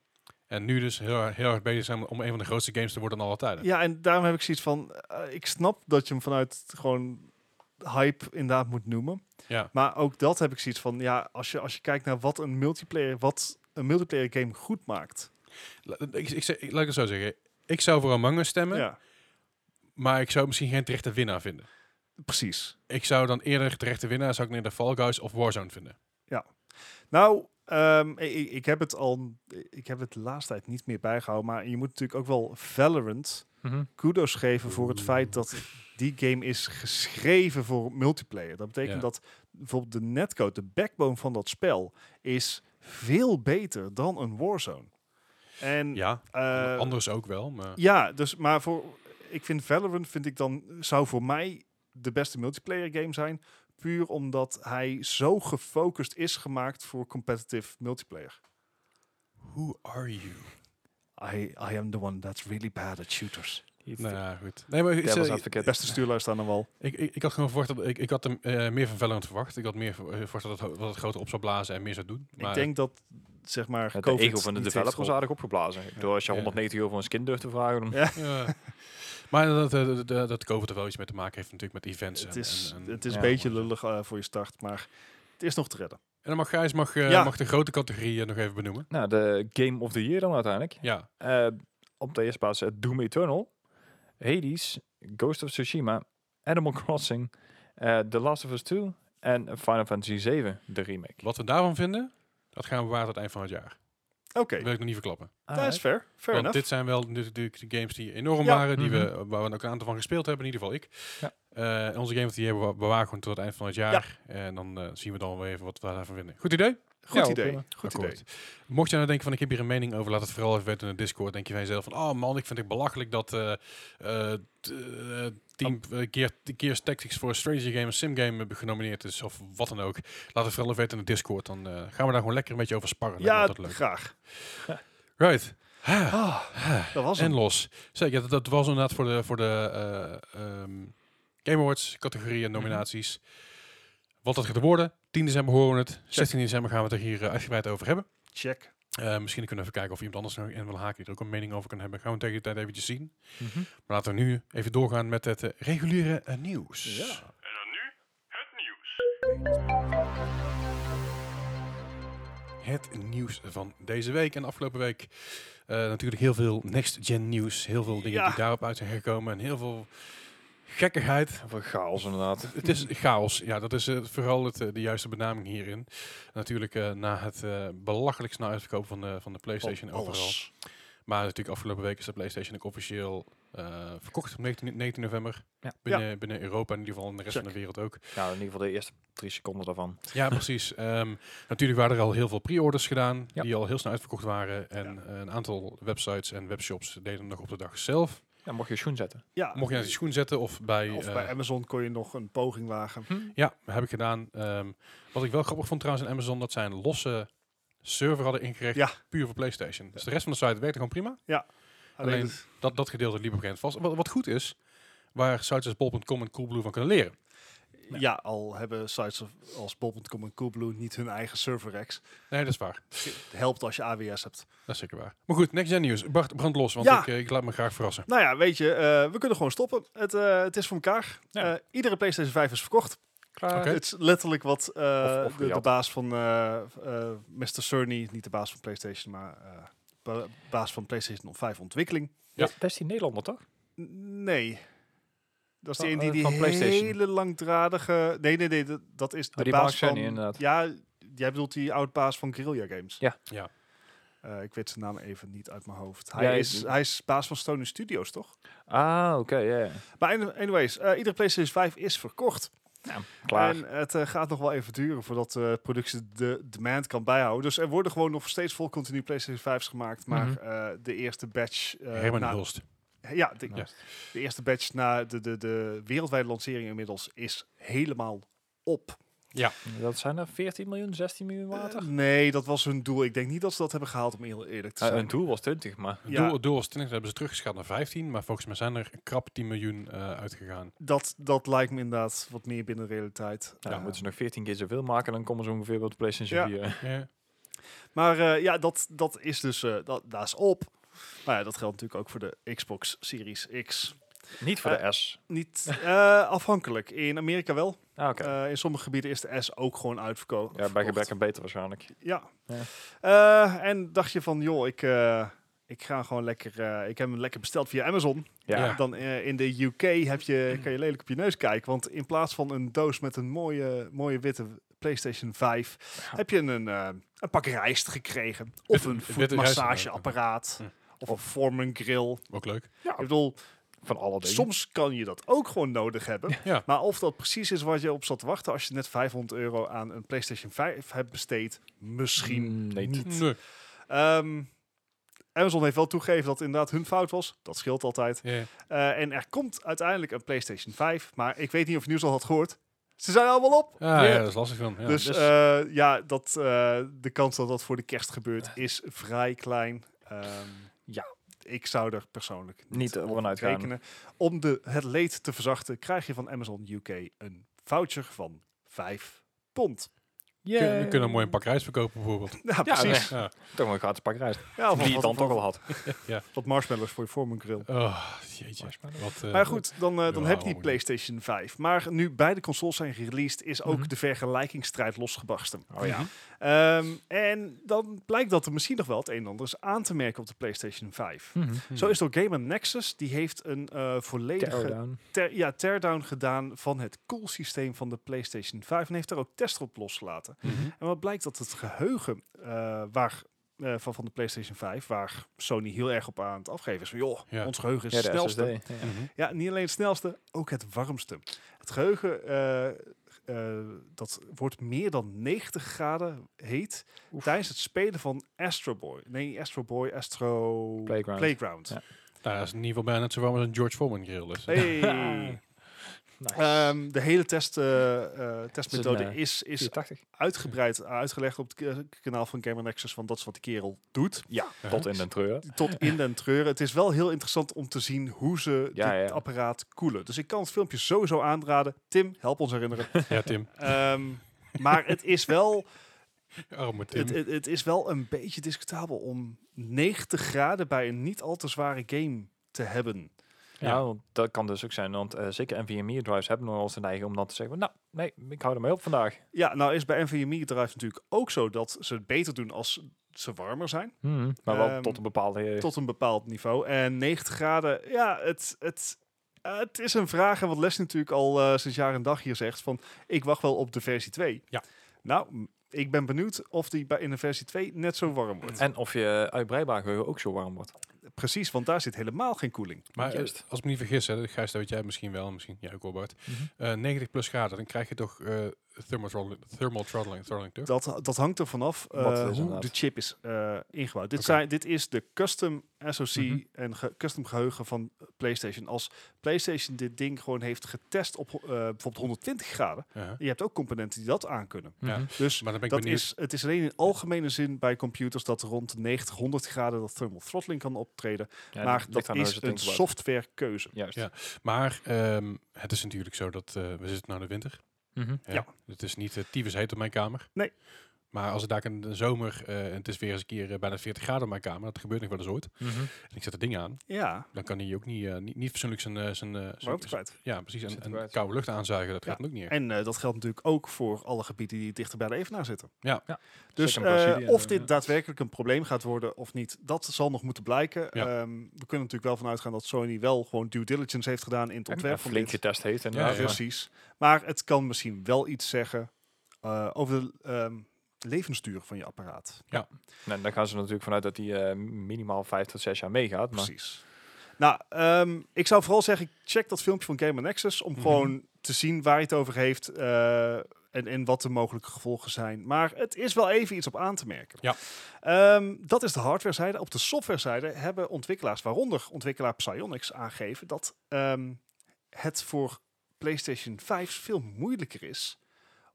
S1: En nu dus heel, erg- heel erg bezig zijn om een van de grootste games te worden al alle tijden.
S3: Ja, en daarom heb ik zoiets van, eh, ik snap dat je hem vanuit gewoon hype inderdaad moet noemen.
S1: Ja.
S3: Maar ook dat heb ik zoiets van, ja, als je, als je kijkt naar wat een multiplayer, wat een multiplayer game goed maakt.
S1: La- Ik, ik, zeg- ik- laat ik het zo zeggen. Ik zou voor Among Us stemmen.
S3: Ja,
S1: Maar ik zou misschien geen terechte winnaar vinden.
S3: precies.
S1: Ik zou dan eerder terechte winnaar, zou ik eerder Fall Guys of Warzone vinden.
S3: Nou, ehm, i- i- ik, heb het al, ik heb het de laatste tijd niet meer bijgehouden, maar je moet natuurlijk ook wel Valorant
S2: Mhm.
S3: kudos geven voor het feit dat die game is geschreven voor multiplayer. Dat betekent
S1: Ja.
S3: dat bijvoorbeeld de netcode, de backbone van dat spel, is veel beter dan een Warzone. En
S1: Ja,
S3: eh,
S1: anders ook wel. Maar
S3: ja, dus maar voor ik vind Valorant vind ik dan zou voor mij de beste multiplayer game zijn, puur omdat hij zo gefocust is gemaakt voor competitive multiplayer.
S1: who are you?
S3: I, I am the one that's really bad at shooters.
S1: Nou ja, goed. Nee, maar ik,
S2: Devil's
S1: zeg-
S2: Advocate.
S3: Beste stuurluister aan de wal.
S1: ik, ik, ik had gewoon verwacht dat ik, ik had hem eh, meer van Valorant verwacht. Ik had meer ver- eh, verwacht dat het, ho- dat het groter op zou blazen en meer zou doen. Maar
S3: ik denk dat zeg maar
S2: Het ego van
S3: COVID
S2: de
S3: niet heeft
S2: developer is
S3: geholpen.
S2: aardig opgeblazen. Ik bedoel, als je
S1: Ja.
S2: 190 euro voor een skin durft te vragen, dan...
S1: ja. maar dat, eh, dat, dat, dat COVID er wel iets mee te maken heeft natuurlijk met events.
S3: Het
S1: en-
S3: is,
S1: en, en,
S3: het is
S2: ja.
S3: een beetje lullig eh, voor je start, maar het is nog te redden.
S1: En dan mag Gijs mag, eh,
S3: Ja.
S1: mag de grote categorie eh, nog even benoemen.
S2: Nou, de Game of the Year dan uiteindelijk.
S1: Ja,
S2: Eh, op de eerste plaats eh, Doom Eternal, Hades, Ghost of Tsushima, Animal Crossing, eh, The Last of Us 2 en Final Fantasy 7, de remake.
S1: wat we daarvan vinden, dat gaan we bewaren tot het eind van het jaar.
S3: Oké,
S1: Dat wil ik nog niet verklappen.
S3: dat is fair. Fair
S1: Want
S3: enough.
S1: dit zijn wel natuurlijk de, de games die enorm
S3: Ja.
S1: waren, die
S2: Mhm.
S1: we, waar we ook een aantal van gespeeld hebben, in ieder geval ik.
S2: Ja.
S1: Eh, onze game of the year bewaar gewoon tot het eind van het jaar. En dan eh, zien we dan weer even wat we daarvan vinden. Goed idee?
S3: Goed
S1: Ja,
S3: idee.
S1: prima.
S3: Goed
S1: Akkoord.
S3: idee.
S1: Mocht je nou denken van ik heb hier een mening over, laat het vooral even weten in de Discord. Denk je van jezelf van, oh man, ik vind het belachelijk dat eh eh, t- eh, Team eh, Gear, Gears Tactics voor een strategy game, een sim game eh, genomineerd is of wat dan ook. Laat het vooral even weten in de Discord. Dan eh, gaan we daar gewoon lekker een beetje over sparren.
S3: Ja,
S1: dat leuk.
S3: graag.
S1: Right. Ha.
S3: Ah,
S1: Ha.
S3: dat was
S1: En
S3: hem.
S1: los. Zeker, dat, dat was inderdaad voor de, voor de eh, ehm, Game Awards categorieën,
S3: Mhm.
S1: nominaties. Wat dat gaat worden. 10 december horen we het. 16 december gaan we het er hier eh, uitgebreid over hebben.
S3: Check.
S1: Eh, misschien kunnen we even kijken of iemand anders nog in wil haken die er ook een mening over kan hebben. Gaan we tegen de tijd eventjes zien.
S3: Mhm.
S1: Maar laten we nu even doorgaan met het eh, reguliere eh, nieuws.
S3: Ja.
S4: En dan nu het nieuws.
S1: Het nieuws van deze week en afgelopen week. Eh, natuurlijk heel veel next-gen nieuws. Heel veel dingen
S3: Ja.
S1: die daarop uit zijn gekomen. En heel veel gekkigheid.
S2: Voor chaos inderdaad.
S1: Het is chaos. Ja, dat is eh, vooral het, eh, de juiste benaming hierin. Natuurlijk eh, na het eh, belachelijk snel uitverkoop van de, van de PlayStation
S3: Van Oh, alles.
S1: overal. Maar natuurlijk afgelopen week is de PlayStation ook officieel eh, verkocht op 19, 19 november.
S2: Ja.
S1: Binnen, binnen Europa in ieder geval en de rest van
S3: Check.
S1: de wereld ook.
S2: Nou, in ieder geval de eerste drie seconden daarvan.
S1: Ja, precies. Ehm, natuurlijk waren er al heel veel pre-orders gedaan
S2: Ja.
S1: die al heel snel uitverkocht waren. En eh, een aantal websites en webshops deden het nog op de dag zelf.
S2: Ja, mocht je schoen zetten.
S3: Ja.
S1: Mocht je naar de schoen zetten of bij...
S3: Ah, Of
S1: eh,
S3: bij Amazon kon je nog een poging wagen.
S1: Ja, heb ik gedaan. Ehm, wat ik wel grappig vond trouwens in Amazon, dat zij een losse server hadden ingericht,
S3: Ja.
S1: puur voor PlayStation. Dus de rest van de site werkte gewoon prima.
S3: Alleen,
S1: Alleen-
S3: het-
S1: Dat, dat gedeelte liep op een gegeven moment vast. Wat, wat goed is, waar sites als bol.com en Coolblue van kunnen leren.
S3: ja. al hebben sites of- als bol.com en Coolblue niet hun eigen server racks.
S1: Nee, dat is waar.
S3: Het helpt als je AWS hebt.
S1: Dat is zeker waar. Maar goed, next gen nieuws. Bart, brand los, want
S3: Ja.
S1: ik, eh, ik laat me graag verrassen.
S3: Nou ja, weet je, eh, we kunnen gewoon stoppen. Het, eh, het is voor elkaar.
S2: Ja.
S3: Eh, iedere PlayStation 5 is verkocht.
S2: Klaar.
S1: Oké.
S3: Het is letterlijk wat eh,
S2: Of- of
S3: de, de
S2: gejat.
S3: baas van eh eh, Mr. Cerny, niet de baas van PlayStation, maar eh, ba- baas van PlayStation 5 ontwikkeling.
S1: Ja.
S2: Dat is die Nederlander toch?
S3: N- Nee. Dat is die
S2: Van-
S3: ene die,
S2: eh,
S3: die
S2: van PlayStation. Oh,
S3: hele langdradige... Nee, nee, nee, dat, dat is de
S2: die Mark
S3: baas van...
S2: Cerny, inderdaad.
S3: Ja, jij bedoelt die oud-baas van Guerrilla Games.
S2: Ja.
S1: Ja.
S3: Eh, ik weet zijn naam even niet uit mijn hoofd.
S2: Ja,
S3: Hij,
S2: ik-
S3: is, hij is baas van Sony Studios, toch?
S2: Ah, oké, ja. ja.
S3: Maar any- anyways, eh, iedere PlayStation 5 is verkocht.
S2: Nou, klaar.
S3: En het eh, gaat nog wel even duren voordat de productie de demand kan bijhouden. Dus er worden gewoon nog steeds vol continu PlayStation 5's gemaakt. Maar
S2: Mhm.
S3: eh, de eerste batch. eh,
S1: Herman
S3: na-
S1: Hulst.
S3: Ja, de,
S1: Ja.
S3: de eerste batch na de, de, de wereldwijde lancering inmiddels is helemaal op.
S2: Dat zijn er 14 miljoen, 16 miljoen water.
S3: Eh, nee, dat was hun doel. Ik denk niet dat ze dat hebben gehaald, om heel eerlijk te
S2: Eh,
S3: zijn.
S2: een doel was 20, maar
S1: Het
S3: Ja.
S1: Doel, het doel was 20, dat hebben ze teruggeschaald naar 15. Maar volgens mij zijn er krap 10 miljoen eh, uitgegaan.
S3: dat, dat lijkt me inderdaad wat meer binnen de realiteit.
S2: ja,
S3: Eh,
S2: dan moeten ze nog 14 keer zoveel maken. Dan komen ze ongeveer bij de PlayStation
S3: Ja.
S2: 4. eh.
S1: Ja.
S3: Maar eh, ja, dat, dat is dus, eh, dat, daar is op. Maar ja, dat geldt natuurlijk ook voor de Xbox Series X.
S2: Niet voor de S.
S3: Niet eh, afhankelijk. In Amerika wel.
S2: Ah, oké.
S3: Eh, in sommige gebieden is de S ook gewoon uitverkoop.
S2: ja, bij gebrek aan beter waarschijnlijk.
S3: Ja.
S2: Ja.
S3: Eh, en dacht je van, joh, ik, eh, ik ga gewoon lekker... eh, ik heb hem lekker besteld via Amazon.
S2: Ja.
S1: Ja.
S3: Dan eh, in de UK heb je, kan je lelijk op je neus kijken. Want in plaats van een doos met een mooie, mooie witte PlayStation 5... heb je een, eh, een pak rijst gekregen. Of
S1: Witte-
S3: een
S1: witte
S3: voetmassageapparaat.
S1: rijst, ja.
S3: Of een Foreman grill.
S1: Ook leuk.
S3: Ik bedoel,
S2: Van alle dingen.
S3: soms kan je dat ook gewoon nodig hebben.
S1: Ja.
S3: Maar of dat precies is wat je op zat te wachten... als je net 500 euro aan een PlayStation 5 hebt besteed... misschien
S2: Mm, nee,
S3: niet.
S1: Nee.
S3: Ehm, Amazon heeft wel toegegeven dat het inderdaad hun fout was. Dat scheelt altijd.
S1: Ja.
S3: Eh, en er komt uiteindelijk een PlayStation 5. Maar ik weet niet of je nieuws al had gehoord. Ze zijn allemaal op.
S1: Ah,
S3: Weer.
S1: ja, dat is lastig van. Ja.
S3: dus
S2: dus-
S3: eh, ja, dat, eh, de kans dat dat voor de kerst gebeurt is vrij klein. Ehm,
S2: Ja.
S3: Ik zou er persoonlijk niet,
S2: Niet eh,
S3: op
S2: ervan uitgaan.
S3: rekenen. Om de, het leed te verzachten krijg je van Amazon UK een voucher van 5 pond.
S1: Kun-
S2: Yay.
S1: we kunnen een mooi pak rijst verkopen bijvoorbeeld.
S3: Ja,
S2: Ja,
S3: precies.
S1: Ja.
S2: Toch een gratis pak rijst.
S3: Ja, of
S2: Die je
S3: wat-
S2: dan toch
S3: wat-
S2: al had.
S3: Wat marshmallows voor je Foreman grill.
S1: Oh, jeetje. Wat, eh,
S3: Maar goed, dan, eh, dan
S1: Ja,
S3: heb je die
S1: allemaal.
S3: PlayStation 5. Maar nu beide consoles zijn gereleased, is ook
S2: Mhm.
S3: de vergelijkingsstrijd losgebarsten.
S2: Oh ja.
S1: Mhm.
S3: Ehm, en dan blijkt dat er misschien nog wel het een en ander is aan te merken op de PlayStation 5.
S2: Mhm.
S1: hmm.
S3: Zo is door Gamer Nexus, die heeft een eh, volledige
S2: Teardown.
S3: ter, ja, teardown gedaan van het koelsysteem van de PlayStation 5 en heeft daar ook testen op losgelaten.
S1: Mhm.
S3: En wat blijkt dat het geheugen eh, waar, eh, van, van de PlayStation 5, waar Sony heel erg op aan het afgeven is, van, joh,
S1: Ja.
S3: ons geheugen is
S2: Ja,
S3: het
S2: de
S3: snelste.
S2: SSD. Ja.
S1: Mhm.
S3: Ja, niet alleen het snelste, ook het warmste. Het geheugen, eh, eh, dat wordt meer dan 90 graden heet
S2: Oef.
S3: tijdens het spelen van Astro Boy. Nee, niet Astro Boy, Astro
S2: Playground.
S3: Playground.
S2: Ja.
S1: Nou, dat is in ieder geval bijna net zo warm als een George Foreman grill. Dus.
S3: Hey.
S2: Nice.
S3: Ehm, de hele test, eh, eh, testmethode
S2: eh,
S3: is, is
S2: 84.
S3: uitgebreid, uitgelegd op het k- kanaal van Gamer Nexus, want dat is wat de kerel doet.
S2: Ja,
S1: Ja.
S2: tot in den treur.
S3: Tot in den treuren. Het is wel heel interessant om te zien hoe ze
S2: Ja,
S3: dit
S2: ja.
S3: apparaat koelen. Dus ik kan het filmpje sowieso aanraden. Tim, help ons herinneren.
S1: Ja, Tim.
S3: Ehm, maar het is, wel,
S1: Arme Oh, Tim.
S3: het, het, het is wel een beetje discutabel om 90 graden bij een niet al te zware game te hebben.
S2: Ja,
S1: Ja.
S2: want dat kan dus ook zijn. Want eh, zeker NVMe-drives hebben nog wel eens de neiging om dan te zeggen... van, Nou, nee, ik hou ermee op vandaag.
S3: Ja, nou is bij NVMe Drive natuurlijk ook zo dat ze het beter doen als ze warmer zijn.
S2: Mhm, Maar wel
S3: Ehm,
S2: tot een bepaalde... eh,
S3: Tot een bepaald niveau. En 90 graden, ja, het, het, eh, het is een vraag. En wat Les natuurlijk al eh, sinds jaar en dag hier zegt: van ik wacht wel op de versie 2.
S1: Ja.
S3: Nou, m- ik ben benieuwd of die bij in de versie 2 net zo warm wordt.
S2: En of je uitbreidbaar geheugen ook zo warm wordt.
S3: Precies, want daar zit helemaal geen koeling.
S1: maar eh,
S2: juist.
S1: als ik me niet vergis, hè, Gijs, dat weet jij misschien wel, misschien jij ook wel, Bart.
S3: Mhm.
S1: Eh, 90 plus graden, dan krijg je toch eh thermal throttling, thermal throttling, throttling toch?
S3: Dat, dat hangt er vanaf eh,
S2: Wat het is
S3: hoe
S2: inderdaad.
S3: de chip is eh, ingebouwd. Dit,
S1: Oké.
S3: zijn, dit is de custom SoC
S1: Mhm.
S3: en ge- custom geheugen van PlayStation. Als PlayStation dit ding gewoon heeft getest op eh, bijvoorbeeld 120 graden.
S1: Ja.
S3: Je hebt ook componenten die dat aankunnen.
S1: Ja.
S2: Mhm.
S3: Dus
S1: Maar dan ben ik
S3: dat
S1: benieuwd.
S3: is, het is alleen in algemene zin bij computers dat rond de 90, 100 graden dat thermal throttling kan optreden.
S2: Ja,
S3: maar
S2: ligt
S3: dat
S2: aan hoe ze
S3: is
S2: het
S3: een
S2: ingebouwd.
S3: softwarekeuze.
S2: Juist.
S1: Ja. Maar ehm, het is natuurlijk zo dat eh, we zitten nu in de winter.
S2: Mhm.
S1: hè.
S3: Ja.
S1: Het is niet uh, tyfus heet op mijn kamer.
S3: Nee.
S1: Maar als het daar in de zomer, eh, en het is weer eens een keer eh, bijna 40 graden op mijn kamer, dat gebeurt nog wel eens ooit.
S2: Mhm.
S1: En ik zet het ding aan,
S3: Ja,
S1: dan kan hij ook niet, eh, niet, niet persoonlijk zijn, eh, zijn, eh, zijn-
S3: warmte kwijt.
S1: Ja, precies. En,
S2: Zit
S1: en
S2: kwijt.
S1: koude lucht aanzuigen, dat
S3: Ja.
S1: gaat dan ook niet. echt.
S3: En eh, dat geldt natuurlijk ook voor alle gebieden die dichter bij de evenaar zitten.
S1: Ja.
S2: Ja.
S3: Dus
S2: Zeker in
S3: eh,
S2: Brazilië,
S3: of
S2: eh,
S3: dit
S2: ja.
S3: daadwerkelijk een probleem gaat worden of niet, dat zal nog moeten blijken.
S1: Ja.
S3: Ehm, we kunnen natuurlijk wel vanuit gaan dat Sony wel gewoon due diligence heeft gedaan in het
S2: En
S3: ontwerp van
S2: flink
S3: dit.
S2: getest heeft. En
S1: Ja,
S3: Ja,
S2: ja,
S3: Precies. Maar het kan misschien wel iets zeggen eh, over de ehm, levensduur van je apparaat.
S2: En Nou, dan gaan ze natuurlijk vanuit dat die eh, minimaal vijf tot zes jaar meegaat. Maar
S3: Precies. Nou, ehm, ik zou vooral zeggen, check dat filmpje van Gamer Nexus om
S1: Mhm.
S3: gewoon te zien waar hij het over heeft eh, en, en wat de mogelijke gevolgen zijn. Maar het is wel even iets op aan te merken.
S1: Ja.
S3: Ehm, dat is de hardwarezijde. Op de softwarezijde hebben ontwikkelaars, waaronder ontwikkelaar Psyonix, aangegeven dat ehm, het voor PlayStation 5 veel moeilijker is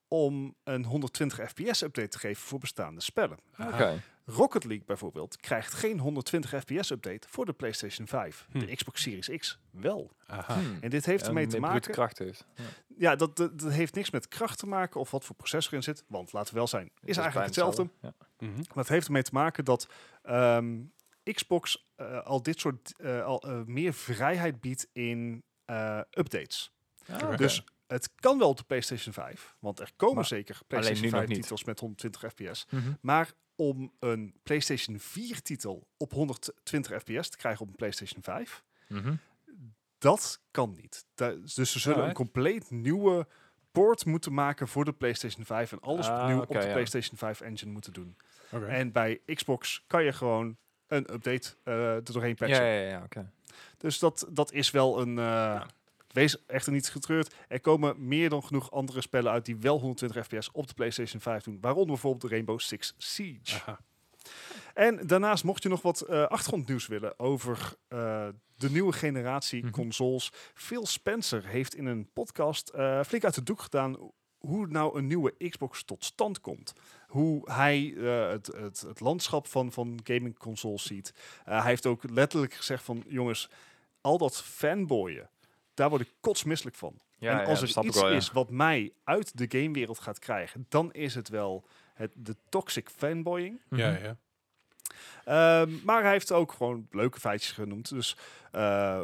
S3: om een 120 fps update te geven voor bestaande spellen.
S1: Ah,
S3: Rocket League bijvoorbeeld krijgt geen 120 fps update voor de PlayStation 5.
S1: Hm.
S3: De Xbox Series X wel.
S1: aha.
S3: ah. En dit heeft ermee te maken.
S2: kracht heeft. Ja.
S3: Ja, dat, dat, dat heeft niks met kracht te maken of wat voor processor in zit. Want laten we wel zijn, is,
S2: Het is
S3: eigenlijk
S2: bijna
S3: hetzelfde.
S2: Ja.
S1: Mhm.
S3: Maar het heeft ermee te maken dat ehm, Xbox eh, al dit soort eh, al, eh, meer vrijheid biedt in eh, updates.
S2: Ah, oké.
S3: Dus het kan wel op de PlayStation 5, want er komen
S2: Maar
S3: zeker
S2: nu
S3: PlayStation
S2: nog
S3: 5
S2: niet.
S3: titels met 120 fps.
S2: Mhm.
S3: Maar om een PlayStation 4 titel op 120 fps te krijgen op een PlayStation 5,
S2: Mhm.
S3: dat kan niet. Da- dus ze
S2: Nou,
S3: zullen een
S1: Alright.
S3: compleet nieuwe port moeten maken voor de PlayStation 5 en alles
S2: Ah,
S3: opnieuw
S2: oké,
S3: op de
S2: ja.
S3: PlayStation 5 engine moeten doen.
S1: Oké.
S3: En bij Xbox kan je gewoon een update eh er doorheen patchen.
S2: Ja, ja, ja, ja, oké.
S3: Dus dat, dat is wel een. eh, Wees echter niet getreurd. Er komen meer dan genoeg andere spellen uit die wel 120 fps op de PlayStation 5 doen. Waaronder bijvoorbeeld de Rainbow Six Siege.
S1: Aha.
S3: En daarnaast mocht je nog wat eh, achtergrondnieuws willen over eh, de nieuwe generatie
S2: Mhm.
S3: consoles. Phil Spencer heeft in een podcast eh, flink uit de doek gedaan hoe nou een nieuwe Xbox tot stand komt. Hoe hij eh, het, het, het landschap van, van gaming consoles ziet. Eh, hij heeft ook letterlijk gezegd van jongens, al dat fanboyen, daar word ik kotsmisselijk van.
S2: Ja,
S3: en
S2: ja,
S3: als
S2: dat
S3: er
S2: snap ik
S3: iets
S2: wel, ja.
S3: is wat mij uit de gamewereld gaat krijgen, dan is het wel het, de toxic fanboying.
S2: Mhm.
S1: Ja, ja.
S3: Ehm, maar hij heeft ook gewoon leuke feitjes genoemd. Dus eh,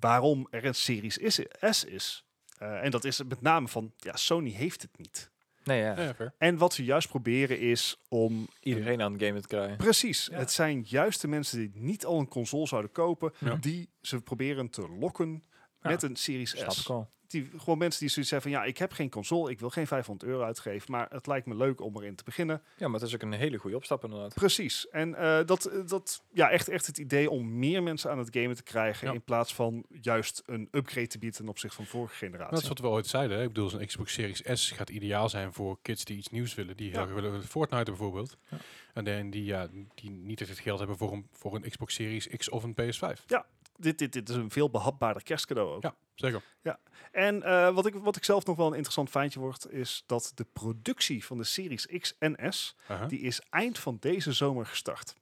S3: waarom er een Series is, S is. Eh, en dat is met name van, ja, Sony heeft het niet.
S2: Nee, ja.
S1: Ja, ja, fair.
S3: En wat ze juist proberen is om...
S2: Iedereen aan het gamen te krijgen.
S3: Precies,
S2: Ja.
S3: het zijn juist de mensen die niet al een console zouden kopen,
S1: Ja.
S3: die ze proberen te lokken
S2: Ja.
S3: met een Series
S2: Snap ik
S3: S.
S2: al.
S3: Die, gewoon mensen die zoiets zeggen van, ja, ik heb geen console, ik wil geen 500 euro uitgeven, maar het lijkt me leuk om erin te beginnen.
S2: Ja, maar het is ook een hele goede opstap inderdaad.
S3: Precies. En eh, dat, eh, dat ja, echt, echt het idee om meer mensen aan het gamen te krijgen.
S1: Ja.
S3: In plaats van juist een upgrade te bieden ten opzichte van vorige
S1: Dat
S3: generatie.
S1: is wat we ooit zeiden. Hè? Ik bedoel, zo'n Xbox Series S gaat ideaal zijn voor kids die iets nieuws willen. Die heel
S3: Ja.
S1: graag willen Fortnite bijvoorbeeld.
S2: Ja.
S1: En dan die, ja, die niet echt het geld hebben voor een, voor een Xbox Series X of een PS5.
S3: dit, dit, dit is een veel behapbaarder kerstcadeau ook.
S1: Ja, zeker.
S3: En eh, wat, ik, wat ik zelf nog wel een interessant feitje word, is dat de productie van de Series X en S,
S1: Aha.
S3: die is eind van deze zomer gestart.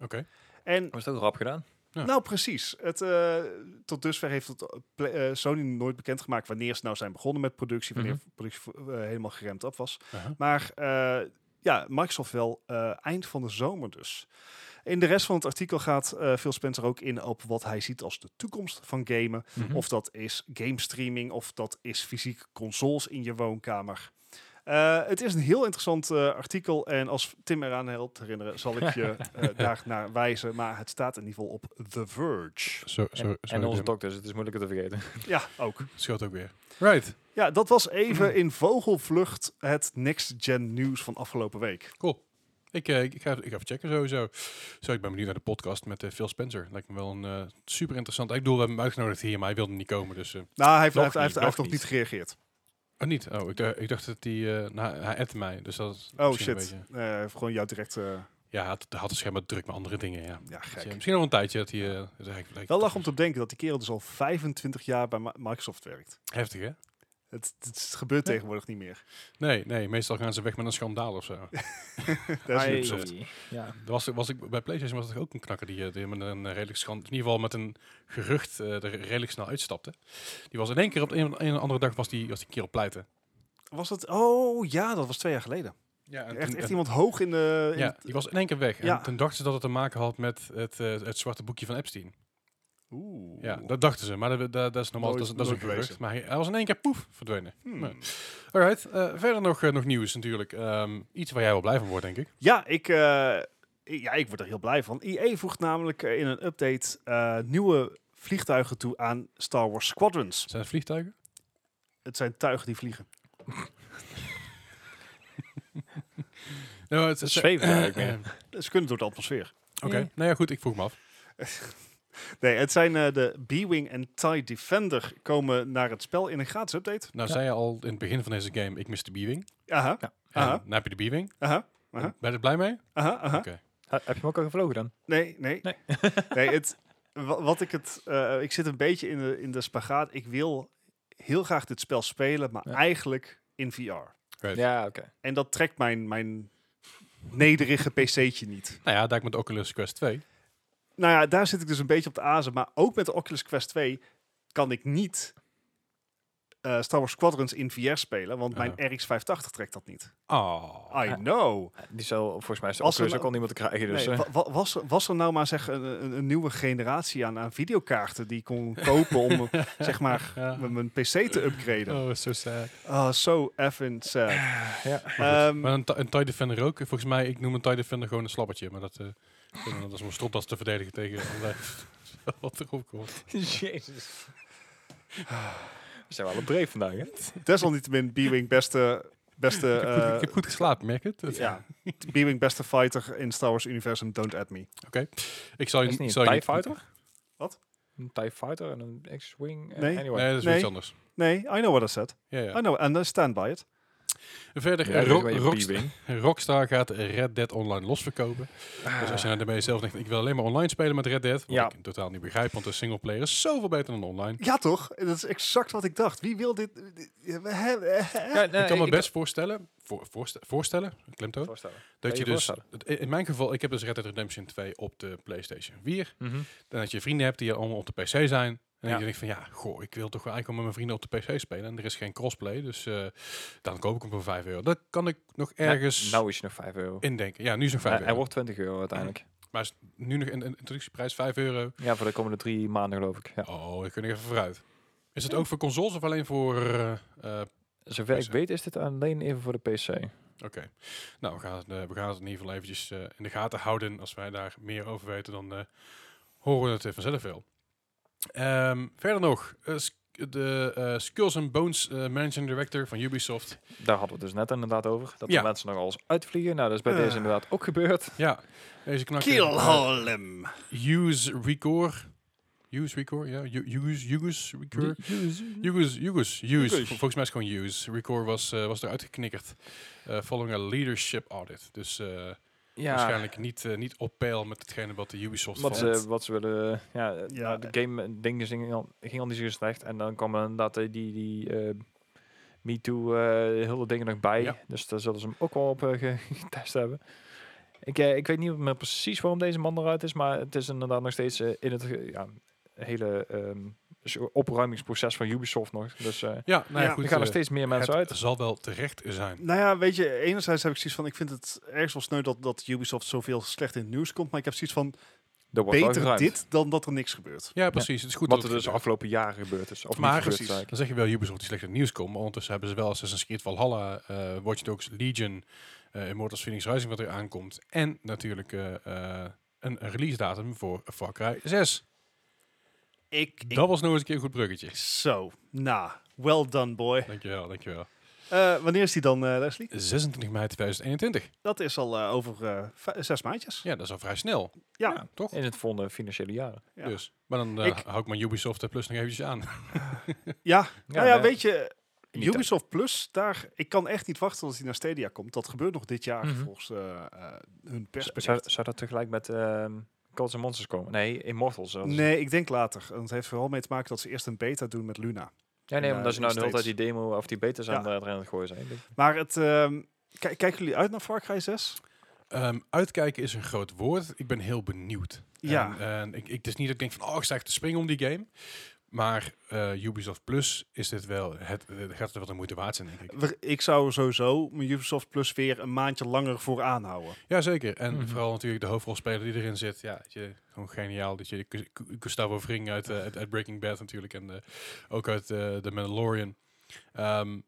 S1: Oké.
S3: En
S2: Dat is ook rap gedaan.
S1: Oh, Ja.
S3: Nou, precies. Het, eh, tot dusver heeft het, eh, Pla- eh, Sony nooit bekendgemaakt wanneer ze nou zijn begonnen met productie, wanneer
S2: Mhm.
S3: productie vo- eh, helemaal geremd af was.
S1: Aha.
S3: Maar eh, ja, Microsoft wel eh, eind van de zomer dus. In de rest van het artikel gaat eh, Phil Spencer ook in op wat hij ziet als de toekomst van gamen.
S1: Mhm.
S3: Of dat is game streaming, of dat is fysiek consoles in je woonkamer. Eh, het is een heel interessant eh, artikel en als Tim eraan helpt herinneren, zal ik je eh, daar naar wijzen. Maar het staat in ieder geval op The Verge.
S1: Zo,
S2: En,
S1: zo,
S2: en onze
S1: zo
S2: dokters, het is moeilijk het te vergeten.
S3: Ja, ook.
S1: scheelt ook weer. Right.
S3: Ja, dat was even in vogelvlucht het Next Gen nieuws van afgelopen week.
S1: Cool. Ik, eh, ik, ga, ik ga even checken sowieso. Zo, ik ben benieuwd naar de podcast met eh, Phil Spencer. Lijkt me wel een eh, super interessant. Ik bedoel, we hebben hem uitgenodigd hier, maar hij wilde niet komen. Dus, eh,
S3: Nou, hij heeft
S1: Nog
S3: nog, hij
S1: niet,
S3: heeft, hij heeft
S1: nog
S3: nog niet gereageerd.
S1: oh, niet. Oh, ik, dacht- ik dacht dat hij... eh, nou, hij appte mij, dus dat is
S3: Oh
S1: misschien een
S3: shit.
S1: beetje-
S3: Eh, hij heeft gewoon jou direct. eh,
S1: Ja, hij had, hij had het schijnbaar druk met andere dingen, ja.
S3: ja,
S1: Dus, eh,
S3: gek.
S1: misschien nog een tijdje dat hij... eh, dat hij- dat
S3: Wel
S1: hij-
S3: lach om te denken dat die kerel dus al 25 jaar bij Ma- Microsoft werkt.
S1: Heftig, hè?
S3: Het, het gebeurt
S1: Ja.
S3: tegenwoordig niet meer.
S1: Nee, nee. Meestal gaan ze weg met een schandaal of zo.
S3: Dat
S1: Ai.
S3: is
S1: Ubisoft.
S2: Ja.
S1: Er was, was ik, bij PlayStation was er ook een knakker die, eh, die met een eh, redelijk schand... In ieder geval met een gerucht eh, er redelijk snel uitstapte. Die was in één keer op de een, een of andere dag was die, was die kerel pleiten.
S3: was dat? Oh ja, dat was twee jaar geleden.
S1: Ja, en
S3: Echt,
S1: toen-
S3: echt
S1: en-
S3: iemand hoog in de. in
S1: ja,
S3: het-
S1: die was in één keer weg.
S3: Ja.
S1: En toen dachten ze dat het te maken had met het, eh, het zwarte boekje van Epstein.
S3: Oeh.
S1: Ja, dat dachten ze. Maar dat, dat, dat is normaal,
S3: Nooit-
S1: dat, is- dat is een
S3: nooit bewezen.
S1: gerucht. Maar hij, hij was in één keer poef verdwenen.
S3: Hmm.
S1: Nee. Alright, eh, verder nog, eh, nog nieuws natuurlijk. Ehm, iets waar jij wel blij van wordt, denk ik.
S3: Ja, ik, eh, ja, ik word er heel blij van. EA voegt namelijk eh, in een update eh, nieuwe vliegtuigen toe aan Star Wars Squadrons.
S1: Zijn het vliegtuigen?
S3: Het zijn tuigen die vliegen.
S1: Nou, het
S2: Het
S1: is Eh,
S2: zweeft eigenlijk meer.
S3: Ze kunnen door de atmosfeer.
S1: Oké, nou ja, goed, ik vroeg me af.
S3: Nee, het zijn eh, de B-Wing en TIE Defender komen naar het spel in een gratis update.
S1: Nou,
S2: Ja.
S1: zei je al in het begin van deze game, ik mis de B-Wing.
S3: Aha,
S1: En
S3: Aha.
S1: Dan heb je de B-Wing.
S3: aha, Aha.
S1: Ben je er blij mee?
S3: aha, aha.
S1: Oké.
S2: Ha- heb je hem ook al gevlogen dan?
S3: Nee, nee. Nee,
S2: Nee.
S3: het, wa- wat ik het... eh, ik zit een beetje in de, in de spagaat. Ik wil heel graag dit spel spelen, maar
S2: Ja.
S3: eigenlijk in VR.
S1: Right.
S2: Ja, oké.
S3: En dat trekt mijn, mijn nederige PC'tje niet.
S1: Nou ja, daar met Oculus Quest 2.
S3: Nou ja, daar zit ik dus een beetje op de azen. Maar ook met de Oculus Quest 2 kan ik niet eh, Star Wars Squadrons in VR spelen. Want mijn
S1: Ah.
S3: RX580 trekt dat niet.
S1: Oh.
S3: I know.
S2: Die zal volgens mij is de
S3: Als er
S2: Oculus
S3: nou-
S2: ook al niemand te krijgen. Dus,
S3: Nee,
S2: eh.
S3: wa- wa- was, er- was er nou maar zeg een, een, een nieuwe generatie aan, aan videokaarten die ik kon kopen om eh, zeg maar
S1: Ja.
S3: m- mijn PC te upgraden?
S1: Oh, zo sad.
S3: Ah, zo effing sad.
S2: ja.
S3: Ehm,
S1: Maar een, Ti- een TIE Defender ook. Volgens mij, ik noem een TIE Defender gewoon een slappertje. Maar dat, eh, dat is om een stropdas te verdedigen tegen allerlei- wat erop komt.
S2: Jezus. We zijn wel een breed vandaag, hè?
S3: Desalniettemin B-Wing beste,
S1: ik,
S3: beste,
S1: heb goed, ik
S3: eh
S1: heb goed geslapen, merk je het?
S3: ja, B-Wing beste fighter in Star Wars universum. Don't at me.
S1: Ik zal je
S2: Is het
S1: ik
S2: niet
S1: zal
S2: een
S1: je
S2: TIE Fighter?
S3: Wat?
S2: Een TIE Fighter en een X-Wing? en
S3: Nee.
S1: Nee,
S2: Anyway.
S1: dat is
S3: Nee. Oh.
S1: iets anders.
S3: Nee, I know what I said.
S1: Ja, ja.
S3: I know and I stand by it.
S1: Verder,
S2: Ja,
S1: eh,
S2: dat is
S1: Ro-
S2: bij je
S1: Rockst-
S2: B-Wing.
S1: Rockstar gaat Red Dead Online losverkopen. Dus als je nou bij jezelf denkt, ik wil alleen maar online spelen met Red Dead. Wat
S2: Ja.
S1: ik totaal niet begrijp, want de singleplayer is zoveel beter dan online.
S3: Ja toch? Dat is exact wat ik dacht. Wie wil dit? dit- hè, hè, hè?
S2: Ja, nee,
S1: ik kan me
S2: ik-
S1: best voorstellen, voor, voorste- voorstellen, klemtoon,
S2: voorstellen.
S1: dat
S2: je
S1: je dus,
S2: voorstellen?
S1: in mijn geval, ik heb dus Red Dead Redemption 2 op de PlayStation 4.
S2: Mhm.
S1: En dat je vrienden hebt die allemaal op de PC zijn. En
S2: Ja.
S1: je denkt van, ja, goh, ik wil toch wel eigenlijk wel met mijn vrienden op de PC spelen. En er is geen crossplay, dus eh, dan koop ik hem voor 5 euro. Dat kan ik nog ergens
S2: Nou, nou is het nog 5 euro.
S1: indenken. Ja, nu is het nog 5
S2: Hij, hij
S1: euro.
S2: wordt 20 euro uiteindelijk.
S1: Maar is nu nog een, een introductieprijs 5 euro.
S2: Ja, voor de komende drie maanden geloof ik. Ja.
S1: Oh, ik kun nog even vooruit. Is het ook voor consoles of alleen voor... eh, eh,
S2: Zover
S1: PC.
S2: ik weet is dit alleen even voor de PC.
S1: Oké. Nou, we gaan, het, eh, we gaan het in ieder geval eventjes eh, in de gaten houden. Als wij daar meer over weten, dan eh, horen we het eh, vanzelf wel. Ehm, verder nog, eh, Sk- de eh, Skulls and Bones eh, Managing Director van Ubisoft.
S2: Daar hadden we het dus net inderdaad over. Dat
S1: Ja.
S2: de mensen nog alles uitvliegen. Nou, dat is bij
S3: Eh.
S2: deze inderdaad ook gebeurd.
S1: Ja, deze knakker.
S3: Kill
S1: eh,
S3: all them.
S1: Use Record. Use Record, ja. U- Use, use Record. Yugus, Yugus, Use.
S2: Yugus.
S1: Vol- Volgens mij is het gewoon Use. Record was, eh, was eruit geknikkerd. eh, following a leadership audit. Dus eh,
S2: Ja,
S1: waarschijnlijk niet, eh, niet op peil met hetgene wat de Ubisoft
S2: wat
S1: vond.
S2: ze, wat ze willen... eh, Ja, eh,
S3: Ja,
S2: nou, de game dingen ging al, ging al niet zo slecht. En dan kwam er inderdaad eh, die, die eh MeToo eh hele dingen nog bij.
S1: Ja.
S2: Dus daar zullen ze hem ook wel op eh, ge- getest hebben. Ik, eh, ik weet niet meer precies waarom deze man eruit is. Maar het is inderdaad nog steeds eh, in het eh, ja, hele ehm, zo- opruimingsproces van Ubisoft nog. Dus eh
S1: Ja, nou ja,
S3: Ja,
S1: goed.
S2: er gaan er
S1: eh,
S2: steeds meer mensen
S1: het
S2: uit.
S1: zal wel terecht zijn.
S3: Nou ja, weet je, enerzijds heb ik zoiets van, ik vind het ergens wel sneu dat, dat Ubisoft zoveel slecht in het nieuws komt, maar ik heb zoiets van,
S2: Er wordt wel
S3: beter
S2: geruimd.
S3: dit dan dat er niks gebeurt.
S1: Ja, precies. Het is goed
S2: Wat
S1: dat
S2: er
S1: het
S2: dus de
S1: gebeurt.
S2: afgelopen jaren gebeurd is. Of
S1: Maar
S2: niet
S3: precies.
S2: precies.
S1: Dan zeg je wel Ubisoft die slecht in het nieuws komt. Maar ondertussen hebben ze wel Assassin's Creed Valhalla, eh Watch Dogs, Legion, eh Immortals Phoenix Rising wat er aankomt. En natuurlijk eh, eh, een, een release datum voor Far Cry 6.
S3: Ik, ik-
S1: Dat was nog eens een keer een goed bruggetje.
S3: Zo, nou, well done boy.
S1: Dankjewel, dankjewel.
S3: Eh, wanneer is die dan, eh, Leslie?
S1: 26 mei 2021.
S3: Dat is al eh, over eh, v- zes maandjes.
S1: Ja, dat is al vrij snel.
S3: Ja.
S1: toch?
S2: In het volgende financiële jaar.
S3: Ja.
S1: Dus. Maar dan eh,
S3: Ik-
S1: hou ik mijn Ubisoft er plus nog eventjes aan.
S3: Ja, nou ja,
S2: nee.
S3: weet je,
S2: Niet uit.
S3: Ubisoft Plus, daar, ik kan echt niet wachten tot hij naar Stadia komt. Dat gebeurt nog dit jaar
S2: Mhm.
S3: volgens eh, eh, hun
S2: Zou,
S3: persbericht.
S2: zou dat tegelijk met ehm Calls and Monsters komen? Nee, Immortals. zelfs.
S3: Nee, ik denk later. En dat heeft vooral mee te maken dat ze eerst een beta doen met Luna.
S2: Ja, nee,
S3: Ja,
S2: omdat ze nou de hele tijd
S3: steeds.
S2: die demo of die betas aan
S3: Ja.
S2: eh, erin aan het gooien zijn.
S3: Maar het, ehm, k- kijken jullie uit naar Far Cry 6?
S1: Ehm, uitkijken is een groot woord. Ik ben heel benieuwd.
S3: Ja.
S1: En, en ik, ik, het is niet dat ik denk van, oh, ik sta echt te springen om die game. Maar eh, Ubisoft Plus is dit wel, het, het gaat er wel de moeite waard zijn, denk ik.
S3: We- Ik zou sowieso mijn Ubisoft Plus weer een maandje langer voor aanhouden.
S1: Jazeker. En
S2: Mhm.
S1: vooral natuurlijk de hoofdrolspeler die erin zit. Ja, weet je, gewoon geniaal. Dat je Gu- Gu- Gustavo Vring uit, eh, uit, uit Breaking Bad natuurlijk. En eh, ook uit eh The Mandalorian. Ehm,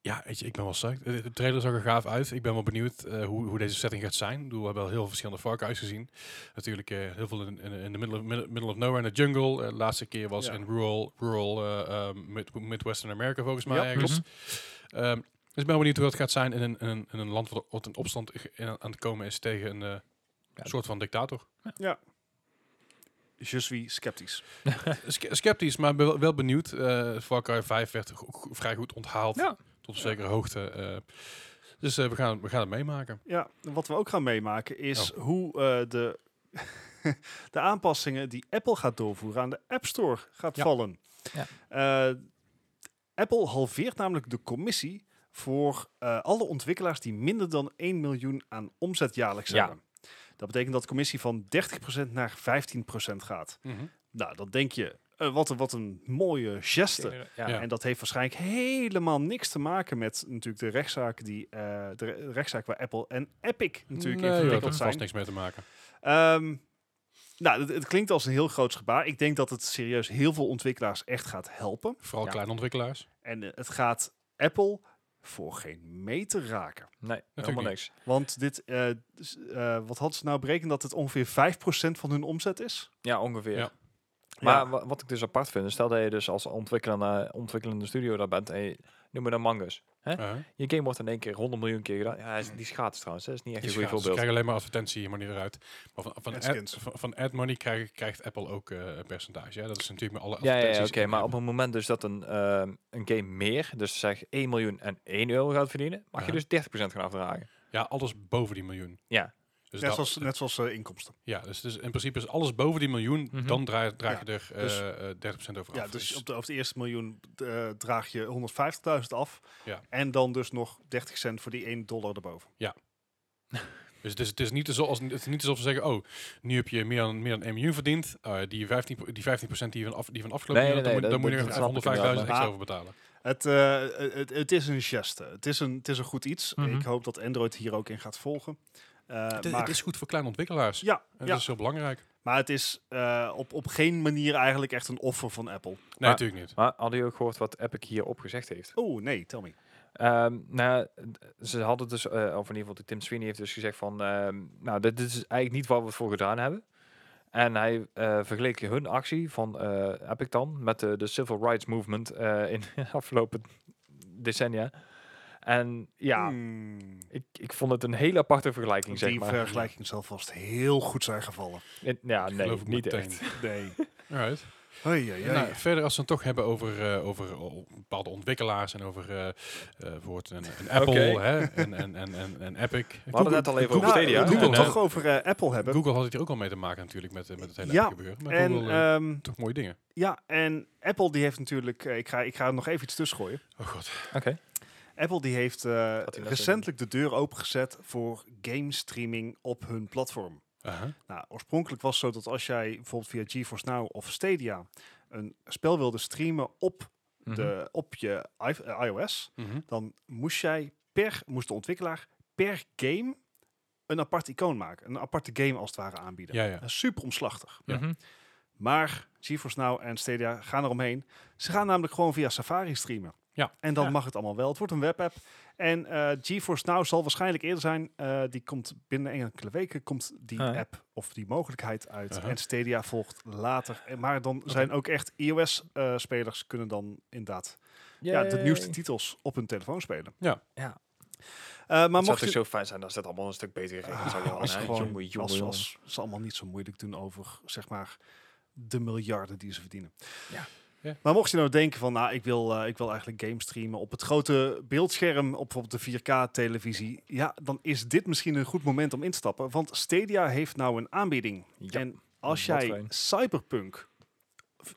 S1: ja, weet je, ik ben wel psyched. Eh, De trailer zag er gaaf uit. Ik ben wel benieuwd eh, hoe, hoe deze setting gaat zijn. Ik bedoel, We hebben al heel veel verschillende Far Cry's gezien. Natuurlijk eh, heel veel in, in, in de middle of, middle, middle of nowhere in de jungle. Eh, de laatste keer was
S3: Ja.
S1: in rural, rural eh, ehm, mid- Midwestern America volgens mij eh,
S3: Ja,
S1: ergens. Ehm, dus ik ben wel benieuwd hoe dat gaat zijn in een, in een, in een land wat wat in opstand ge- in- aan het komen is tegen een eh,
S2: Ja.
S1: soort van dictator.
S3: Je suis sceptisch.
S2: Eh.
S1: Ske- Sceptisch, maar ben wel, wel benieuwd. Eh Far Cry 5 werd go- go- vrij goed onthaald.
S2: Ja.
S1: Tot op zekere hoogte. eh. dus eh, we, gaan, we gaan het meemaken.
S3: Ja, wat we ook gaan meemaken is
S2: Oh.
S3: hoe eh, de, de aanpassingen die Apple gaat doorvoeren aan de App Store gaat
S1: Ja.
S3: vallen.
S2: Ja.
S3: Eh, Apple halveert namelijk de commissie voor eh, alle ontwikkelaars die minder dan 1 miljoen aan omzet jaarlijks
S2: Ja.
S3: hebben. Dat betekent dat de commissie van 30% naar 15% gaat.
S2: Mhm.
S3: Nou, dan denk je, eh, wat, een, wat een mooie geste.
S2: Ja.
S1: Ja.
S3: En dat heeft waarschijnlijk helemaal niks te maken met natuurlijk de rechtszaak, die, eh, de re- rechtszaak waar Apple en Epic natuurlijk in
S1: dat
S3: verwikkeld
S1: heeft vast
S3: zijn.
S1: niks mee te maken.
S3: Ehm, nou, het, het klinkt als een heel groot gebaar. Ik denk dat het serieus heel veel ontwikkelaars echt gaat helpen.
S1: Vooral
S2: Ja.
S1: kleine ontwikkelaars.
S3: En eh, het gaat Apple voor geen meter raken.
S2: Nee, helemaal
S1: Natuurlijk
S2: niks.
S3: Want dit, eh, s- eh, wat hadden ze nou berekend? Dat het ongeveer 5% van hun omzet is?
S2: Ja, ongeveer.
S1: Ja.
S2: Maar
S3: Ja.
S2: wa- wat ik dus apart vind, is stel dat je dus als ontwikkelaar, ontwikkelende studio daar bent en je, noem maar dan Mangus.
S1: Eh,
S2: Je game wordt in één keer 100 miljoen keer gedaan. Ja, hij is, die is gratis trouwens, hè. dat is niet echt
S1: die
S2: een goed
S1: schaats. Ze
S2: voorbeeld.
S1: krijgen alleen maar advertentie hier maar niet eruit. Maar van, van, ad,
S3: Adskins.
S1: van, van ad money krijg- krijgt Apple ook eh, een percentage. Hè? Dat is natuurlijk met alle
S2: Ja, ja,
S1: advertenties.
S2: ja oké,
S1: en-
S2: maar op het moment dus dat een, ehm, een game meer, dus zeg 1 miljoen en 1 euro gaat verdienen, mag
S1: Ja.
S2: je dus 30% gaan afdragen.
S1: Ja, alles boven die miljoen.
S2: Ja.
S1: Dus
S3: net,
S1: dat-
S3: zoals, net zoals eh, inkomsten.
S1: Ja, dus, dus in principe is alles boven die miljoen,
S2: Mhm.
S1: dan draai, draag je
S3: Ja,
S1: er eh,
S3: dus-
S1: eh, 30% over
S3: Ja,
S1: af.
S3: dus op, de, over het eerste miljoen eh, draag je 150.000 af.
S1: Ja.
S3: En dan dus nog 30 cent voor die 1 dollar erboven.
S1: Dus het is, het is niet alsof, als- het is niet alsof ze zeggen, oh, nu heb je meer dan, meer dan 1 miljoen verdiend. eh, die 15, pro- die 15 die van, af, die van afgelopen
S2: Nee,
S1: jaar,
S2: nee, nee,
S1: dan, moet-
S2: dat-
S1: dan
S2: dat snap ik
S1: moet je er 105.000
S2: inderdaad,
S1: extra
S3: maar-
S1: over betalen.
S3: Het, eh, het, het is een geste. Het is een, het is een goed iets.
S2: Mhm.
S3: Ik hoop dat Android hier ook in gaat volgen. Eh,
S1: het,
S3: maar,
S1: is goed voor kleine ontwikkelaars.
S3: ja,
S1: En
S3: ja,
S1: dat is heel belangrijk. Nee,
S3: maar het is eh, op, op geen manier eigenlijk echt een offer van Apple.
S2: Maar-
S1: natuurlijk niet.
S2: Maar hadden jullie ook gehoord wat Epic hierop gezegd heeft?
S3: Oh nee, tell me.
S2: Ehm, nou, d- ze hadden dus, eh, of in ieder geval die Tim Sweeney heeft dus gezegd van, ehm, nou, dit, dit is eigenlijk niet waar we het voor gedaan hebben. En hij eh, vergeleek hun actie van eh Epic dan met de, de Civil Rights Movement eh, in de afgelopen decennia. En ja,
S3: Hmm,
S2: ik, ik vond het een hele aparte vergelijking, zeg
S3: die
S2: maar.
S3: vergelijking zal vast heel goed zijn gevallen.
S2: En- ja,
S1: Ik
S2: nee,
S1: geloof ik
S2: niet
S1: meteen.
S2: echt.
S3: Nee.
S1: Alright.
S3: Hoi, hoi, hoi.
S1: Nou, verder als we het dan toch hebben over, eh, over o- bepaalde ontwikkelaars en over eh, eh, bijvoorbeeld een, een Apple
S2: Oké.
S1: hè, en, en, en, en, en Epic. We
S2: hadden het net al even over
S3: Nou,
S2: Stadia.
S3: nu we
S1: Google,
S3: het
S1: hè?
S3: toch over eh, Apple hebben.
S1: Google had het hier ook al mee te maken natuurlijk met, eh, met het hele
S3: Ja,
S1: Apple gebeuren. Maar
S3: en,
S1: Google eh,
S3: ehm,
S1: toch mooie dingen.
S3: ja, en Apple die heeft natuurlijk... eh, ik, ga, ik ga er nog even iets tussen gooien.
S1: Oh god.
S2: Oké.
S3: Apple die heeft eh,
S2: net zeggen.
S3: recentelijk de deur opengezet voor game streaming op hun platform.
S1: Aha.
S3: Nou, oorspronkelijk was het zo dat als jij bijvoorbeeld via GeForce Now of Stadia een spel wilde streamen op,
S2: Mhm.
S3: de, op je i- eh, iOS,
S1: Mhm.
S3: dan moest jij per, moest de ontwikkelaar per game een apart icoon maken. Een aparte game als het ware aanbieden.
S1: Ja, ja.
S3: Eh, Super omslachtig.
S1: Ja.
S2: Mhm.
S3: Maar GeForce Now en Stadia gaan eromheen. Ze gaan namelijk gewoon via Safari streamen.
S1: Ja.
S3: En dan
S2: Ja.
S3: mag het allemaal wel. Het wordt een webapp. En eh GeForce Now zal waarschijnlijk eerder zijn. Eh, die komt binnen enkele weken komt die
S2: Ah, ja. Uh-huh.
S3: app of die mogelijkheid uit.
S1: Aha.
S3: En Stadia volgt later. En- Maar dan zijn ook echt iOS-spelers kunnen dan inderdaad ja, de
S2: Yay.
S3: nieuwste titels op hun telefoon spelen.
S1: Ja.
S2: Ja.
S3: Eh, maar
S2: Het zou
S3: mocht je...
S2: toch zo fijn zijn als dit allemaal een stuk beter geregeld
S3: Ah,
S2: zou worden.
S3: als
S2: hè?
S3: gewoon-
S2: Jongen, jongen,
S3: als,
S2: jongen.
S3: als ze allemaal niet zo moeilijk doen over, zeg maar, de miljarden die ze verdienen.
S2: Ja.
S1: Ja.
S3: Maar mocht je nou denken van, nou, ik wil, eh, ik wil eigenlijk game streamen op het grote beeldscherm, op bijvoorbeeld de 4K-televisie, ja, dan is dit misschien een goed moment om in te stappen, want Stadia heeft nou een aanbieding.
S2: Ja,
S3: en als
S2: wat
S3: jij
S2: fijn.
S3: Cyberpunk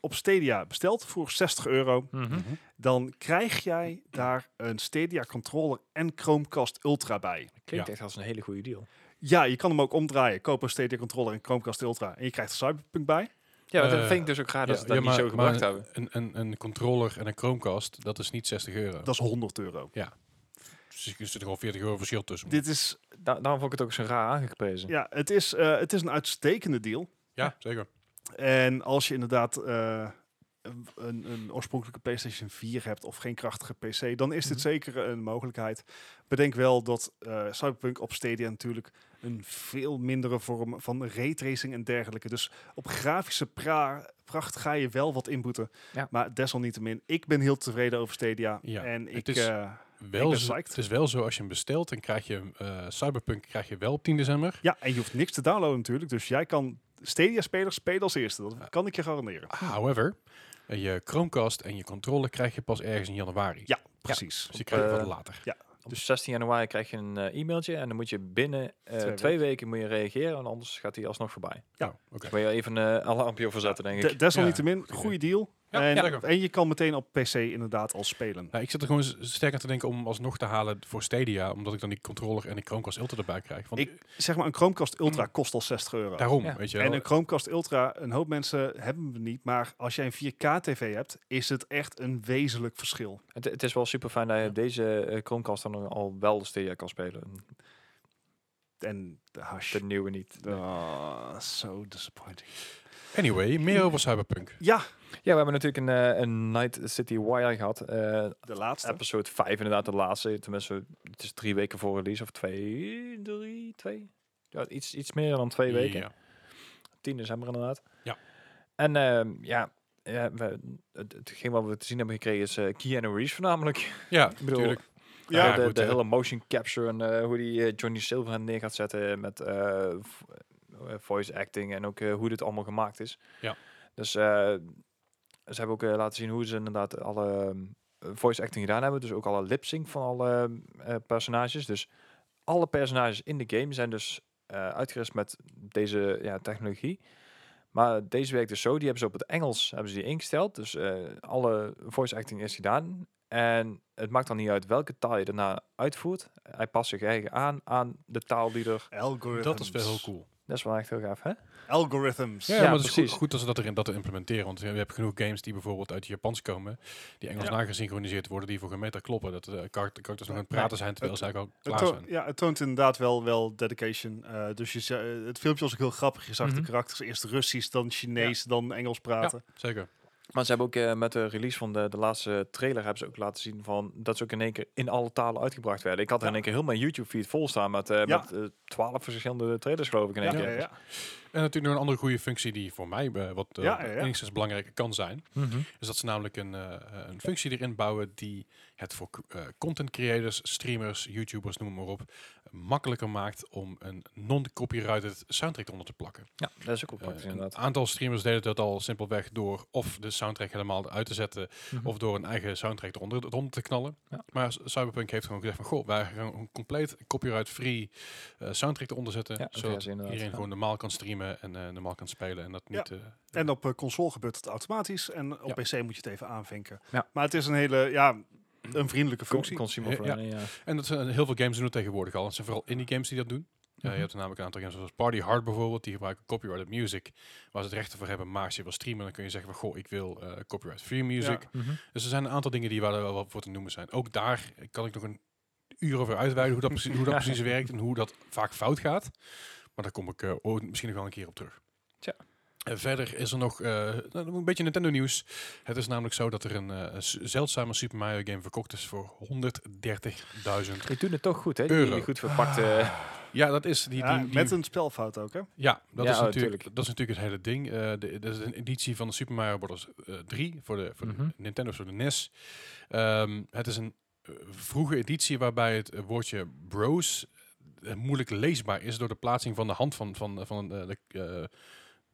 S3: op Stadia bestelt voor 60 euro,
S2: Mhm.
S1: Mhm.
S3: dan krijg jij daar een Stadia controller en Chromecast Ultra bij.
S2: Klinkt
S1: Ja.
S2: echt als een hele goede deal.
S3: Ja, je kan hem ook omdraaien. Koop een Stadia controller en Chromecast Ultra. En je krijgt er Cyberpunk bij.
S2: Ja, maar
S1: Eh,
S2: dat vind ik dus ook raar dat
S1: ja,
S2: ze dat
S1: ja,
S2: niet zo
S1: maar-
S2: gebracht
S1: maar-
S2: hebben.
S1: Een, een, een controller en een Chromecast, dat is niet 60 euro.
S3: Dat is 100 euro.
S1: Dus er zit er gewoon 40 euro verschil tussen.
S3: Dit is,
S2: Da- daarom vond ik het ook zo raar aangeprezen.
S3: ja, het is, eh, het is een uitstekende deal.
S1: ja, zeker.
S3: En als je inderdaad eh, een, een oorspronkelijke PlayStation 4 hebt of geen krachtige PC, dan is dit
S2: Mhm.
S3: zeker een mogelijkheid. Bedenk wel dat eh, Cyberpunk op Stadia natuurlijk een veel mindere vorm van raytracing en dergelijke. Dus op grafische pra- pracht ga je wel wat inboeten.
S2: Ja.
S3: Maar desalniettemin, ik ben heel tevreden over Stadia.
S1: Ja,
S3: en ik...
S1: is-
S3: eh,
S1: Wel
S3: ben
S1: zo-
S3: psyched.
S1: het is wel zo, als je hem bestelt, dan krijg je hem, eh, Cyberpunk krijg je wel op 10 december.
S3: Ja, en je hoeft niks te downloaden natuurlijk. Dus jij kan Stadia-spelers spelen als eerste. Dat kan ik je garanderen.
S1: However, eh, je Chromecast en je controller krijg je pas ergens in januari.
S3: Ja, precies.
S1: Dus die krijg je wat
S2: Eh,
S1: later.
S2: Op 16 januari krijg je een eh, e-mailtje en dan moet je binnen eh,
S3: Twee
S2: twee, weken moet je reageren. En anders gaat hij alsnog voorbij.
S1: Ja, Oh, oké.
S2: Wil je even een eh, alarmpje over zetten, denk ik.
S3: De- desalniettemin,
S1: idee.
S3: goede deal.
S1: Ja,
S3: en,
S1: lekker.
S3: en je kan meteen op PC inderdaad al spelen.
S1: Nou, ik zit er gewoon s- sterk aan te denken om hem alsnog te halen voor Stadia, omdat ik dan die controller en die Chromecast Ultra erbij krijg. Want
S3: Ik, zeg maar, een Chromecast Ultra
S1: Mm.
S3: kost al 60 euro.
S1: daarom,
S2: Ja.
S1: weet je wel.
S3: En een Chromecast Ultra, een hoop mensen hebben we niet, maar als jij een 4K-tv hebt, is het echt een wezenlijk verschil.
S2: Het, het is wel super fijn dat je
S1: Ja.
S2: op deze eh, Chromecast dan al wel de Stadia kan spelen.
S3: En de hash.
S2: De nieuwe niet.
S3: Ah, so disappointing.
S1: Anyway, meer over Cyberpunk.
S3: Ja,
S2: Ja, we hebben natuurlijk een, eh, een Night City Wire gehad. eh,
S3: de laatste.
S2: episode 5 inderdaad, de laatste. Tenminste, het is drie weken voor release of twee, drie, twee. Ja, iets, iets meer dan twee weken.
S1: Ja.
S2: 10 december inderdaad.
S1: Ja.
S2: En ehm, ja, ja we, het, hetgeen wat we te zien hebben gekregen is eh Keanu Reeves voornamelijk.
S1: Ja,
S2: bedoel,
S1: natuurlijk.
S3: Ja,
S2: Ja, de,
S1: goed,
S2: de
S1: eh.
S2: hele motion capture en eh, hoe die eh, Johnny Silverhand neer gaat zetten met eh, v- eh, voice acting en ook eh, hoe dit allemaal gemaakt is.
S1: Ja.
S2: Dus eh, ze hebben ook eh, laten zien hoe ze inderdaad alle ehm, voice acting gedaan hebben. Dus ook alle lip sync van alle ehm, eh, personages. Dus alle personages in de game zijn dus eh, uitgerust met deze ja, technologie. Maar deze werkt dus zo, die hebben ze op het Engels hebben ze die ingesteld. Dus eh, alle voice acting is gedaan. En het maakt dan niet uit welke taal je daarna uitvoert. Hij past zich eigen aan aan de taal die er...
S3: Algorithms.
S1: Dat is wel heel cool.
S2: Dat is wel echt heel gaaf, hè?
S3: Algorithms.
S1: Ja,
S2: Ja,
S1: maar het is goed,
S2: precies.
S1: goed dat ze dat erin dat te implementeren. Want je hebt genoeg games die bijvoorbeeld uit het Japans komen, die Engels
S3: Ja.
S1: nagesynchroniseerd worden, die voor geen meter kloppen. Dat eh, de karakters nog aan het
S3: Nee.
S1: praten zijn, terwijl ze eigenlijk al
S3: Het
S1: klaar
S3: toont-
S1: zijn.
S3: ja, het toont inderdaad wel, wel dedication. Eh, dus je, za- eh, het filmpje was ook heel grappig. Je zag
S2: Mhm.
S3: de karakters eerst Russisch, dan Chinees, dan Engels praten.
S1: Zeker.
S2: Maar ze hebben ook eh, met de release van de, de laatste trailer... hebben ze ook laten zien van dat ze ook in één keer in alle talen uitgebracht werden. Ik had
S3: Ja.
S2: in één keer heel mijn YouTube-feed vol staan met twaalf
S3: Ja.
S2: met, eh, 12 verschillende trailers, geloof ik, in één
S3: ja,
S2: keer.
S3: ja, ja.
S1: En natuurlijk nog een andere goede functie die voor mij eh, wat eh,
S3: Ja, ja, ja.
S1: enigszins belangrijk kan zijn.
S2: Mhm.
S1: Is Dus dat ze namelijk een, eh, een functie erin bouwen die het voor eh, content creators, streamers, YouTubers, noem maar op, makkelijker maakt om een non-copyrighted soundtrack onder te plakken.
S2: Ja, dat is ook wel
S1: Eh,
S2: praktisch,
S1: een
S2: inderdaad.
S1: aantal streamers deden dat al simpelweg door of de soundtrack helemaal uit te zetten
S2: Mhm.
S1: of door een eigen soundtrack eronder, eronder te knallen.
S2: Ja.
S1: Maar S- Cyberpunk heeft gewoon gezegd van, goh, wij gaan een compleet copyright-free eh, soundtrack eronder zetten,
S2: Ja, een
S1: zodat
S2: versie inderdaad,
S1: iedereen
S2: ja.
S1: gewoon normaal kan streamen en eh, normaal kan spelen en dat niet... eh,
S3: En op eh, console gebeurt het automatisch. En op
S1: Ja.
S3: PC moet je het even aanvinken.
S2: Ja.
S3: Maar het is een hele, ja, een vriendelijke
S2: Con-
S3: functie.
S2: Consumer
S1: Ja,
S2: friendly, ja.
S1: En dat zijn heel veel games doen het tegenwoordig al. En het zijn vooral indie games die dat doen. Eh,
S2: Mhm.
S1: je hebt er namelijk een aantal games zoals Party Hard bijvoorbeeld, die gebruiken copyrighted music, waar ze het recht voor hebben. Maar als je wil streamen, dan kun je zeggen van, goh, ik wil eh, copyright-free music.
S2: Mhm.
S1: Dus er zijn een aantal dingen die waar wel wat voor te noemen zijn. Ook daar kan ik nog een uur over uitweiden hoe dat, precies, hoe dat precies werkt en hoe dat vaak fout gaat. Maar daar kom ik eh, ooit misschien nog wel een keer op terug.
S2: Tja.
S1: En verder is er nog eh, nou, een beetje Nintendo nieuws. Het is namelijk zo dat er een eh, s- zeldzame Super Mario game verkocht is voor 130.000.
S2: Je doet het toch goed, hè? Die,
S1: Euro.
S2: die goed verpakte...
S1: Ja, dat is die,
S3: Ja,
S1: die, die-
S3: met een spelfout ook, hè?
S1: ja, dat,
S2: Ja,
S1: is
S2: oh,
S1: natuurlijk,
S2: tuurlijk.
S1: dat is natuurlijk het hele ding. Eh, de- dat is een editie van de Super Mario Bros. eh, 3 voor de, voor
S2: Mhm.
S1: de Nintendo, voor de NES. Ehm, het is een eh, vroege editie waarbij het eh, woordje bros eh, moeilijk leesbaar is door de plaatsing van de hand van, van, van, eh, de, eh,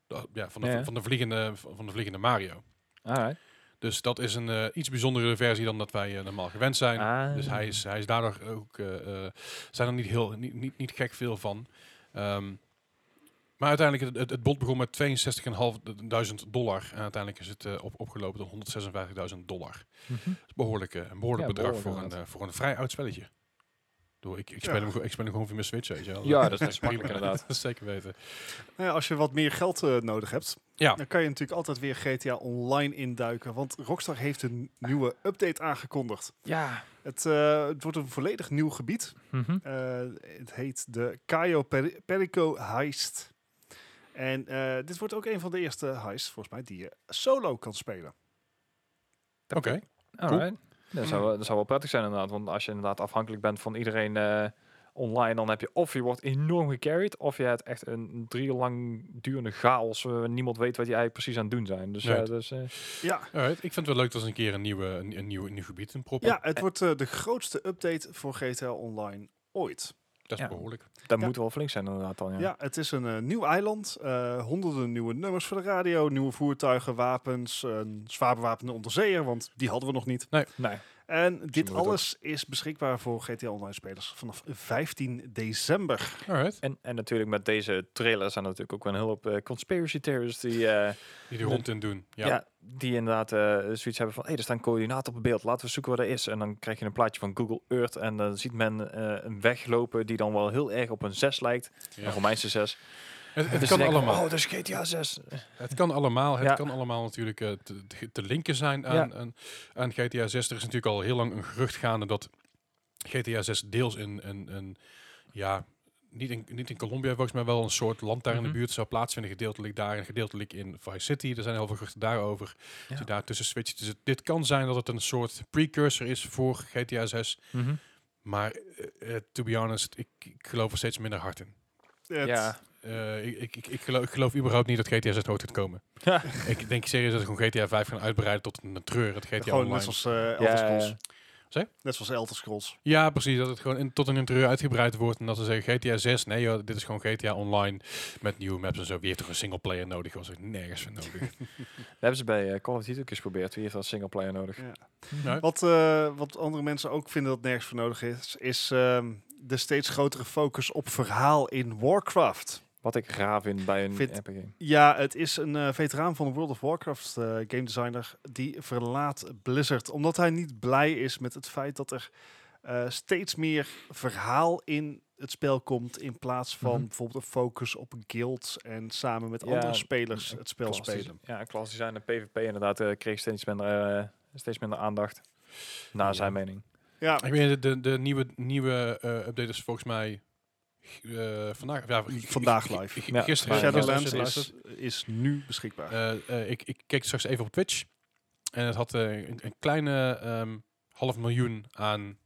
S1: de- ja, van, de,
S2: Ja.
S1: van, de vliegende, van de vliegende Mario.
S2: Alright.
S1: Dus dat is een eh, iets bijzondere versie dan dat wij eh, normaal gewend zijn.
S2: Ah.
S1: Dus hij is, hij is daardoor ook, eh, eh, zijn er niet, heel, niet, niet, niet gek veel van. Ehm, maar uiteindelijk, het, het, het bod begon met 62.500 dollar. En uiteindelijk is het eh, op, opgelopen tot 156.000 dollar.
S2: Mhm.
S1: Dat is behoorlijk, eh, een behoorlijk
S2: Ja,
S1: bedrag
S2: behoorlijk
S1: voor, een,
S2: inderdaad.
S1: eh, voor een vrij oud spelletje. Ik bedoel, Ik, ik, speel,
S3: Ja.
S1: hem, gewoon- ik speel hem gewoon via mijn Switch, weet je wel.
S2: Ja, dat is- dat is makkelijk
S1: Prima,
S2: inderdaad.
S1: dat is zeker weten.
S3: Nou ja, als je wat meer geld eh, nodig hebt,
S1: Ja.
S3: dan kan je natuurlijk altijd weer GTA Online induiken. Want Rockstar heeft een nieuwe update aangekondigd.
S2: Ja.
S3: Het, eh, het wordt een volledig nieuw gebied.
S2: Mhm.
S3: Eh, het heet de Cayo Peri- Perico Heist. En eh, dit wordt ook een van de eerste heists, volgens mij, die je solo kan spelen.
S1: Oké.
S2: Alright. Dat, zou wel, dat zou wel prettig zijn inderdaad, want als je inderdaad afhankelijk bent van iedereen eh, online, dan heb je of je wordt enorm gecarried, of je hebt echt een drie uur lang durende chaos, eh, niemand weet wat je eigenlijk precies aan het doen zijn. Dus, ja,
S1: Nee.
S2: dus eh,
S3: Ja,
S1: Alright, Ik vind het wel leuk dat ze een keer een, nieuwe, een, een nieuw, een nieuw gebied in proppen.
S3: ja het wordt eh, de grootste update voor GTA Online ooit.
S1: Dat is
S2: Ja.
S1: behoorlijk.
S2: dat
S3: Ja.
S2: moet wel flink zijn inderdaad dan, ja.
S3: Ja, het is een eh, nieuw eiland. eh, honderden nieuwe nummers voor de radio, nieuwe voertuigen, wapens, een zwaar bewapende onderzeeër, want die hadden we nog niet.
S2: Nee.
S3: En
S2: moet
S3: dit
S2: het
S3: alles is beschikbaar voor GTA Online spelers vanaf 15 december.
S1: Alright.
S2: En, en natuurlijk met deze trailer zijn er natuurlijk ook wel een heel hoop eh, conspiracy theorists die, eh,
S1: Die er rond in doen. Ja.
S2: ja. die inderdaad eh, zoiets hebben van, hé, er staan coördinaten op het beeld, laten we zoeken wat er is. En dan krijg je een plaatje van Google Earth en dan ziet men eh, een weg lopen die dan wel heel erg op een 6 lijkt,
S1: Ja.
S2: een Romeinse 6.
S1: Het, het
S2: Dus
S1: kan
S2: dan denk ik,
S1: allemaal.
S2: Oh, dat is GTA 6.
S1: Het kan allemaal. Het
S2: Ja.
S1: kan allemaal natuurlijk eh, te, te- te linken zijn aan,
S2: Ja.
S1: aan, aan GTA 6. Er is natuurlijk al heel lang een gerucht gaande dat GTA 6 deels in, een ja, niet in, niet in Colombia volgens mij wel een soort land daar in
S2: Mhm.
S1: de buurt zou plaatsvinden. Gedeeltelijk daar en gedeeltelijk in Vice City. Er zijn heel veel geruchten daarover.
S2: Ja.
S1: Dat je daar tussen switcht. Dus het- dit kan zijn dat het een soort precursor is voor GTA 6.
S2: Mhm.
S1: Maar eh, eh, to be honest, ik, ik geloof er steeds minder hard in.
S3: Het-
S2: Ja.
S1: Eh, ik, ik, ik- ik, geloof, ik geloof überhaupt niet dat GTA 6 nooit gaat komen.
S2: Ja.
S1: ik denk serieus dat ze gewoon GTA 5 gaan uitbreiden tot een treur. Dat GTA
S3: Gewoon
S1: Online.
S3: net zoals eh Elder
S2: Ja,
S3: Scrolls.
S2: ja.
S1: Zeg?
S3: Net zoals Elder Scrolls.
S1: Ja, precies. Dat het gewoon in, tot een treur uitgebreid wordt. En dat ze zeggen GTA 6, nee joh, dit is gewoon GTA Online met nieuwe maps en zo. Wie heeft toch een singleplayer nodig? Dat was er nergens voor nodig.
S2: Dat hebben ze bij eh, Call of Duty ook eens geprobeerd. Wie heeft dat singleplayer nodig?
S1: Nou,
S3: Wat, eh, wat andere mensen ook vinden dat nergens voor nodig is, is ehm, de steeds grotere focus op verhaal in Warcraft.
S2: Wat ik raar vind bij een
S3: Vind-
S2: RPG.
S3: Ja, het is een eh, veteraan van de World of Warcraft eh, game designer die verlaat Blizzard omdat hij niet blij is met het feit dat er eh, steeds meer verhaal in het spel komt in plaats van
S2: Mhm.
S3: bijvoorbeeld een focus op guilds en samen met
S2: Ja,
S3: andere spelers het spel
S2: Klasdesi-
S3: spelen.
S2: Ja, klasdesign en PvP inderdaad eh, kreeg steeds minder, eh, steeds minder aandacht. Naar
S1: Ja.
S2: zijn mening.
S3: Ja,
S1: ik weet, de, de nieuwe, nieuwe eh, update is volgens mij eh, vandaag. Ja, g- g-
S3: Vandaag
S1: g- g-
S3: live.
S1: g-
S2: Ja,
S1: Gisteren.
S3: Shadowlands
S1: gisteren-
S3: is, is nu beschikbaar.
S1: Eh, eh, ik, ik keek straks even op Twitch. En het had eh, een, een kleine ehm, half miljoen aan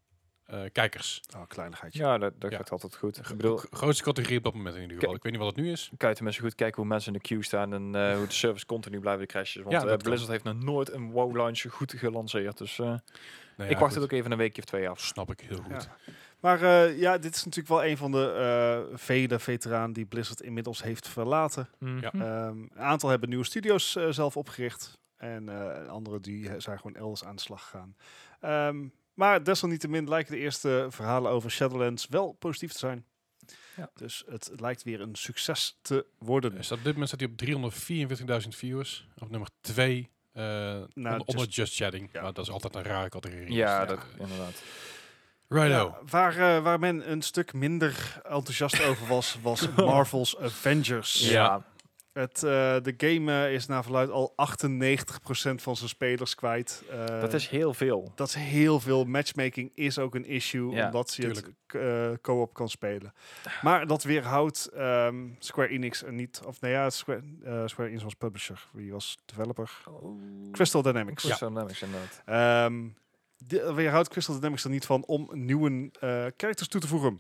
S1: eh, kijkers.
S3: oh, kleinigheidje.
S2: Ja, dat, dat
S1: Ja.
S2: gaat altijd goed. Ik bedoel,
S1: Gro- grootste categorie op dat moment in ieder geval. Ik weet niet wat het nu is.
S2: kijk mensen goed kijken hoe mensen in de queue staan en eh, hoe de service continu blijven de crashes. Want
S1: Ja,
S2: eh,
S1: dat kan.
S2: Blizzard heeft nog nooit een WoW launch goed gelanceerd. Dus eh,
S1: Nee,
S2: ik
S1: ja,
S2: wacht
S1: goed.
S2: het ook even een weekje of twee af.
S1: Snap ik heel goed.
S3: Maar eh, ja, dit is natuurlijk wel een van de eh, vele veteranen die Blizzard inmiddels heeft verlaten.
S2: Mhm. Ja.
S3: Ehm, een aantal hebben nieuwe studio's eh, zelf opgericht. En eh anderen die eh, zijn gewoon elders aan de slag gegaan. Ehm, maar desalniettemin lijken de eerste verhalen over Shadowlands wel positief te zijn.
S2: Ja.
S3: Dus het lijkt weer een succes te worden.
S1: Is dat Dus op dit moment staat hij op 344.000 viewers. Op nummer 2. onder, onder
S3: just-
S1: Just, Chatting.
S3: ja.
S1: Maar dat is altijd een rare categorie.
S2: Nou, Ja,
S1: Dus,
S2: dat,
S1: eh,
S2: inderdaad.
S1: Righto.
S3: Ja, waar, eh, waar men een stuk minder enthousiast over was, was Marvel's Avengers.
S1: Ja.
S3: Het, eh, de game eh, is naar verluid al 98% van zijn spelers kwijt. Eh,
S2: dat is heel veel.
S3: dat is heel veel. Matchmaking is ook een issue,
S2: Ja,
S3: omdat je
S1: tuurlijk.
S3: het eh, co-op kan spelen. Maar dat weerhoudt ehm, Square Enix en niet... Of nou ja, Square, eh, Square Enix was publisher. Wie was developer? Crystal Dynamics.
S2: Oh. Crystal Dynamics inderdaad.
S3: Ehm, de- weerhoudt Crystal Dynamics er niet van om nieuwe eh characters toe te voegen.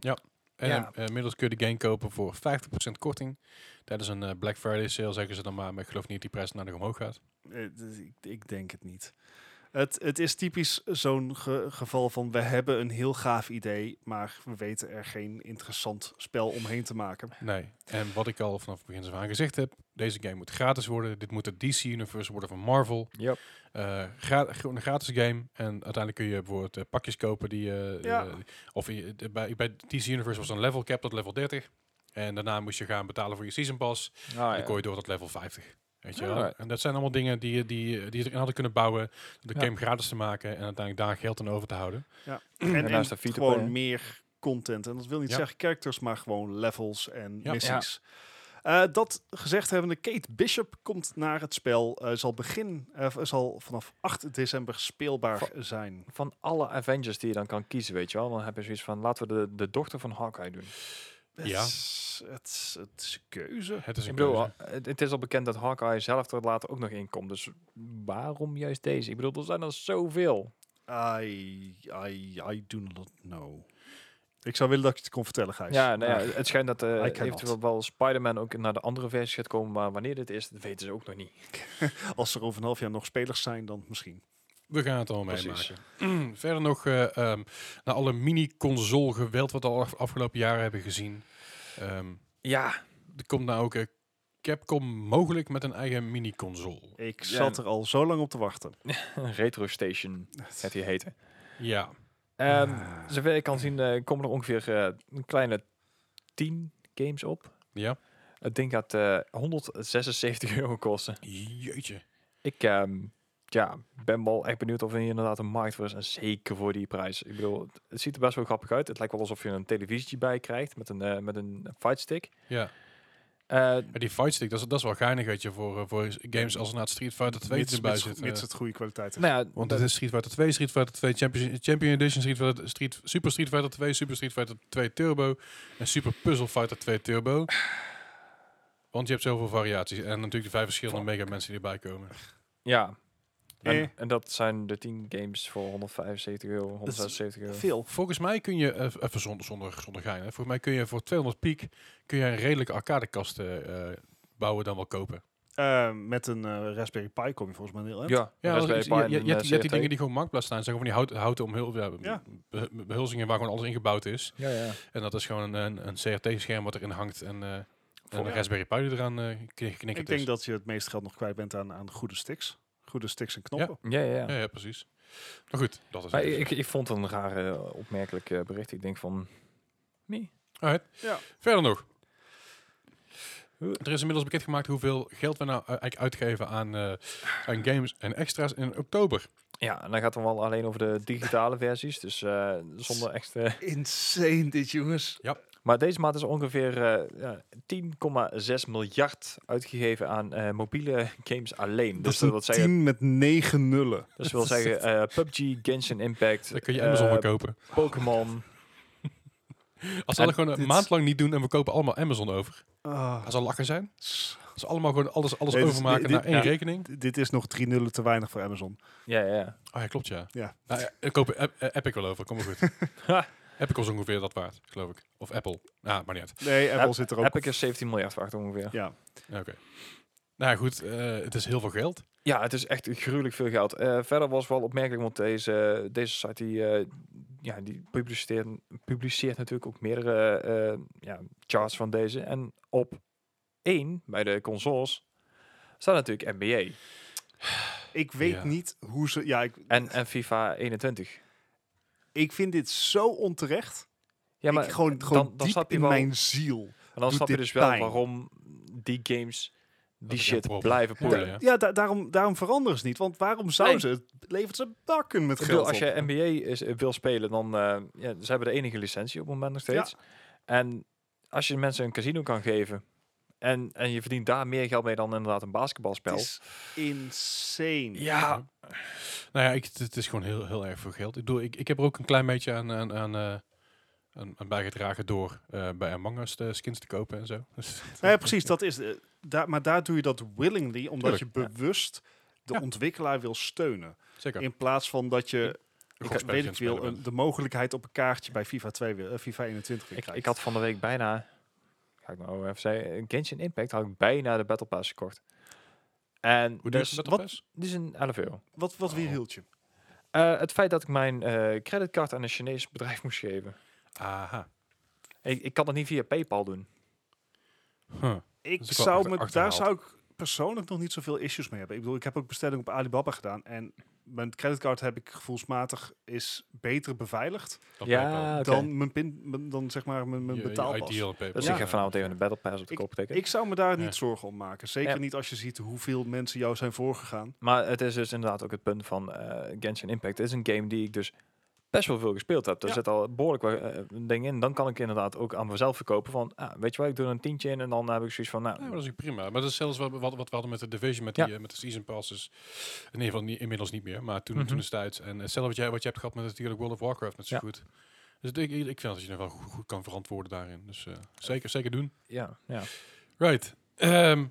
S1: En
S2: Ja.
S1: eh, inmiddels kun je de game kopen voor 50% korting. Tijdens een eh, Black Friday sale zeggen ze dan maar. Maar ik geloof niet dat die prijs naar de omhoog gaat.
S3: Eh, d- ik, ik denk het niet. Het, het is typisch zo'n ge- geval van we hebben een heel gaaf idee, maar we weten er geen interessant spel omheen te maken.
S1: Nee. En wat ik al vanaf het begin van gezegd heb. Deze game moet gratis worden. Dit moet het DC Universe worden van Marvel.
S2: Ja.
S1: eh gra- gewoon een gratis game. En uiteindelijk kun je bijvoorbeeld eh, pakjes kopen die... eh,
S3: Ja.
S1: eh, of je, de- bij, bij DC Universe was er een level cap tot level 30. En daarna moest je gaan betalen voor je season pass.
S2: Ah,
S1: en dan kon je door tot level 50. Weet je wel?
S2: Alright.
S1: En dat zijn allemaal dingen die, je- die, eh, die je erin hadden kunnen bouwen. De
S2: Ja.
S1: game gratis te maken en uiteindelijk daar geld aan over te houden.
S3: En,
S2: naast
S3: en
S2: de free-to-play,
S3: gewoon
S2: hè?
S3: meer content. En dat wil niet
S1: Ja.
S3: zeggen characters, maar gewoon levels en
S1: Ja.
S3: missies. Eh, dat gezegd hebbende, Kate Bishop komt naar het spel. eh, zal, begin, eh, zal vanaf 8 december speelbaar
S2: Va-
S3: zijn.
S2: Van alle Avengers die je dan kan kiezen, weet je wel. Dan heb je zoiets van, laten we de, de dochter van Hawkeye doen.
S1: Ja.
S3: Het is, het is, het is een keuze.
S1: Het is een
S2: Ik bedoel, eh,
S1: keuze.
S2: het, het is al bekend dat Hawkeye zelf er later ook nog in komt. Dus waarom juist deze? Ik bedoel, er zijn er zoveel.
S3: I, I, I do not know. Ik zou willen dat ik het kon vertellen, Gijs.
S2: Ja, nou
S3: Maar
S2: ja, het schijnt dat eh,
S3: Ah. cannot.
S2: eventueel wel Spider-Man ook naar de andere versie gaat komen. Maar wanneer dit is, dat weten ze ook nog niet.
S3: Eh, Als er over een half jaar nog spelers zijn, dan misschien.
S1: We gaan het allemaal
S3: Precies.
S1: meemaken. Verder nog eh ehm naar alle mini-console geweld wat we al af- afgelopen jaren hebben gezien. Ehm,
S2: Ja,
S1: Er komt nou ook eh, Capcom mogelijk met een eigen mini-console.
S3: Ik
S2: Ja.
S3: zat er al zo lang op te wachten.
S2: Retro Station gaat die heten.
S1: Ja.
S2: Ehm
S3: Ah.
S2: Zover ik kan zien eh, komen er ongeveer eh, een kleine 10 games op.
S1: Ja.
S2: Het ding gaat eh, 176 euro kosten.
S1: Jeetje.
S2: Ik ehm, ja, ben wel echt benieuwd of er hier inderdaad een markt voor is. En zeker voor die prijs. Ik bedoel, het- het ziet er best wel grappig uit. Het lijkt wel alsof je een televisietje bij krijgt met een, eh, met een fightstick.
S1: Ja.
S2: Eh
S1: Maar die fightstick, dat is, dat is wel geinig, weet je, voor, eh, voor games als na Street Fighter 2
S3: mits,
S1: erbij
S3: mits,
S1: zit.
S3: mits
S1: eh.
S3: het goede kwaliteit is.
S2: nou ja,
S1: Want
S2: dat-
S1: het is Street Fighter 2, Street Fighter 2 Champion, Champion Edition, Street Fighter, Street, Super Street Fighter 2, Super Street Fighter 2 Turbo en Super Puzzle Fighter 2 Turbo. Want je hebt zoveel variaties. En natuurlijk de vijf verschillende mega mensen die erbij komen.
S2: ja. En,
S3: Eh.
S2: en dat zijn de 10 games voor 175 euro, 176 euro.
S3: Veel.
S1: Volgens mij kun je, eh, even zonder, zonder, zonder gein, hè. volgens mij kun je voor 200 piek kun je een redelijke arcadekast eh, eh, bouwen dan wel kopen.
S3: Eh, met een eh, Raspberry Pi kom je volgens mij heel eind.
S2: Ja,
S1: Ja,
S2: Raspberry
S1: dat is-
S2: Pi
S1: je, je,
S2: en
S1: je,
S2: een,
S1: hebt,
S2: eh,
S1: je hebt die
S2: CRT.
S1: dingen die gewoon marktplaats staan. Zijn gewoon van die houten, houten omhul, ja,
S3: Ja.
S1: be- be- behulzingen waar gewoon alles ingebouwd is.
S2: Ja, ja.
S1: En dat is gewoon een, een, een CRT-scherm wat erin hangt en, eh en
S2: Voor-
S1: een Raspberry Pi die eraan eh knik-
S3: Ik
S1: knikkerd
S3: denk
S1: is.
S3: dat je het meeste geld nog kwijt bent aan, aan goede sticks. Goede sticks en knoppen.
S2: Ja, ja, ja.
S1: Ja, ja, precies. Maar goed, dat is
S2: Maar
S1: het.
S2: ik, ik vond het een rare, eh, opmerkelijk eh, bericht. Ik denk van... Nee.
S1: Alright.
S3: Ja.
S1: Verder nog.
S2: Huh?
S1: Er is inmiddels bekendgemaakt hoeveel geld we nou eh, eigenlijk uitgeven aan, eh, aan games en extra's in oktober.
S2: Ja, en dan gaat het wel alleen over de digitale versies. Dus eh, zonder echt... eh,
S3: Insane dit, jongens.
S2: Maar deze maand is ongeveer eh, ja, 10,6 miljard uitgegeven aan eh, mobiele games alleen.
S3: Dat
S2: dus
S3: is een
S2: dat, wil zeggen,
S3: team met negen nullen.
S2: dus wil zeggen eh, PUBG, Genshin Impact,
S1: Dan kun je
S2: eh,
S1: Amazon voor kopen.
S2: Pokémon.
S1: Als ze dat
S3: en
S1: gewoon een
S3: dit-
S1: maand lang niet doen en we kopen allemaal Amazon over.
S3: Ah.
S1: Dat zal lachen zijn. Als ze allemaal gewoon alles, alles
S3: Nee, dit is-
S1: overmaken
S3: dit-
S1: naar
S3: dit-
S1: één
S3: ja.
S1: rekening.
S3: D- Dit is nog drie nullen te weinig voor Amazon.
S2: Ja, ja, ja.
S1: Ah ja, klopt ja.
S3: Ja.
S1: Nou, ja, ik koop Ep- eh, Epic wel over, kom maar goed. Epic was ongeveer dat waard, geloof ik. Of Apple. Nou, maar niet uit.
S3: Nee, Apple
S2: Ep-
S3: zit er ook.
S2: Epic is 17 miljard waard ongeveer.
S3: Ja.
S1: Ja, Oké. Nou ja, goed, eh, het is heel veel geld.
S2: Ja, het is echt gruwelijk veel geld. Eh, verder was wel opmerkelijk, want deze, deze site die, eh, ja, die publiceert, publiceert natuurlijk ook meerdere eh, ja, charts van deze. En op één bij de consoles staat natuurlijk NBA
S3: Ik weet
S1: Ja.
S3: niet hoe ze. Ja, ik,
S2: en, en FIFA 21.
S3: ik vind dit zo onterecht.
S2: Ja, maar
S3: ik, gewoon gewoon
S2: dan
S3: diep
S2: snap je
S3: in
S2: wel-
S3: mijn ziel.
S2: en dan
S3: doet
S2: snap je
S3: dit
S2: dus wel
S3: pijn.
S2: waarom die games die
S1: is een
S2: shit
S1: problem.
S2: blijven
S1: Ja.
S2: poelen.
S1: Ja.
S3: Ja, da- daarom, daarom veranderen ze niet. Want waarom zouden ze? Het levert ze bakken met
S2: Ik bedoel,
S3: geld
S2: als
S3: op.
S2: je NBA is, wil spelen, dan eh, ja, ze hebben de enige licentie op het moment nog steeds. En als je mensen een casino kan geven en, en je verdient daar meer geld mee dan inderdaad een basketbalspel.
S3: Het is insane.
S2: Ja,
S1: Nou ja, ik, het- het is gewoon heel, heel erg veel geld. Ik, bedoel, ik, ik heb er ook een klein beetje aan, aan, aan, eh, aan, aan bijgedragen door eh, bij Among Us de skins te kopen en zo. Dus-
S3: Nou ja, precies, dat is. eh, daar, maar daar doe je dat willingly, omdat
S1: Tuurlijk,
S3: je bewust de
S1: Ja.
S3: ontwikkelaar wil steunen.
S1: Zeker.
S3: In plaats van dat je, ik,
S1: Godspelertje
S3: weet
S1: aan
S3: ik
S1: het spelen
S3: veel,
S1: bent.
S3: een- de mogelijkheid op een kaartje bij FIFA, 2 wil, eh, FIFA 21 weer
S2: ik,
S3: krijgt.
S2: ik had van de week bijna, ga ik nou even zeggen, Genshin Impact had ik bijna de Battle Pass gekocht. En
S1: Hoe duur is
S2: dus,
S1: dat
S3: wat-
S1: Pass?
S2: die is een 11 euro.
S3: Wat, wat
S1: Oh.
S3: weer hield je?
S2: Eh, het feit dat ik mijn eh, creditcard aan een Chinees bedrijf moest geven.
S1: Aha.
S2: Ik, ik kan dat niet via PayPal doen.
S1: Huh.
S3: Ik
S1: Dat is ook wel
S3: zou
S1: achter-
S3: me, daar
S1: achterhaald.
S3: zou ik persoonlijk nog niet zoveel issues mee hebben. Ik bedoel, ik heb ook bestelling op Alibaba gedaan en mijn creditcard heb ik gevoelsmatig is beter beveiligd
S1: Dat
S2: ja,
S1: PayPal.
S2: oké.
S3: dan mijn pin, mijn- dan zeg maar mijn, mijn
S1: Je- je
S3: betaalpas.
S1: ideal PayPal.
S2: Dus
S1: Ja.
S2: ik ga vanavond even een Battle Pass op de kop tikken.
S3: Ik zou me daar
S1: Ja.
S3: niet zorgen om maken. Zeker
S2: Ja.
S3: niet als je ziet hoeveel mensen jou zijn voorgegaan.
S2: Maar het is dus inderdaad ook het punt van eh, Genshin Impact. Het is een game die ik dus best wel veel gespeeld heb. Er
S3: Ja.
S2: zit al behoorlijk wat eh, dingen in. Dan kan ik inderdaad ook aan mezelf verkopen van, ah, weet je wat, ik doe er een tientje in en dan heb ik zoiets van, nou,
S1: Ja, maar dat is ook prima. Maar dat is zelfs wat, wat, wat we hadden met de Division, met,
S2: Ja.
S1: die, eh, met de Season Passes. In ieder geval niet, inmiddels niet meer, maar toen,
S2: Mhm.
S1: toen is het uit. En hetzelfde wat jij, wat je hebt gehad met natuurlijk World of Warcraft, net zo
S2: Ja.
S1: goed. Dus ik, ik ik vind dat je nog wel goed, goed kan verantwoorden daarin. Dus eh, zeker, zeker doen.
S2: ja, ja.
S1: Right. Ehm,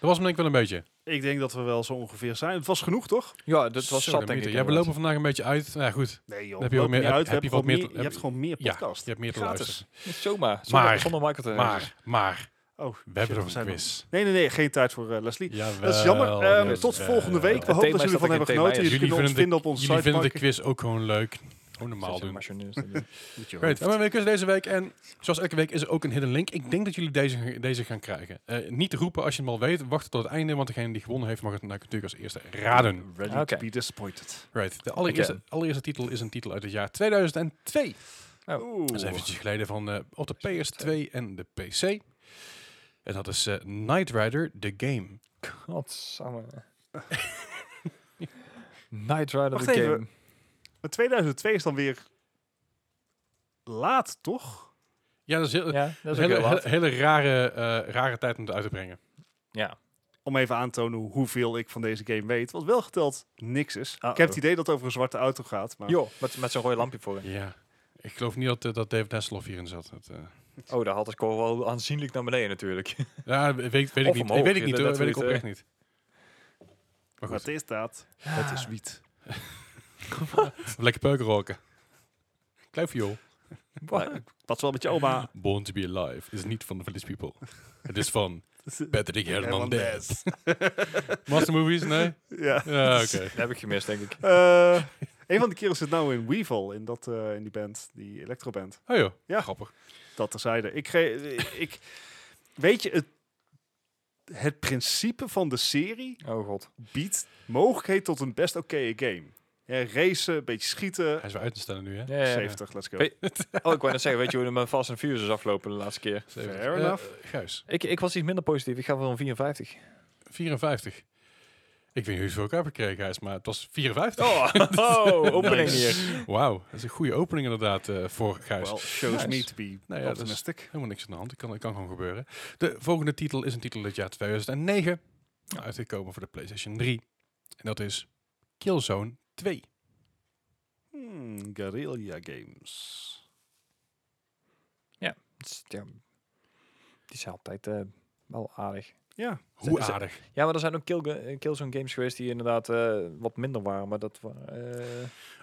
S1: dat was me denk ik wel een beetje.
S3: Ik denk dat we wel zo ongeveer zijn. Het was genoeg, toch?
S2: Ja, dat was
S1: Zo,
S2: zat
S1: de mythe.
S2: denk ik.
S1: Ja, we
S2: inderdaad.
S1: lopen vandaag een beetje uit. Nou ja, goed,
S3: Nee joh,
S1: Heb je ook
S3: loop
S1: meer-
S3: niet
S1: heb-
S3: uit.
S1: heb
S3: We
S1: je
S3: hebben
S1: wat
S3: gewoon
S1: meer-
S3: meer- je hebt gewoon meer
S1: ja,
S3: podcast.
S1: je hebt meer te
S3: Gratis.
S1: luisteren.
S2: Zomaar,
S1: Maar-
S2: zonder, zonder microtransaction.
S1: Maar, maar,
S3: Oh,
S1: we hebben nog
S3: we
S1: een
S3: zijn
S1: quiz.
S3: Nee, nee, nee. Geen tijd voor eh, Leslie.
S1: Jawel,
S3: Dat is jammer. Ehm,
S1: jawel.
S3: tot volgende week. We
S2: Het
S3: hopen
S2: thema
S3: dat
S2: is
S3: jullie
S2: dat ik
S3: ervan hebben
S2: een thema
S3: genoten.
S2: is.
S3: Jullie kunnen ons
S1: vinden
S3: vinden op
S1: de,
S3: onze
S1: jullie
S3: site.
S1: vinden de
S3: Mark.
S1: quiz ook gewoon leuk. Gewoon normaal doen.
S3: Moet je
S1: Great. Ja, maar we kunnen deze week en zoals elke week is er ook een hidden link. Ik denk dat jullie deze, deze gaan krijgen. Eh, niet roepen als je hem al weet. Wacht tot het einde, want degene die gewonnen heeft mag het natuurlijk als eerste raden.
S3: Ready
S2: Oké.
S3: to be disappointed.
S1: Right. De allereerste, allereerste titel is een titel uit het jaar 2002.
S3: Oeh.
S1: Dat is eventjes geleden van eh, op de PS2 en de PC. En dat is eh Knight Rider The Game.
S2: Godsamme. Night Rider
S3: Wacht
S2: the
S3: even.
S2: game.
S3: Maar 2002 is dan weer laat, toch?
S1: Ja, dat is heel,
S2: Ja, dat is ook
S1: hele,
S2: heel laat.
S1: hele- hele rare, eh, rare tijd om het uit te brengen.
S2: Ja.
S3: Om even aan te tonen hoe- hoeveel ik van deze game weet. Wat wel geteld niks is.
S2: Uh-oh.
S3: Ik heb het idee dat het over een zwarte auto gaat. Maar
S2: Joh, met, met zo'n rode lampje voor je.
S1: Ja. Ik geloof niet dat, eh, dat David Hasselhoff hierin zat. Dat, eh,
S2: Oh, daar had de score wel aanzienlijk naar beneden natuurlijk.
S1: Ja, weet, weet ik
S2: Of
S1: niet.
S2: omhoog,
S1: weet ik niet hoor.
S2: inderdaad,
S1: Weet ik
S2: zoiets,
S1: oprecht niet. Maar
S3: wat
S1: goed,
S3: is dat? Het is wiet.
S1: lekker peuken roken. Kluifje joh.
S2: Wat?
S3: Wat wel met je oma.
S1: Born to be alive is niet van de Village People. Het is van Patrick
S3: Hernandez.
S1: Hernandez. Master Movies, nee?
S3: ja.
S1: Ja, oké.
S2: Dat heb ik gemist, denk ik.
S3: Eh, een van de kerels zit nou in Weevil, in, dat, eh, in die band, die electroband.
S1: Oh joh,
S3: Ja.
S1: grappig.
S3: Dat terzijde. Ik, ge- ik weet je, het, het principe van de serie
S2: Oh god.
S3: biedt mogelijkheid tot een best oké game. Ja, racen, een beetje schieten.
S1: Hij is weer uit te stellen nu, hè?
S2: Ja, ja, ja.
S3: 70, let's go.
S2: Weet- Oh, ik wou net zeggen, weet je hoe de mijn Fast and Furious is afgelopen de laatste keer?
S1: Zeven.
S3: Fair
S1: Eh,
S3: enough.
S1: Gijs,
S2: Ik, ik was iets minder positief. Ik ga voor een 54.
S1: 54. Ik weet niet hoeveel ik heb gekregen, Gijs, maar het was 54.
S2: Oh, oh opening hier.
S1: Wauw, dat is een goede opening inderdaad eh, voor Gijs.
S3: Well, shows
S2: Nice.
S3: me to be
S1: Nou ja, dat is-
S3: optimistic.
S1: Helemaal niks aan de hand. Het kan, het kan gewoon gebeuren. De volgende titel is een titel uit het jaar 2009. Uitgekomen voor de PlayStation 3. En dat is Killzone 2.
S3: Hmm, guerrilla games.
S2: Het is- Ja, die zijn altijd eh, wel aardig.
S3: Ja,
S1: Hoe
S2: Ze- ze-
S1: aardig.
S2: Ja, maar er zijn ook kill, eh, Killzone games geweest die inderdaad eh, wat minder waren. Maar dat wa- eh,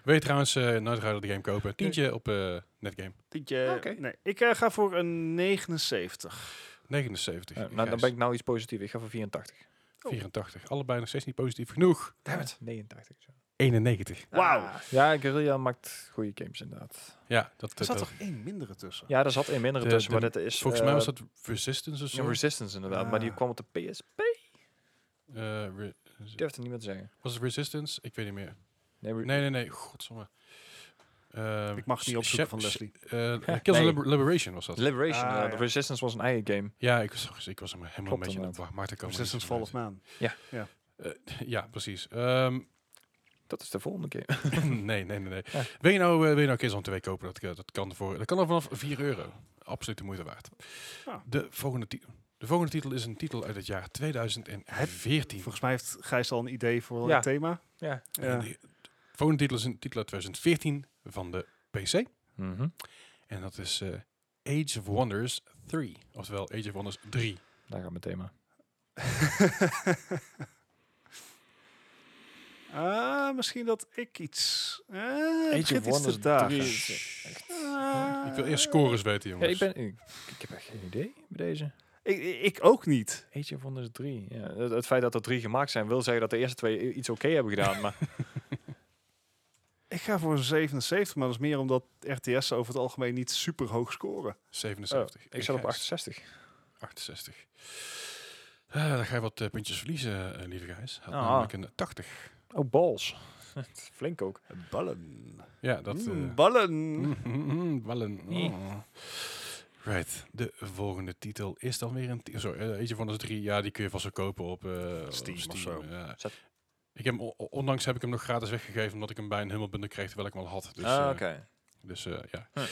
S1: Wil je trouwens eh Night Rider de game kopen? Tientje op eh, Netgame.
S3: tientje.
S2: Oké.
S3: Nee, ik eh, ga voor een 79.
S1: 79.
S2: eh, nou, dan
S1: Gijs,
S2: ben ik nou iets positiefs. Ik ga voor 84.
S1: 84. Allebei nog steeds niet positief genoeg.
S2: Damn it. 89. zo.
S1: 91.
S3: Wauw.
S2: Ah, ja, Guerrilla maakt goede games inderdaad.
S1: Ja, dat, eh,
S3: er
S1: dat,
S3: zat
S1: dat-
S3: toch één mindere tussen?
S2: Ja, er zat een minder
S1: De-
S2: tussen,
S1: de-
S2: maar dat is...
S1: Volgens mij
S2: eh,
S1: was dat Resistance of
S2: ja,
S1: zo.
S2: Resistance inderdaad, maar die
S3: Ah.
S2: kwam op de PSP.
S1: Eh, re-
S2: Ik durf het niet meer te zeggen.
S1: was het Resistance? Ik weet niet meer.
S2: Nee, re-
S1: Nee, nee, nee. Godsamme. Eh,
S3: Ik mag het niet
S1: Sh-
S3: opzoeken
S1: Shep-
S3: van Leslie.
S1: Sh- eh,
S2: Nee.
S1: Killzone Liber- Liberation was dat.
S2: Liberation.
S3: Ah,
S2: eh,
S3: ja.
S2: de Resistance was een eigen game.
S1: Ja, ik was, ik was hem helemaal
S2: Klopt
S1: een beetje in de
S2: inderdaad.
S1: war, maar daar kwam er
S3: Resistance
S1: niets van
S3: Fall of Man.
S1: uit. Ja, precies. Ehm,
S2: Dat is de volgende game.
S1: nee, nee, nee. nee.
S2: Ja.
S1: Wil je nou, eh, wil je nou Killzone 2 kopen? Dat, eh, dat, kan voor, dat kan al vanaf 4 euro. Absoluut de moeite waard.
S3: Ja.
S1: De, volgende ti- de volgende titel is een titel uit het jaar 2014.
S3: Volgens mij heeft Gijs al een idee voor
S2: Ja.
S3: het thema.
S2: ja.
S1: En die- de volgende titel is een titel uit 2014 van de PC.
S2: Mhm,
S1: En dat is eh, Age of Wonders 3. Oftewel Age of Wonders 3.
S2: Daar gaat mijn thema.
S3: Ah, misschien dat ik iets. Eh, het
S2: Age of
S3: begint iets te
S2: Wonders
S3: dagen.
S2: 3 is,
S1: Shh.
S2: eh, echt-
S3: Ah.
S1: Ik wil eerst scores weten,
S2: Ja,
S1: jongens.
S2: ik, ben, ik, ik heb echt geen idee bij deze.
S3: Ik, ik- ik ook niet.
S2: Age of Wonders 3. Ja, het, het feit dat er drie gemaakt zijn, wil zeggen dat de eerste twee i- iets oké hebben gedaan. Maar
S3: Ik ga voor een 77, maar dat is meer omdat RTS'en over het algemeen niet super hoog scoren.
S1: 77.
S2: Oh, ik zat op
S1: Gijs.
S2: 68.
S1: 68. Ah, dan ga je wat eh, puntjes verliezen, eh, lieve Gijs. Had
S2: Ah.
S1: namelijk een 80.
S2: Oh, balls. Flink ook.
S3: Ballen.
S1: Ja, dat... eh,
S3: Mm, ballen.
S1: mm, mm, mm, ballen.
S2: Nee.
S1: Oh. Right, de volgende titel is dan weer een... ti- Sorry, eh, Age of Wonders 3, ja, die kun je vast wel kopen op eh, op
S3: Steam
S1: Steam.
S3: of zo.
S1: ja.
S2: Zat-
S1: Ik heb, hem o- o- onlangs heb ik hem nog gratis weggegeven, omdat ik hem bij een hummelbundel kreeg, terwijl ik hem al had. Dus,
S2: ah,
S1: eh,
S2: oké.
S1: dus eh, ja.
S3: Hm.
S2: Huh.
S1: Eh,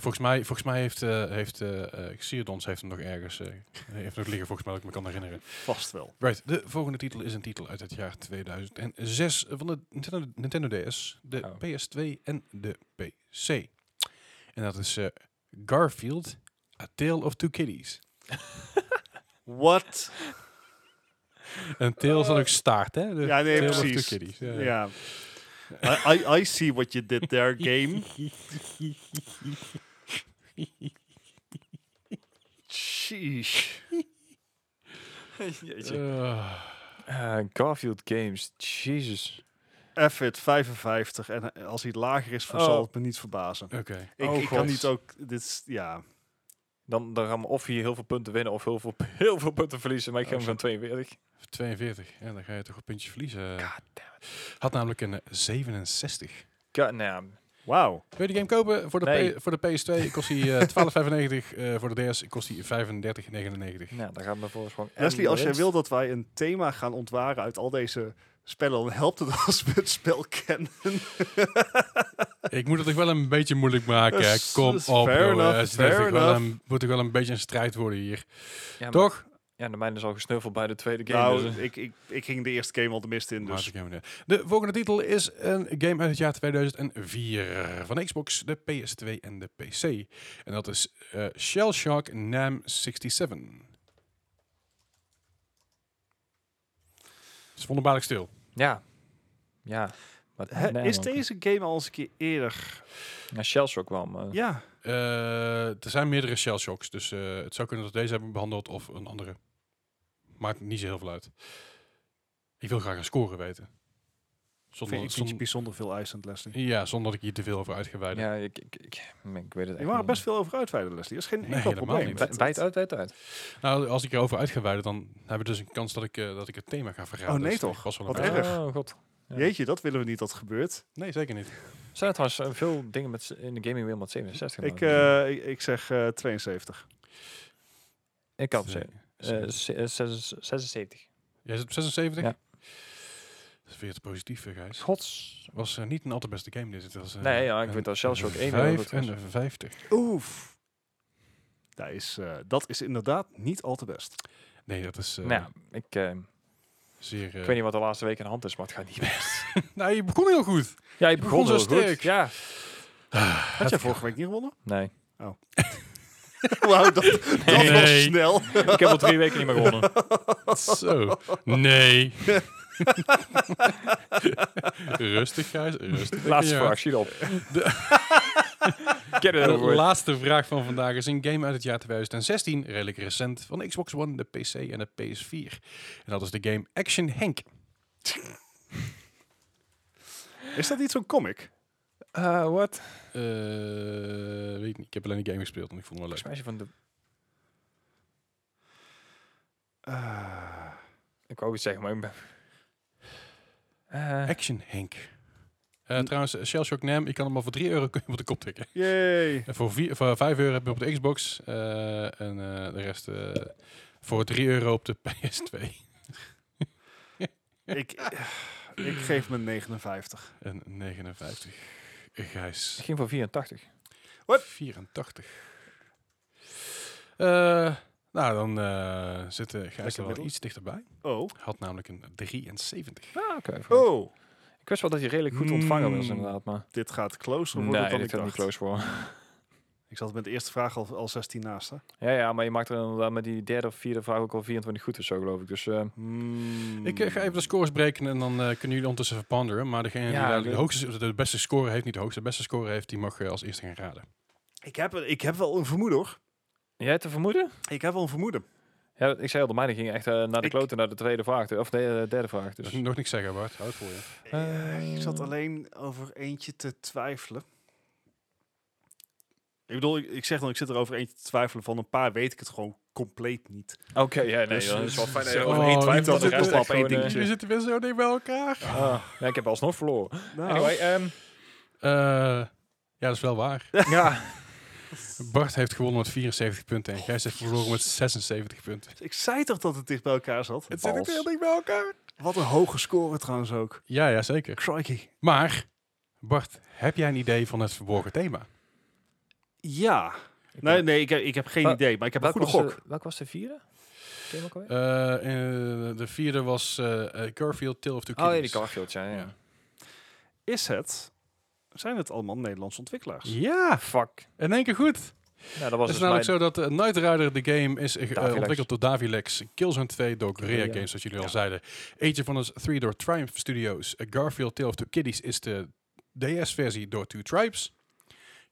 S1: Volgens mij, volgens mij heeft, eh heeft eh eh, Xerodons heeft hem nog ergens eh, heeft nog liggen, volgens mij, dat ik me kan herinneren.
S3: Vast wel.
S1: Right, de volgende titel is een titel uit het jaar 2006 van de Nintendo, Nintendo DS, de
S2: Oh.
S1: PS2 en de PC. En dat is eh, Garfield, A Tale of Two Kitties.
S3: What?
S1: Een tale is dan ook staart, hè? De
S3: Ja, nee,
S1: Tale Of
S3: precies.
S1: two kitties. Ja,
S3: Ja.
S1: ja.
S3: I, I, I see what you did there, game. Sheesh.
S1: Eh,
S2: Eh, Garfield Games. Jesus.
S3: Effort 55. En eh, als hij lager is, dan
S2: Oh.
S3: zal het me niet verbazen.
S1: Oké.
S3: Ik,
S2: Oh,
S3: ik kan
S2: God.
S3: niet ook... Dit is, ja.
S2: Dan, dan gaan we of hier heel veel punten winnen of heel veel, heel veel punten verliezen. Maar ik geef hem
S1: Oh,
S2: van 42.
S1: 42. Ja, dan ga je toch een puntje verliezen. Had namelijk een eh, 67.
S2: God, nou,
S3: Wauw.
S1: Wil je die game kopen? Voor de,
S2: Nee.
S1: P- voor de PS2 kost die eh 12,95. eh, voor de DS kost die 35,99.
S2: nou, daar gaat mijn voorsprong. en
S3: Leslie,
S2: de
S3: als jij
S2: winst.
S3: wil dat wij een thema gaan ontwaren uit al deze spellen, dan helpt het als we het spel kennen.
S1: Ik moet het toch wel een beetje moeilijk maken. hè?
S3: Is-
S1: Kom
S3: is
S1: op, Dus
S3: fair
S1: jongens.
S3: enough,
S1: Het is
S3: fair
S1: echt wel
S3: enough. dus-
S1: een, moet toch wel een beetje een strijd worden hier.
S2: Ja, maar-
S1: toch?
S2: Ja, de mijne is al gesneuveld bij de tweede game.
S3: Nou,
S2: dus, eh,
S3: ik, ik, ik ging de eerste game al de mist in,
S1: Maar
S3: dus...
S1: dat gaan we niet. De volgende titel is een game uit het jaar 2004 van de Xbox, de PS2 en de PC. En dat is eh Shell Shock Nam 67. Het is wonderbaarlijk stil.
S2: ja. Ja. Maar,
S3: Hè,
S2: nee,
S3: is
S2: man.
S3: deze game al eens een keer eerder?
S2: Ja, Shellshock wel, maar...
S3: Ja.
S1: Eh, er zijn meerdere Shell Shocks, dus eh, het zou kunnen dat we deze hebben behandeld of een andere. Maakt niet zo heel veel uit. Ik wil graag een score weten. Zonder,
S3: Vind ik
S1: zon-
S3: iets bijzonder veel eisend, Leslie.
S1: ja, zonder dat ik hier te veel over uitgeweid heb.
S2: Ja, ik, ik, ik, ik weet het
S3: Je
S2: echt
S3: mag er
S2: niet.
S3: best veel over uitweiden, Leslie. Dat is geen
S1: Nee,
S3: enkel
S1: helemaal
S3: probleem.
S1: niet.
S2: Bij- Bij het uit, bij het uit.
S1: Nou, als ik erover uitgeweid dan hebben we dus een kans dat ik, eh, dat ik het thema ga verraden.
S3: Oh, nee
S1: Dus dat
S3: toch?
S1: is vast wel
S3: Wat
S1: een-
S3: erg.
S2: Oh, god. Ja.
S3: Jeetje, dat willen we niet dat er gebeurt.
S1: Nee, zeker niet.
S2: Zijn er trouwens eh, veel dingen met, z- in de gaming wereld met 67
S3: Ik,
S2: maken?
S3: eh, ik- ik zeg eh, 72.
S2: ik kan
S1: Nee.
S2: zeggen. Eh, ze- eh, zes- 76.
S1: Jij zit op 76?
S2: Ja.
S1: Dat is weer te positief, eh, Gijs.
S2: Gods.
S1: was eh, niet een al te beste game, dit. Het was, eh,
S2: Nee, ja, ik weet dat zelfs ook één heel goed was.
S1: 55.
S3: Oef. Dat is, eh, dat is inderdaad niet al te best.
S1: Nee, dat is eh,
S2: nou, ja, ik, eh,
S1: zeer... eh,
S2: ik weet niet wat de laatste week aan de hand is, maar het gaat niet meer.
S1: nou, je begon heel goed.
S2: Ja, je
S1: begon zo
S2: heel goed.
S1: sterk.
S2: Ja.
S3: Had jij vorige week niet gewonnen?
S2: Nee.
S3: Wauw, dat, dat was
S1: Nee.
S3: snel.
S2: ik heb al drie weken niet meer gewonnen.
S1: Zo. Nee. rustig, Gijs. Rustig.
S2: Laatste
S1: Ja.
S2: vraag, schiet op. Get it
S1: De
S2: over with.
S1: laatste vraag van vandaag is een game uit het jaar 2016, redelijk recent, van de Xbox One, de PC en de PS4. En dat is de game Action Henk.
S3: Is dat niet zo'n comic?
S2: Eh, Wat?
S1: Eh, weet ik niet. Ik heb alleen die game gespeeld en ik vond hem wel
S2: Volgens
S1: leuk.
S2: mij is hij van de... Ah.
S3: Eh,
S2: Ik wou iets zeggen, maar ik ben... Eh,
S1: Action Henk. Eh, trouwens, eh, Shell Shock Nam, je kan hem al voor 3 euro kun je hem op de kop tikken.
S3: Yay.
S1: En voor, vier, voor 5 euro heb je hem op de Xbox eh, en eh, de rest eh, voor 3 euro op de PS2.
S3: Ik, eh, ik geef me 59.
S1: En 59.
S2: ik
S1: Gijs.
S2: ging voor 84.
S1: 84. Eh, nou, dan eh zit eh, Gijs
S3: Lekker
S1: er wel
S3: middel.
S1: iets dichterbij.
S3: Oh.
S1: Had namelijk een 73.
S2: Ah, oké. Hmm. voor-
S3: Oh.
S2: Ik wist wel dat hij redelijk goed ontvangen was,
S1: Mm.
S2: inderdaad, maar...
S3: Dit gaat closer worden
S2: nee,
S3: dan
S2: dit
S3: ik
S2: gaat
S3: dacht.
S2: niet close voor.
S3: Ik zat met de eerste vraag al, al 16 naast. Hè?
S2: Ja, ja, maar je maakt er inderdaad met die derde of vierde vraag ook al 24 goed of zo, geloof ik. Dus eh,
S3: Hmm.
S1: Ik eh, ga even de scores breken en dan eh, kunnen jullie ondertussen verpanderen. Maar degene die
S2: Ja,
S1: eigenlijk de,
S2: leuk.
S1: hoogste, de beste score heeft, niet de hoogste, de beste score heeft, die mag eh, als eerste gaan raden.
S3: ik, heb, ik heb wel een vermoeden hoor.
S2: jij hebt te vermoeden?
S3: Ik heb wel een vermoeden.
S2: Ja, ik zei al, de mijne ging echt eh, naar de
S3: Ik- Hm.
S2: kloten, naar de tweede vraag. toe, Of de eh, derde vraag,
S1: Dus
S2: dus...
S1: nog niks zeggen, Bart. Houd het voor je.
S3: Eh, ik zat
S2: Eh.
S3: alleen over eentje te twijfelen. Ik bedoel, ik, ik zeg dan, ik zit er over eentje te twijfelen. Van een paar weet ik het gewoon compleet niet.
S2: Oké, ja, nee,
S3: Dus-
S2: dat is wel fijn dat je
S1: Zo,
S2: over één
S1: niet
S2: twijfelt.
S1: dat
S2: de
S1: ik
S2: rest
S1: dit-
S2: laat één
S3: één
S2: dingetje.
S1: Jullie zitten weer zo dicht bij elkaar.
S2: Ah, ja, ik heb alsnog verloren.
S3: Nou,
S2: Anyway, ehm,
S1: Eh, ja, dat is wel waar.
S2: ja.
S1: Bart heeft gewonnen met 74 punten en Gijs heeft verloren met 76 punten.
S3: Ik zei toch dat het dicht bij elkaar zat?
S1: Het zit ook
S2: Vals.
S1: heel dicht bij elkaar.
S3: Wat een hoge score trouwens ook.
S1: Ja, ja, zeker.
S3: Crikey.
S1: Maar, Bart, heb jij een idee van het verborgen thema?
S3: Ja. Nee, nee ik, heb, ik heb geen
S2: Wa-
S3: idee, maar ik heb een
S2: Welk
S3: goede
S2: was
S3: gok.
S2: de- Welk was de vierde? Game ook alweer?
S1: Eh, eh, de vierde was eh, eh, Garfield, Tale of Two
S2: Oh,
S1: Kingdoms.
S2: ja, die Garfield, ja, Nou, ja.
S1: Ja.
S3: Is het... Zijn het allemaal Nederlandse ontwikkelaars?
S1: Ja,
S2: Fuck.
S1: in één keer goed.
S2: Ja, dat
S1: Het
S2: was
S1: is
S2: dus
S1: namelijk zo
S2: mijn...
S1: dat eh, Knight Rider, de game, is eh, ge- eh,
S2: Davilex.
S1: ontwikkeld door Davilex. Killzone 2 door Guerrilla
S2: Guerrilla.
S1: Games, zoals jullie al
S3: Ja.
S1: zeiden. Age of Wonders 3 door Triumph Studios. Eh, Garfield Tale of Two Kiddies is de DS-versie door Two Tribes.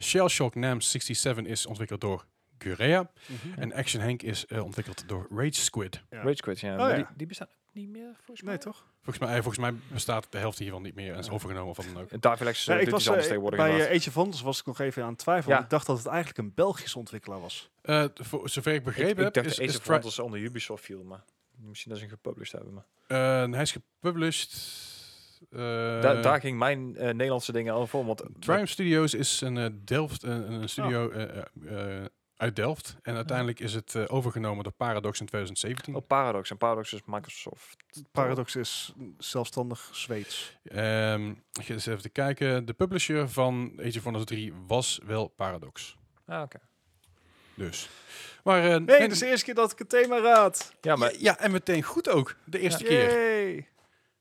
S1: Shell Shock Nam 67 is ontwikkeld door
S3: Mhm.
S1: Guerrilla. En Action Hank is eh, ontwikkeld door Rage Squid.
S3: Ja.
S2: Rage Quit, ja.
S3: Oh,
S2: maar
S3: ja.
S2: Die, die bestaan niet meer, volgens mij.
S3: Nee, toch?
S1: Volgens mij, eh, volgens mij bestaat de helft hiervan niet meer en is overgenomen of wat dan ook.
S2: En Tafelex
S3: Ja,
S2: uh,
S3: ik
S2: doet
S3: was,
S2: iets
S3: eh,
S2: anders tegenwoordig
S3: bij
S2: inderdaad.
S3: eh, Age of Wonders was ik nog even aan het twijfelen.
S2: Ja.
S3: Ik dacht dat het eigenlijk een Belgische ontwikkelaar was.
S1: Eh, t- voor zover ik
S2: Ik,
S1: begrepen
S2: ik
S1: heb,
S2: dacht
S3: dus
S1: is,
S2: dat
S1: is
S2: Ace of
S1: Tri-
S2: Wonders onder Ubisoft viel, maar misschien dat ze hem gepublished hebben. Maar.
S1: eh, hij is gepublished. eh,
S2: Da- daar ging mijn eh, Nederlandse dingen al voor, want
S1: Triumph Studios is een eh, Delft, een,
S2: Ah.
S1: een studio eh, eh, eh, uit Delft. En uiteindelijk is het eh, overgenomen door Paradox in 2017.
S2: op Oh, Paradox. En Paradox is Microsoft.
S3: Oh. Paradox is mm, zelfstandig Zweeds.
S1: Ehm, ik ga eens even te kijken. De publisher van Age of Wonders 3 was wel Paradox.
S2: Ah, oké.
S1: Dus. Maar, eh,
S3: Nee,
S1: en-
S2: dus
S3: dat is de eerste keer dat ik het thema raad.
S2: Ja, maar
S1: ja, ja, en meteen goed ook. De eerste keer.
S3: Yay.
S2: Ja,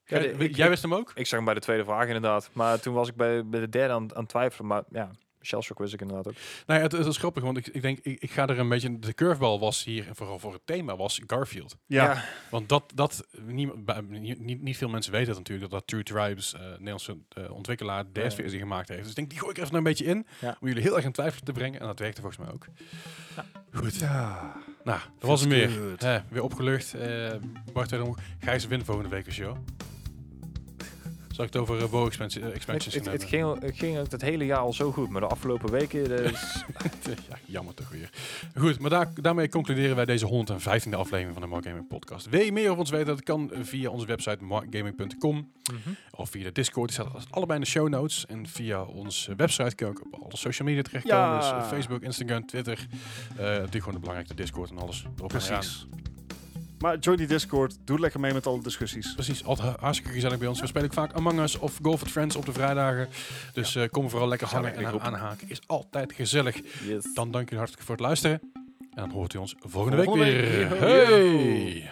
S1: Jij-
S2: de- ik-
S1: Jij
S2: ik-
S1: wist hem ook?
S2: ik zag hem bij de tweede vraag inderdaad. Maar toen was ik bij, bij de derde aan, aan het twijfelen. Maar ja, Shellshock wist ik inderdaad ook.
S1: Nou ja, het, het is grappig, want ik, ik denk, ik, ik ga er een beetje... De curveball was hier, en vooral voor het thema, was Garfield.
S3: Ja,
S1: Want dat, dat niemand- bij- niet, niet, niet veel mensen weten dat natuurlijk, dat, dat True Tribes, eh Nederlandse eh, ontwikkelaar, de
S2: Ja.
S1: DS-versie gemaakt heeft. Dus ik denk, die gooi ik er even een beetje in,
S2: Ja.
S1: om jullie heel erg in twijfel te brengen. En dat werkte volgens mij ook. Goed,
S3: Ja.
S1: nou, dat was hem weer.
S3: Good.
S1: Eh, weer opgelucht. Eh Bart Wederhoek, Gijs win volgende week een show. Zal ik het over uh, expansions, eh,
S2: Het,
S1: expansions
S2: het,
S1: gaan
S2: het
S1: hebben?
S2: ging, al- het ging ook het hele jaar al zo goed. Maar de afgelopen weken... Dus,
S1: ja, jammer toch weer. Goed, maar daar, daarmee concluderen wij deze 115e aflevering van de Mark Gaming Podcast. Wil je meer over ons weten? Dat kan via onze website markgaming.com.
S2: Mhm.
S1: Of via de Discord, die staat als- allebei in de show notes. En via onze website kun je ook op alle social media terechtkomen.
S3: Ja.
S1: Dus eh, Facebook, Instagram, Twitter. Eh die gewoon de belangrijkste Discord en alles. Erop en eraan.
S3: Precies. Maar join die Discord. Doe lekker mee met alle discussies.
S1: Precies, altijd ha- hartstikke gezellig bij ons. We spelen ook vaak Among Us of Golf with Friends op de vrijdagen. Dus eh, kom vooral lekker hangen en
S2: Gezellig
S1: aan- aanhaken. Is altijd gezellig.
S2: yes.
S1: Dan dank jullie hartelijk voor het luisteren. En dan hoort u ons volgende, week
S3: Volgende
S1: weer.
S3: week.
S1: Hey!